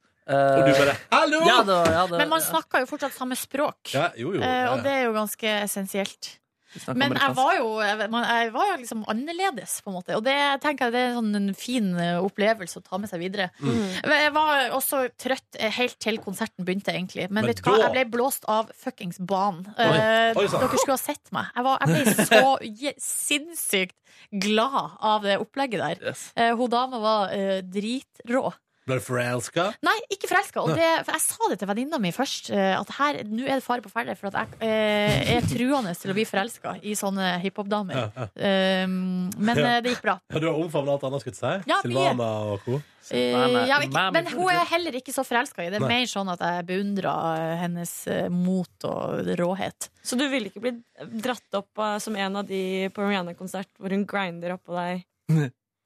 [SPEAKER 3] Eh,
[SPEAKER 2] bare,
[SPEAKER 4] Hallo! Ja, det, var- ja, det,
[SPEAKER 3] Men man snakker jo fortsatt samme språk.
[SPEAKER 2] Ja, jo, jo.
[SPEAKER 3] Eh,
[SPEAKER 2] ja,
[SPEAKER 3] og det er jo ganske essensielt.
[SPEAKER 4] snakker
[SPEAKER 3] Men jeg
[SPEAKER 4] amerikansk.
[SPEAKER 3] var, jo, jeg, man- jeg var jo liksom annerledes, på en måte. Og det tenker jeg det er sånn en fin eh, opplevelse å ta med seg videre.
[SPEAKER 12] Mm.
[SPEAKER 3] Jeg var også trøtt eh, helt til konserten begynte, egentlig. Men,
[SPEAKER 12] Men
[SPEAKER 3] vet du hva,
[SPEAKER 12] da-
[SPEAKER 3] jeg ble blåst av fuckings banen.
[SPEAKER 12] Oi.
[SPEAKER 3] Eh,
[SPEAKER 12] Oi, sann.
[SPEAKER 3] dere skulle ha sett meg. Jeg, var, jeg ble så je- sinnssykt glad av det opplegget der. Eh, hun dama var eh, dritrå.
[SPEAKER 2] Ble du forelska?
[SPEAKER 3] Nei, ikke forelska. Og
[SPEAKER 2] Nei.
[SPEAKER 3] det, for jeg sa det til venninna mi først, eh, at her, nå er det fare på ferde. For at jeg eh, er truende til å bli forelska i sånne hiphop-damer.
[SPEAKER 2] Ja,
[SPEAKER 3] Eh, men eh, det gikk bra.
[SPEAKER 2] Ja, du har omfavna alt annet, skulle jeg si.
[SPEAKER 3] Ja, mye.
[SPEAKER 2] Silvana og co.
[SPEAKER 3] Eh, jeg vet ikke, men hun er heller ikke så forelska i det. Det
[SPEAKER 2] Nei.
[SPEAKER 3] er mer sånn at jeg beundrer hennes eh, mot og råhet.
[SPEAKER 12] Så du ville ikke blitt dratt opp eh, som en av de på Rihanna-konsert hvor hun grinder oppå deg?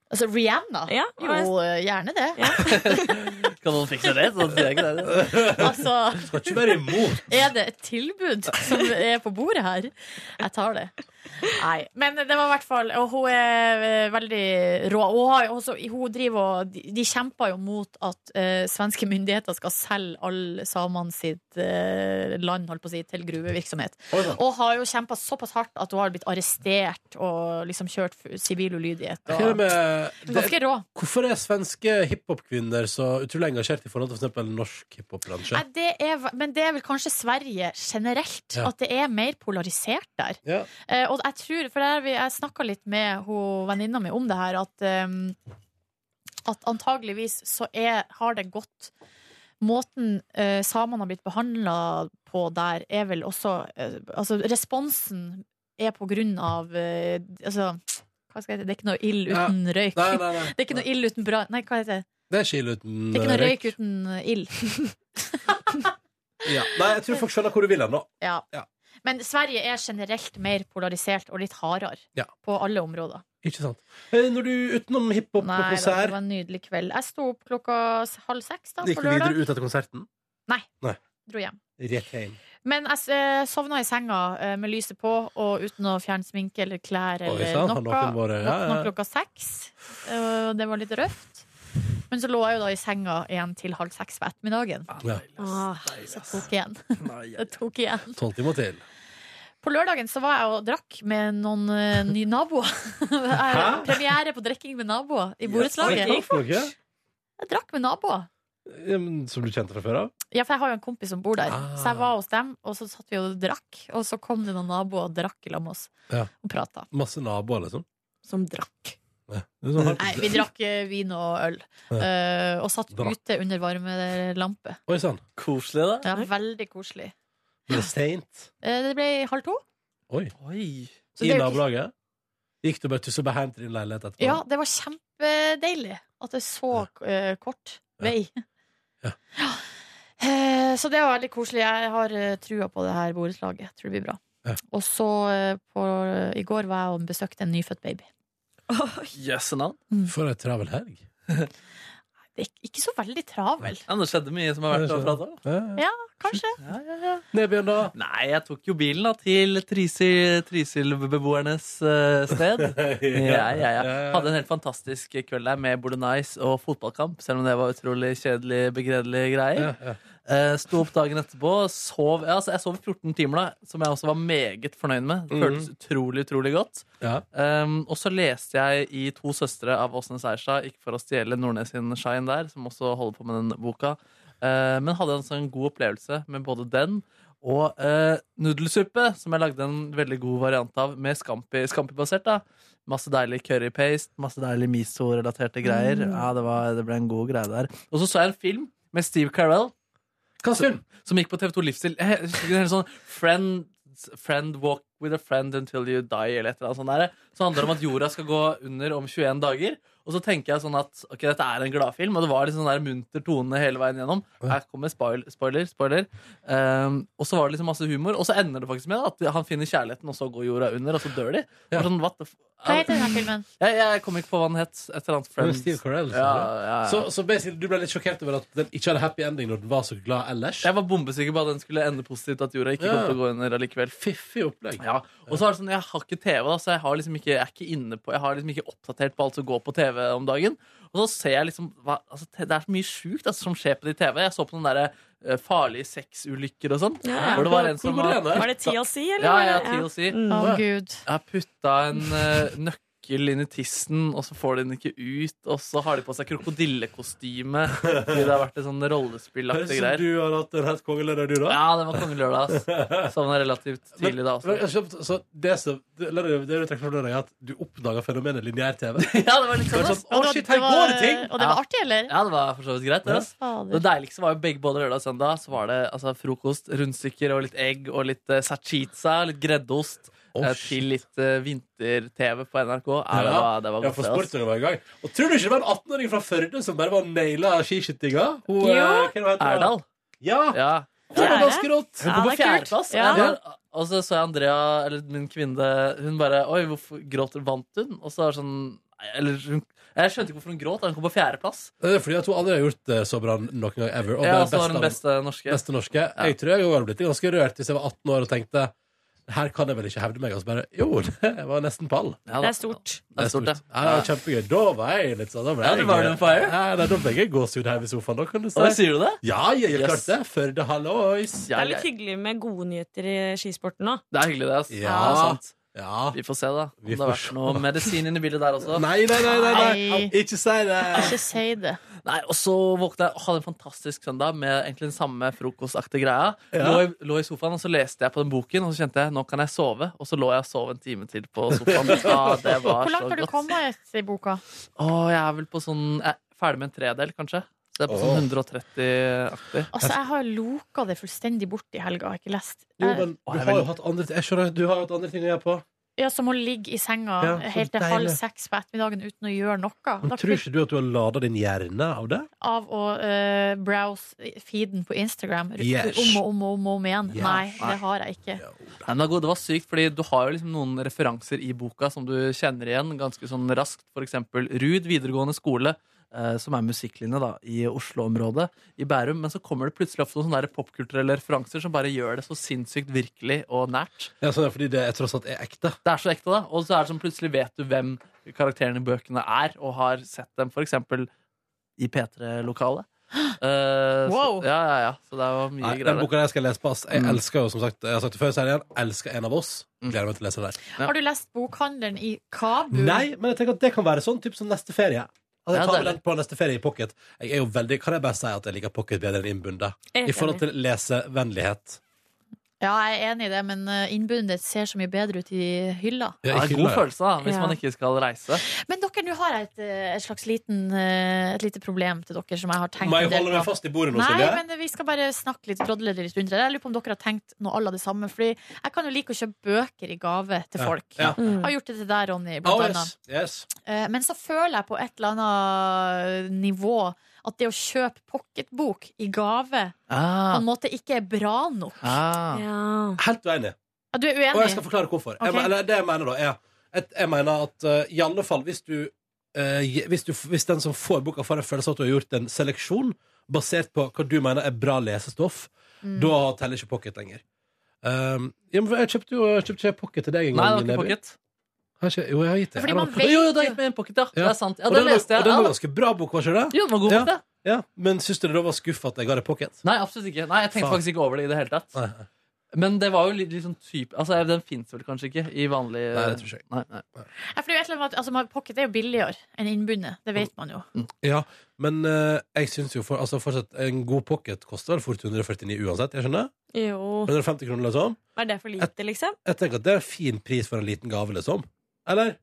[SPEAKER 3] Altså Rihanna?
[SPEAKER 12] Ja,
[SPEAKER 3] Jo, eh, gjerne det.
[SPEAKER 4] Kan noen fikse det? Sånn sier jeg ikke det.
[SPEAKER 3] Altså,
[SPEAKER 2] Skal ikke være imot.
[SPEAKER 3] er det et tilbud som er på bordet her? Jeg tar det. Nei, men det var i hvert fall Og hun er eh, veldig rå. Og Hun, har jo også, hun driver og de, de kjemper jo mot at eh, svenske myndigheter skal selge alle samene sitt eh, land holdt på å si, til gruvevirksomhet. Og har jo kjempa såpass hardt at hun har blitt arrestert og liksom kjørt f- sivil ulydighet.
[SPEAKER 2] Hva er det
[SPEAKER 3] Og,
[SPEAKER 2] med-
[SPEAKER 3] ganske rå.
[SPEAKER 2] Hvorfor er svenske hiphop-kvinner så utrolig engasjert i forhold til for eksempel norsk hiphop-bransje?
[SPEAKER 3] Nei, det er, men det er vel kanskje Sverige generelt.
[SPEAKER 2] Ja.
[SPEAKER 3] At det er mer polarisert der.
[SPEAKER 2] Ja.
[SPEAKER 3] Eh, og jeg tror, for der, vi- jeg snakka litt med ho, venninna mi om det her, at, ehm, at antageligvis så er, har det gått Måten eh, samene har blitt behandla på der, er vel også eh, Altså, responsen er på grunn av eh, Altså, hva skal jeg si? Det er ikke noe ild
[SPEAKER 2] Ja.
[SPEAKER 3] uten røyk.
[SPEAKER 2] Nei, nei, nei.
[SPEAKER 3] Det er ikke noe ild uten bra... Nei, hva heter det?
[SPEAKER 2] Det er skil uten
[SPEAKER 3] Det er ikke noe
[SPEAKER 2] eh,
[SPEAKER 3] røyk uten eh, ild.
[SPEAKER 2] Ja. Nei, jeg tror folk skjønner hvor du vil hen nå.
[SPEAKER 3] Ja. Men Sverige er generelt mer polarisert og litt hardere
[SPEAKER 2] Ja.
[SPEAKER 3] på alle områder.
[SPEAKER 2] Ikke sant. Eh, Når du utenom hiphop
[SPEAKER 3] Nei,
[SPEAKER 2] og
[SPEAKER 3] da, det
[SPEAKER 2] konsert
[SPEAKER 3] var en nydelig kveld. Jeg sto opp klokka s- halv seks da,
[SPEAKER 2] Gikk
[SPEAKER 3] på
[SPEAKER 2] du videre
[SPEAKER 3] lørdag.
[SPEAKER 2] ut etter konserten?
[SPEAKER 3] Nei,
[SPEAKER 2] Nei.
[SPEAKER 3] dro hjem.
[SPEAKER 2] Rett hjem.
[SPEAKER 3] Men jeg s- eh, sovna i senga eh, med lyset på og uten å fjerne sminke eller klær
[SPEAKER 2] Oi,
[SPEAKER 3] eller
[SPEAKER 2] sant,
[SPEAKER 3] noe.
[SPEAKER 2] har noen vært- ja,
[SPEAKER 3] Våkna
[SPEAKER 2] ja, ja.
[SPEAKER 3] klokka seks. eh, og Det var litt røft. Men så lå jeg jo da i senga igjen til halv seks på ettermiddagen.
[SPEAKER 2] Ja.
[SPEAKER 3] Ah, så tok igjen. Det tok igjen.
[SPEAKER 2] Tolv timer til.
[SPEAKER 3] På lørdagen så var jeg og drakk med noen eh, nye naboer.
[SPEAKER 2] Hæ?
[SPEAKER 3] Premiere på drikking med naboer i borettslaget.
[SPEAKER 2] Yes, det gikk fort.
[SPEAKER 3] Jeg drakk med naboer.
[SPEAKER 2] Ja, men Som du kjente fra før av?
[SPEAKER 3] Ja, for jeg har jo en kompis som bor der.
[SPEAKER 2] Ah.
[SPEAKER 3] Så jeg var hos dem, og så satt vi og drakk. Og så kom det noen naboer og drakk i lag med oss.
[SPEAKER 2] Ja.
[SPEAKER 3] Og prata.
[SPEAKER 2] Masse naboer, liksom?
[SPEAKER 3] Som drakk.
[SPEAKER 2] Ja. Det er sånn her-
[SPEAKER 3] Nei, vi drakk eh, vin og øl.
[SPEAKER 2] Ja.
[SPEAKER 3] eh, og satt
[SPEAKER 2] Drakk.
[SPEAKER 3] ute under varmelampe.
[SPEAKER 2] Oi sånn. sann.
[SPEAKER 4] Koselig, da.
[SPEAKER 3] Ja, veldig koselig.
[SPEAKER 2] Ble det seint?
[SPEAKER 3] Eh, det ble halv to.
[SPEAKER 2] Oi.
[SPEAKER 3] Så
[SPEAKER 2] I
[SPEAKER 3] det er jo ikke-
[SPEAKER 2] nabolaget? Gikk du bare tusse og beheim til din leilighet etterpå?
[SPEAKER 3] Ja, det var kjempedeilig at det er så eh, kort vei. Ja. Eh, Så det var veldig koselig. Jeg har eh, trua på det her borettslaget. Jeg Tror det blir bra. Og så eh, på, i går var jeg og besøkte en nyfødt baby.
[SPEAKER 4] Jøsse navn.
[SPEAKER 2] For ei travel helg.
[SPEAKER 3] det er ikke så veldig travel.
[SPEAKER 4] Ja, det skjedde mye som er verdt å prate om.
[SPEAKER 3] Ja, kanskje.
[SPEAKER 14] Nedbjørn, da?
[SPEAKER 4] Nei, jeg tok jo bilen da til Trysil- Trysil-beboernes eh, sted. ja, ja, ja. Hadde en helt fantastisk kveld der med både nice og fotballkamp, selv om det var utrolig kjedelig, begredelige greier.
[SPEAKER 2] Ja, ja.
[SPEAKER 4] Eh, Sto opp dagen etterpå, sov ja, altså, Jeg sov i 14 timer, da, som jeg også var meget fornøyd med. Det føltes
[SPEAKER 2] Mhm.
[SPEAKER 4] utrolig, utrolig godt. Um, og så leste jeg i To søstre av Åsnes Eierstad, ikke for å stjele Nordnes sin shine der, som også holder på med den boka, Eh, men hadde altså en god opplevelse med både den og eh, nudelsuppe, som jeg lagde en veldig god variant av, med scampi, scampi-basert. da. Masse deilig currypaste, masse deilig miso-relaterte greier.
[SPEAKER 14] Mm.
[SPEAKER 4] Ja, det, var, det ble en god greie der. Og så så jeg en film med Steve Carell.
[SPEAKER 14] Som,
[SPEAKER 4] som gikk på TV2 Livsstil. Eh, En hel sånn friend, friend walk with a friend until you die, eller et eller annet sånt. Der. Så handler det om at jorda skal gå under om 21 dager. Og så tenker jeg sånn at ok, dette er en gladfilm, og det var litt sånn der munter tone hele veien gjennom. Her kommer spoil, spoiler, spoiler. Ehm, og så var det liksom masse humor, og så ender det faktisk med at han finner kjærligheten, og så går jorda under, og så dør de. Det var Sånn, what the f
[SPEAKER 3] Hva heter denne filmen?
[SPEAKER 4] jeg, jeg kom ikke på hva den het. Et eller annet
[SPEAKER 2] Med
[SPEAKER 4] Friends.
[SPEAKER 2] Steve Carell.
[SPEAKER 4] Ja, ja, ja.
[SPEAKER 2] Så, så basically, du ble litt sjokkert over at den ikke hadde happy ending når den var så glad ellers?
[SPEAKER 4] Jeg var bombesikker på at den skulle ende positivt, at jorda ikke
[SPEAKER 2] Ja.
[SPEAKER 4] kom til å gå under allikevel.
[SPEAKER 2] Fiffig opplegg.
[SPEAKER 4] Ja. Og så er det sånn, jeg har ikke TV, da, så jeg, har liksom ikke, jeg er ikke inne på Jeg har liksom ikke oppdatert på alt som går på TV om dagen. Og så ser jeg liksom hva, altså, te- Det er så mye sjukt altså, som skjer på de TV. Jeg så på noen derre eh, farlige sexulykker og sånn.
[SPEAKER 12] Ja.
[SPEAKER 4] Hvor det var en
[SPEAKER 12] Hvor
[SPEAKER 4] som
[SPEAKER 12] går det hen, da? Var det
[SPEAKER 4] putta-
[SPEAKER 12] TLC, eller
[SPEAKER 4] Ja,
[SPEAKER 12] var
[SPEAKER 4] ja,
[SPEAKER 12] det- ja.
[SPEAKER 4] TLC.
[SPEAKER 12] Mm. Å, Gud.
[SPEAKER 4] Jeg putta en eh, nøkkel inn i tissen, og så får de den ikke ut, og så har de på seg krokodillekostyme. Fordi det har vært et sånn
[SPEAKER 2] Høres
[SPEAKER 4] rollespillaktig
[SPEAKER 2] ut
[SPEAKER 4] greier.
[SPEAKER 2] som du har hatt en helt kongelørdag, du, da.
[SPEAKER 4] Ja, det var kongelørdag. ass. Sovna relativt tidlig da altså. også.
[SPEAKER 2] Men, så, så det, som, det, det du trekker fram, er at du oppdaga fenomenet lineær-TV.
[SPEAKER 4] Ja, det var litt sånn, ass.
[SPEAKER 2] Å, shit, her går det ting!
[SPEAKER 3] Og det var artig, eller?
[SPEAKER 4] Ja, det var for så vidt greit. det, ass.
[SPEAKER 3] Ja, fader.
[SPEAKER 4] det deiligste var jo begge både lørdag og søndag. Så var det altså, frokost, rundstykker og litt egg og litt uh, sachiza, litt greddost. eh, til litt eh, vinter-TV på NRK. Ja, det var, det var
[SPEAKER 2] ja,
[SPEAKER 4] godt.
[SPEAKER 2] for
[SPEAKER 4] det, ass.
[SPEAKER 2] sporten var i gang. Og tror du ikke det var en 18-åring fra Førde som bare var naila skiskytinga? Hun, eh,
[SPEAKER 4] Jo.
[SPEAKER 2] hva er det hun heter?
[SPEAKER 4] Erdal.
[SPEAKER 2] Ja.
[SPEAKER 4] Det
[SPEAKER 2] Det var ganske rått.
[SPEAKER 4] Hun kom på fjerdeplass. og jeg bare- Og så så jeg Andrea, eller min kvinne, hun bare Oi, hvorfor gråter Vant hun? Og så var det sånn nei, Eller hun Jeg skjønte ikke hvorfor hun gråt. da Hun kom på fjerdeplass.
[SPEAKER 2] Det er fordi at hun aldri har gjort det så bra noen gang ever.
[SPEAKER 4] Ja,
[SPEAKER 2] ble
[SPEAKER 4] så var hun
[SPEAKER 2] best
[SPEAKER 4] beste norske.
[SPEAKER 2] altså, beste norske. Jeg tror jeg hadde blitt ganske rørt hvis jeg var 18 år og tenkte her kan jeg vel ikke hevde meg. Og så bare jo, det var nesten pall.
[SPEAKER 4] Ja, da. Det er stort.
[SPEAKER 2] Det er stort, ja. det var kjempegøy. Da var jeg litt sånn. Da ble
[SPEAKER 4] Ja,
[SPEAKER 2] jeg,
[SPEAKER 4] du var on fire.
[SPEAKER 2] Ja, nei, da ble jeg gåsehud her ved sofaen. Da kan du si.
[SPEAKER 4] Ja, sier du det?
[SPEAKER 2] Ja, ja, jeg
[SPEAKER 4] Yes.
[SPEAKER 2] klarte det. Førde hallois.
[SPEAKER 12] Det er litt hyggelig med gode nyheter i skisporten nå.
[SPEAKER 4] Det er hyggelig, det. ass.
[SPEAKER 2] Ja.
[SPEAKER 4] det er sant.
[SPEAKER 2] Ja.
[SPEAKER 4] Vi får se, da. Om
[SPEAKER 2] Vi
[SPEAKER 4] det har
[SPEAKER 2] får
[SPEAKER 4] vært noe
[SPEAKER 2] se.
[SPEAKER 4] medisin inni bildet der også.
[SPEAKER 2] Nei, nei, nei, nei, nei.
[SPEAKER 4] Nei.
[SPEAKER 2] Ikke si det.
[SPEAKER 3] Ikke si det.
[SPEAKER 4] Nei, og så våkna jeg og hadde en fantastisk søndag med egentlig den samme frokostaktige greia.
[SPEAKER 2] Ja.
[SPEAKER 4] Lå, i, lå i sofaen, og så leste jeg på den boken, og så kjente jeg nå kan jeg sove. Og så lå jeg og sov en time til på sofaen. Ja, det var
[SPEAKER 3] Hvor
[SPEAKER 4] så
[SPEAKER 3] langt har du
[SPEAKER 4] godt.
[SPEAKER 3] kommet i boka?
[SPEAKER 4] Å, jeg er vel på sånn jeg er Ferdig med en tredel, kanskje. Så det er på
[SPEAKER 3] Åh.
[SPEAKER 4] sånn 130-aktig.
[SPEAKER 3] Altså, Jeg har loka det fullstendig bort i helga, jeg har ikke lest.
[SPEAKER 2] Jo,
[SPEAKER 3] Jeg-
[SPEAKER 2] men du har jo hatt andre, jeg skjønner, at du har jo hatt andre ting å gjøre på.
[SPEAKER 3] Ja, Som å ligge i senga
[SPEAKER 2] Ja, så
[SPEAKER 3] helt til halv
[SPEAKER 2] deilig.
[SPEAKER 3] seks på ettermiddagen uten å gjøre noe.
[SPEAKER 2] Men
[SPEAKER 3] Da
[SPEAKER 2] tror ikke du at du har lada din hjerne av det?
[SPEAKER 3] av å eh, browse feeden på Instagram rundt-
[SPEAKER 4] Yes.
[SPEAKER 3] om og om og om, og om igjen.
[SPEAKER 4] Ja.
[SPEAKER 3] Nei,
[SPEAKER 4] Nei.
[SPEAKER 3] det har jeg ikke.
[SPEAKER 4] Nei, men det, var god, det var sykt, fordi du har jo liksom noen referanser i boka som du kjenner igjen ganske sånn raskt. For eksempel Rud videregående skole, eh, som er musikklinje da, i Oslo-området, i Bærum. Men så kommer det plutselig ofte noen sånne der popkulturelle referanser som bare gjør det så sinnssykt virkelig og nært.
[SPEAKER 2] Ja, sånn, fordi det er tross alt er ekte.
[SPEAKER 4] Det er så ekte, da. Og så er det som plutselig vet du hvem karakterene i bøkene er, og har sett dem for eksempel i P3-lokalet. Eh,
[SPEAKER 2] Wow.
[SPEAKER 4] Så, ja, ja, ja. Så det var mye
[SPEAKER 2] Nei,
[SPEAKER 4] greier.
[SPEAKER 2] den boka der skal jeg lese på. ass. Jeg
[SPEAKER 3] Mm.
[SPEAKER 2] elsker jo, som sagt, jeg har sagt det før, så er det igjen, elsker en av oss. Gleder meg til å lese den der.
[SPEAKER 3] Har du lest Bokhandelen i Kabul?
[SPEAKER 2] Nei, men jeg tenker at det kan være sånn typ som neste ferie. Altså,
[SPEAKER 3] Ja,
[SPEAKER 2] jeg tar med
[SPEAKER 3] deilig.
[SPEAKER 2] den på neste ferie i pocket. Jeg er jo veldig, kan jeg bare si at jeg liker pocket bedre enn innbundet?
[SPEAKER 3] Jeg er
[SPEAKER 2] I forhold til lesevennlighet.
[SPEAKER 3] Ja, jeg er enig i det, men eh, innbundet ser så mye bedre ut i hylla.
[SPEAKER 4] Det er en god følelse da, hvis
[SPEAKER 3] Ja.
[SPEAKER 4] man ikke skal reise.
[SPEAKER 3] Men dere, nå har jeg et, eh, et slags liten, eh, et lite problem til dere som jeg har tenkt
[SPEAKER 2] Må jeg
[SPEAKER 3] en del
[SPEAKER 2] holde meg
[SPEAKER 3] på.
[SPEAKER 2] fast i bordet nå,
[SPEAKER 3] Nei,
[SPEAKER 2] Silje?
[SPEAKER 3] men eh, vi skal bare snakke litt, drodle litt rundt det. Jeg lurer på om dere har tenkt noe alle det samme, fordi jeg kan jo like å kjøpe bøker i gave til
[SPEAKER 2] Ja,
[SPEAKER 3] folk.
[SPEAKER 2] ja. Mm.
[SPEAKER 3] Har gjort det til deg, Ronny, blant
[SPEAKER 2] Oh,
[SPEAKER 3] annet.
[SPEAKER 2] yes, yes.
[SPEAKER 3] Eh, Men så føler jeg på et eller annet nivå at det å kjøpe pocketbok i gave på
[SPEAKER 2] Ah.
[SPEAKER 3] en måte ikke er bra
[SPEAKER 4] Ah.
[SPEAKER 3] nok.
[SPEAKER 2] Helt uenig.
[SPEAKER 3] Ja, Du er uenig?
[SPEAKER 2] Og jeg skal forklare hvorfor. Jeg,
[SPEAKER 3] Ok.
[SPEAKER 2] mener- eller, det jeg mener da, er at jeg mener at eh, i alle fall hvis du eh, gi- hvis, du, f- hvis den som får boka, får en følelse av at du har gjort en seleksjon basert på hva du mener er bra lesestoff,
[SPEAKER 15] Mm.
[SPEAKER 2] da teller ikke pocket lenger. Um, ja, men jeg kjøpte jo jeg kjøpte ikke pocket til deg en
[SPEAKER 4] Nei,
[SPEAKER 2] gang.
[SPEAKER 4] det var ikke
[SPEAKER 2] Neby.
[SPEAKER 4] pocket.
[SPEAKER 2] Har ikke, jo, jeg har gitt det.
[SPEAKER 4] Fordi
[SPEAKER 2] Jeg
[SPEAKER 4] man
[SPEAKER 2] var-
[SPEAKER 4] vet Jo, jo, du har gitt meg en pocket, ja. Det er sant. Ja,
[SPEAKER 2] og
[SPEAKER 4] den
[SPEAKER 2] den, var-
[SPEAKER 4] leste jeg.
[SPEAKER 2] og den
[SPEAKER 4] Ja,
[SPEAKER 2] var
[SPEAKER 4] da.
[SPEAKER 2] ganske bra bok, var ikke det?
[SPEAKER 4] Jo, den var god
[SPEAKER 2] ja.
[SPEAKER 4] bok, det.
[SPEAKER 2] Ja. Men syns du det da var skuffa at jeg ga deg pocket?
[SPEAKER 4] Nei, absolutt ikke. Nei, jeg tenkte
[SPEAKER 2] Faen.
[SPEAKER 4] faktisk ikke over det i det hele tatt. Men det var jo litt, litt sånn type Altså, Den fins vel kanskje ikke i vanlig
[SPEAKER 2] Nei, det tror jeg ikke.
[SPEAKER 4] Nei, nei.
[SPEAKER 3] Ja, for det er jo et eller annet med at, altså, man- Pocket er jo billigere enn innbundet. Det vet man jo.
[SPEAKER 2] Ja, men eh, jeg syns jo for, altså fortsatt en god pocket koster vel fort 149 uansett, jeg skjønner?
[SPEAKER 12] Jo.
[SPEAKER 2] 150 kroner, liksom?
[SPEAKER 12] Er det for lite, liksom?
[SPEAKER 2] Jeg tenker at det er en fin pris for en liten gave, liksom. Eller?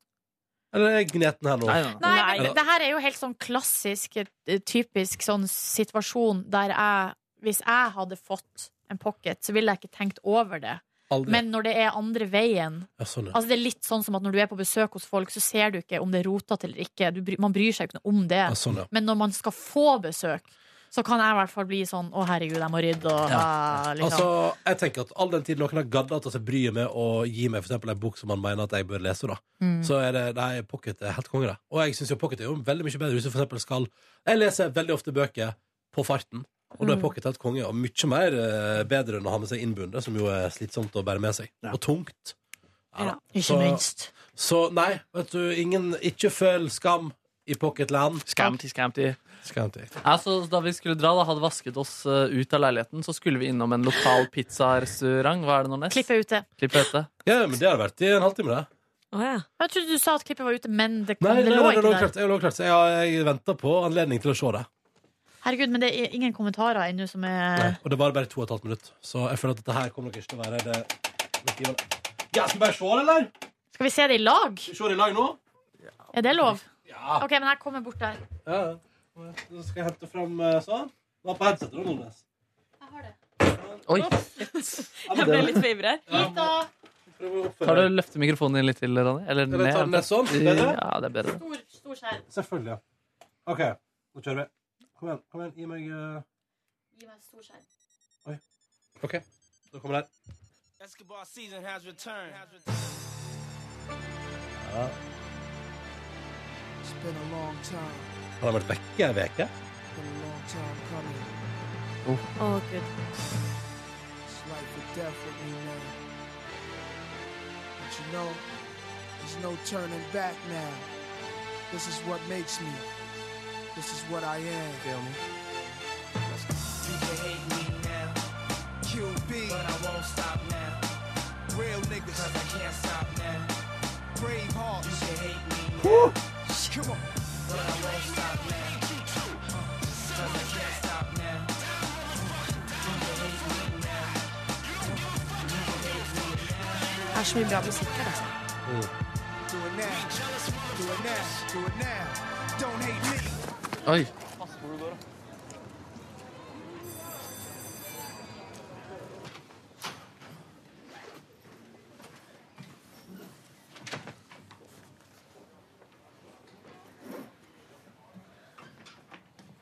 [SPEAKER 2] Eller er jeg gneten her nå?
[SPEAKER 3] Nei, men
[SPEAKER 2] Eller-
[SPEAKER 3] det her er jo helt sånn klassisk, eh, typisk sånn situasjon der jeg Hvis jeg hadde fått en pocket, så ville jeg ikke tenkt over det.
[SPEAKER 2] Aldri.
[SPEAKER 3] Men når det er andre veien
[SPEAKER 2] Ja, sånn, ja.
[SPEAKER 3] Altså Det er litt sånn som at når du er på besøk hos folk, så ser du ikke om det er rotete eller ikke. Du, bry- man bryr seg ikke noe om det.
[SPEAKER 2] Ja, sånn, ja.
[SPEAKER 3] Men når man skal få besøk, så kan jeg i hvert fall bli sånn Å, herregud, jeg må rydde og eh, liksom.
[SPEAKER 2] Altså, jeg tenker at All den tid noen har gadda til seg bryet med å gi meg for eksempel en bok som man mener at jeg bør lese, da
[SPEAKER 3] Mm.
[SPEAKER 2] så er det Nei, pocket er helt konge, det. Og jeg syns jo pocket er jo veldig mye bedre hvis du for eksempel skal Jeg leser veldig ofte bøker på farten, og da er
[SPEAKER 15] Mm.
[SPEAKER 2] pocket helt konge. Og mye mer eh, bedre enn å ha med seg innbundet, som jo er slitsomt å bære med seg. Og tungt. Ja, da.
[SPEAKER 3] ikke
[SPEAKER 2] Så-
[SPEAKER 3] minst.
[SPEAKER 2] Så nei, vet du, ingen Ikke føl skam i pocketland.
[SPEAKER 4] Skamty, skamty.
[SPEAKER 2] Skamty.
[SPEAKER 4] Altså, da vi skulle dra, da hadde vasket oss eh, ut av leiligheten, så skulle vi innom en lokal pizzarestaurant. Hva er det nå nest?
[SPEAKER 3] Klippet ute.
[SPEAKER 4] Klippe ute.
[SPEAKER 2] Ja, men det har vært i en halvtime, det.
[SPEAKER 3] Jeg trodde du sa at klippet var ute, men det,
[SPEAKER 2] Nei, nei,
[SPEAKER 3] det
[SPEAKER 2] nei,
[SPEAKER 3] lå
[SPEAKER 2] nei, det
[SPEAKER 3] ikke
[SPEAKER 2] lå
[SPEAKER 3] der.
[SPEAKER 2] klart, det lå klart. Så jeg, har- jeg venta på anledning til å se det.
[SPEAKER 3] Herregud, men det er ingen kommentarer ennå som er
[SPEAKER 2] Og det var bare to og et halvt minutt. Så jeg føler at dette her kommer nok ikke til å være det det givende. Ja, skal vi bare se det, eller?
[SPEAKER 3] Skal vi se det i lag?
[SPEAKER 2] Skal vi se det i lag nå?
[SPEAKER 3] Er det lov?
[SPEAKER 2] Ja.
[SPEAKER 3] OK, men jeg kommer bort der.
[SPEAKER 2] Ja, ja. Så skal jeg hente fram eh, sånn. Hva på headsetet da, Nordnes?
[SPEAKER 4] Oi.
[SPEAKER 12] Jeg ble litt fivrig her.
[SPEAKER 3] Hit, da.
[SPEAKER 4] Kan du løfte mikrofonen din litt til, Ronny? Eller
[SPEAKER 2] Eller ta den
[SPEAKER 4] ned?
[SPEAKER 2] ned sånn? Bedre?
[SPEAKER 4] Ja, det er bedre.
[SPEAKER 3] Stor, stor skjerm.
[SPEAKER 2] Selvfølgelig. ja. OK, nå kjører vi. Kom igjen, kom igjen. Gi meg eh,
[SPEAKER 3] Gi meg stor skjerm.
[SPEAKER 2] OK, nå kommer det her.
[SPEAKER 5] Basketball season has returned.
[SPEAKER 2] Ja.
[SPEAKER 5] It's been a long time.
[SPEAKER 2] Han har vært vekke ei uke.
[SPEAKER 5] Been a long time coming.
[SPEAKER 12] Å, Gud.
[SPEAKER 5] It's life or death with me now. But you know, there's no turning back now. This is what makes me. This is what I am. Feel me? You can hate me now. QB. But I won't stop now. Real niggas. Cause I can't stop now. Brave heart. You can hate me now. Come on. But I won't stop now. Cause I can't stop now. You can hate me now.
[SPEAKER 3] Det er så mye bra musikk her, altså.
[SPEAKER 5] Do it now. Do it now. Do it now. Don't hate me.
[SPEAKER 4] Oi.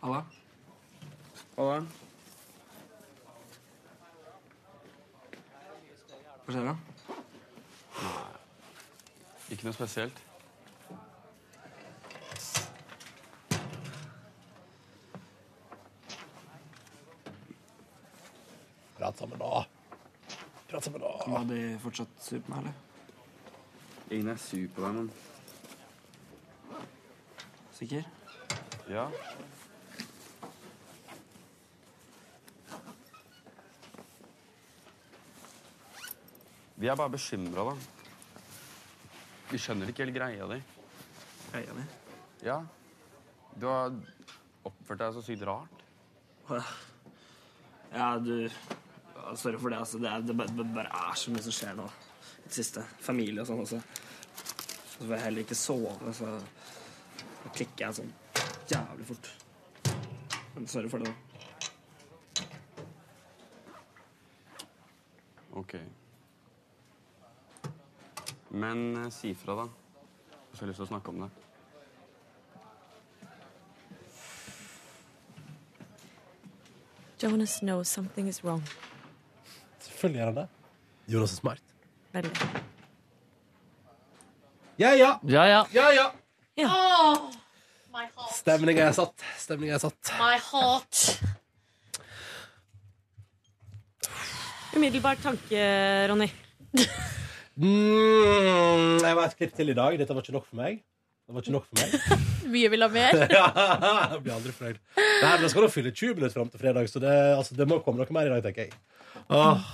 [SPEAKER 1] Halla. Halla. Hva skjer da? Ikke noe spesielt.
[SPEAKER 2] Prat sammen, da. Prat sammen, da.
[SPEAKER 1] Ja, de fortsatt sur på meg, eller? Ingen er sur på deg, men Sikker? Ja. Vi er bare bekymra, da. Vi skjønner ikke helt greia di. Greia mi? Ja. Du har oppført deg så sykt rart.
[SPEAKER 7] Ja, du ja, Sorry for det, altså. Det, er, det, bare, det bare er så mye som skjer nå. I det siste. Familie og sånn også. Så får jeg heller ikke sove, så da klikker jeg sånn jævlig fort. Men sorry for det, da.
[SPEAKER 1] Ok. Men eh, si fra, da. Hvis du har lyst til å snakke om det.
[SPEAKER 12] Jonas knows something is wrong.
[SPEAKER 2] Selvfølgelig gjør han det. Jonas er smart.
[SPEAKER 12] Veldig.
[SPEAKER 2] Ja, ja.
[SPEAKER 4] Ja, ja.
[SPEAKER 2] Ja, ja.
[SPEAKER 12] Ja.
[SPEAKER 3] Åh, Oh, My heart.
[SPEAKER 2] Stemninga er satt. Stemninga er satt.
[SPEAKER 3] My heart.
[SPEAKER 12] Umiddelbart tanke, Ronny.
[SPEAKER 2] Mm, jeg var et klipp til i dag. Dette var ikke nok for meg. Det var ikke nok for meg.
[SPEAKER 3] Mye vil ha mer.
[SPEAKER 2] ja, jeg blir aldri fornøyd. Nei, men jeg skal nå fylle 20 minutter fram til fredag, så det, altså, det må komme noe mer i dag, tenker jeg. Åh.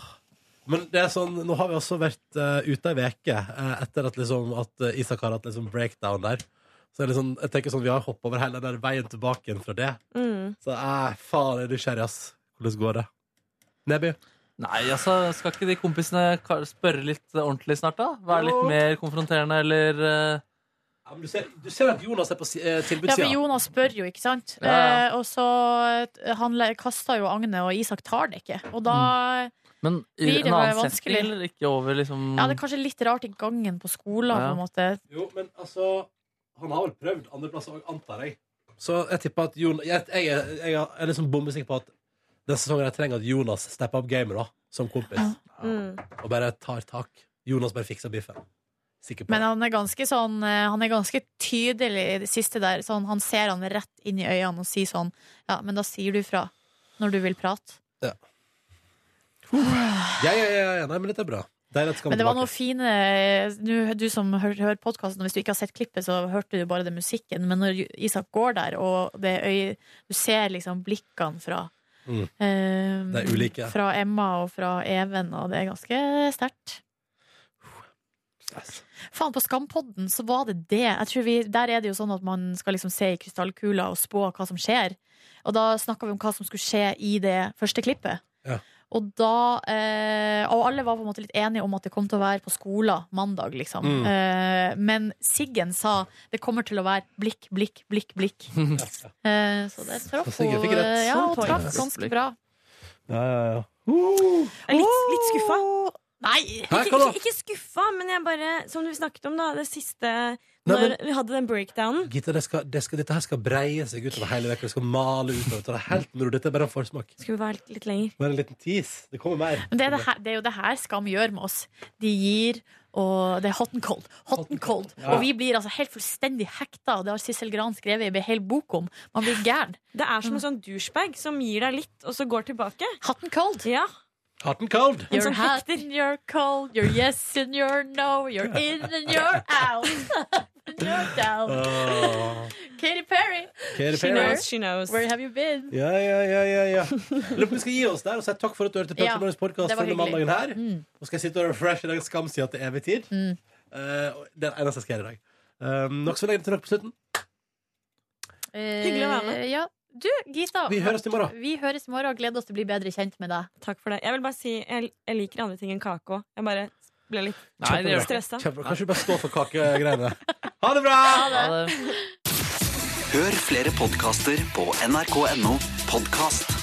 [SPEAKER 2] Men det er sånn, nå har vi også vært eh, ute ei uke eh, etter at, liksom, at eh, Isak har hatt liksom, breakdown der. Så jeg, liksom, jeg tenker sånn, vi har hoppet over hele den der veien tilbake igjen fra det.
[SPEAKER 12] Mm.
[SPEAKER 2] Så eh, faen, jeg er nysgjerrig, ass. Hvordan går det? Neby?
[SPEAKER 4] Nei, altså, skal ikke de kompisene ka- spørre litt eh, ordentlig snart, da? Være litt
[SPEAKER 2] Jo.
[SPEAKER 4] mer konfronterende, eller eh,
[SPEAKER 2] du, ser, at Jonas er på eh,
[SPEAKER 3] Ja, for Jonas spør jo, ikke sant?
[SPEAKER 4] Ja.
[SPEAKER 3] Eh, og så eh, han le- kaster jo Agne, og Isak tar det ikke. Og da
[SPEAKER 2] Mm.
[SPEAKER 4] Men i
[SPEAKER 3] Blir det
[SPEAKER 4] en annen
[SPEAKER 3] vanskelig?
[SPEAKER 4] setting, eller ikke over liksom
[SPEAKER 3] Ja, det er kanskje litt rart i gangen på skolen,
[SPEAKER 4] Ja.
[SPEAKER 3] på en måte.
[SPEAKER 2] Jo, men altså Han har vel prøvd andre plasser òg, antar jeg. Så jeg tipper at Jonas Jeg, jeg, er- jeg, er- jeg er liksom bombesikker på at denne sesongen jeg trenger at Jonas stepper opp gamet, da, som kompis,
[SPEAKER 12] Mm.
[SPEAKER 2] og bare tar tak. Jonas bare fikser biffen. Sikker på
[SPEAKER 3] Men han er ganske sånn eh, Han er ganske tydelig i det siste der. Sånn, han ser han rett inn i øynene og sier sånn Ja, men da sier du fra når du vil prate.
[SPEAKER 2] Ja, ja, ja, ja. Nei, men dette er bra. Deilig at skal
[SPEAKER 3] Men det var noen
[SPEAKER 2] tilbake.
[SPEAKER 3] fine nå, Du som hører, hører podkasten, hvis du ikke har sett klippet, så hørte du bare den musikken. Men når Isak går der, og det øy, du ser liksom blikkene fra
[SPEAKER 2] Mm.
[SPEAKER 3] eh,
[SPEAKER 2] Det er ulike.
[SPEAKER 3] Fra Emma og fra Even, og det er ganske sterkt. Faen, på Skampodden så var det det. Jeg tror vi, der er det jo sånn at man skal liksom se i krystallkula og spå hva som skjer. Og da snakka vi om hva som skulle skje i det første klippet.
[SPEAKER 2] Ja.
[SPEAKER 3] Og da eh, Og alle var på en måte litt enige om at det kom til å være på skolen mandag, liksom.
[SPEAKER 12] Mm.
[SPEAKER 3] Eh, men Siggen sa det kommer til å være blikk, blikk, blikk, blikk. Eh, så det traff
[SPEAKER 12] Så Siggen
[SPEAKER 3] hun
[SPEAKER 12] fikk rett.
[SPEAKER 3] ja, hun
[SPEAKER 12] Sånn poeng.
[SPEAKER 3] traff ganske bra.
[SPEAKER 2] Ja, ja, ja.
[SPEAKER 12] Jeg er litt, litt skuffa.
[SPEAKER 3] Nei,
[SPEAKER 12] ikke,
[SPEAKER 2] Hæ, hva da?
[SPEAKER 12] ikke, ikke skuffa, men jeg bare Som vi snakket om, da, det siste
[SPEAKER 2] Nei,
[SPEAKER 12] Når
[SPEAKER 2] men-
[SPEAKER 12] vi hadde den breakdownen.
[SPEAKER 2] Gitte, det skal, det skal, dette her skal breie seg utover hele veka. Det skal male utover. Det er helt moro. Dette er bare en forsmak.
[SPEAKER 12] Skulle vi være litt, litt lenger.
[SPEAKER 2] Bare en liten tease. Det kommer mer.
[SPEAKER 3] Men det er, det, her, det er jo det her Skam gjør med oss. De gir og det er hot and cold. Hot and cold.
[SPEAKER 2] Ja.
[SPEAKER 3] Og vi blir altså helt fullstendig hekta, og det har Sissel Gran skrevet i en hel bok om. Man blir gæren.
[SPEAKER 12] Det er som en sånn douchebag som gir deg litt, og så går tilbake.
[SPEAKER 3] Hatten cold. sånn
[SPEAKER 12] Ja.
[SPEAKER 2] Hot and cold.
[SPEAKER 3] You're hot and you're cold, you're yes and you're no, you're in and you're out. and you're down.
[SPEAKER 2] Åh.
[SPEAKER 3] Katy Perry.
[SPEAKER 2] Katy She Perry. knows,
[SPEAKER 12] she knows.
[SPEAKER 3] Where have you been?
[SPEAKER 2] Ja, ja, ja, ja, ja. Jeg Lurer på om vi skal gi oss der og si takk for at du hørte
[SPEAKER 3] Ja,
[SPEAKER 2] Petter Morgens podkast
[SPEAKER 3] det var
[SPEAKER 2] denne
[SPEAKER 3] hyggelig.
[SPEAKER 2] mandagen her.
[SPEAKER 3] Mm.
[SPEAKER 2] Nå skal jeg sitte og refreshe den skamsida til evig tid.
[SPEAKER 3] Mm.
[SPEAKER 2] Eh, og det er det eneste jeg skal gjøre i dag. Eh, nok så lenge til dere på slutten.
[SPEAKER 3] Hyggelig
[SPEAKER 12] å være med.
[SPEAKER 3] Eh, Ja. Du, Gita.
[SPEAKER 2] Vi høres i morgen.
[SPEAKER 3] Vi høres i morgen og gleder oss til å bli bedre kjent med deg.
[SPEAKER 12] Takk for det. Jeg vil bare si jeg, jeg liker andre ting enn kake òg. Jeg bare ble litt
[SPEAKER 2] Kjempebra.
[SPEAKER 12] stressa.
[SPEAKER 2] Kjempebra. Kanskje du bare står for kakegreiene. Ha det bra!
[SPEAKER 1] Hør flere podkaster på nrk.no podkast.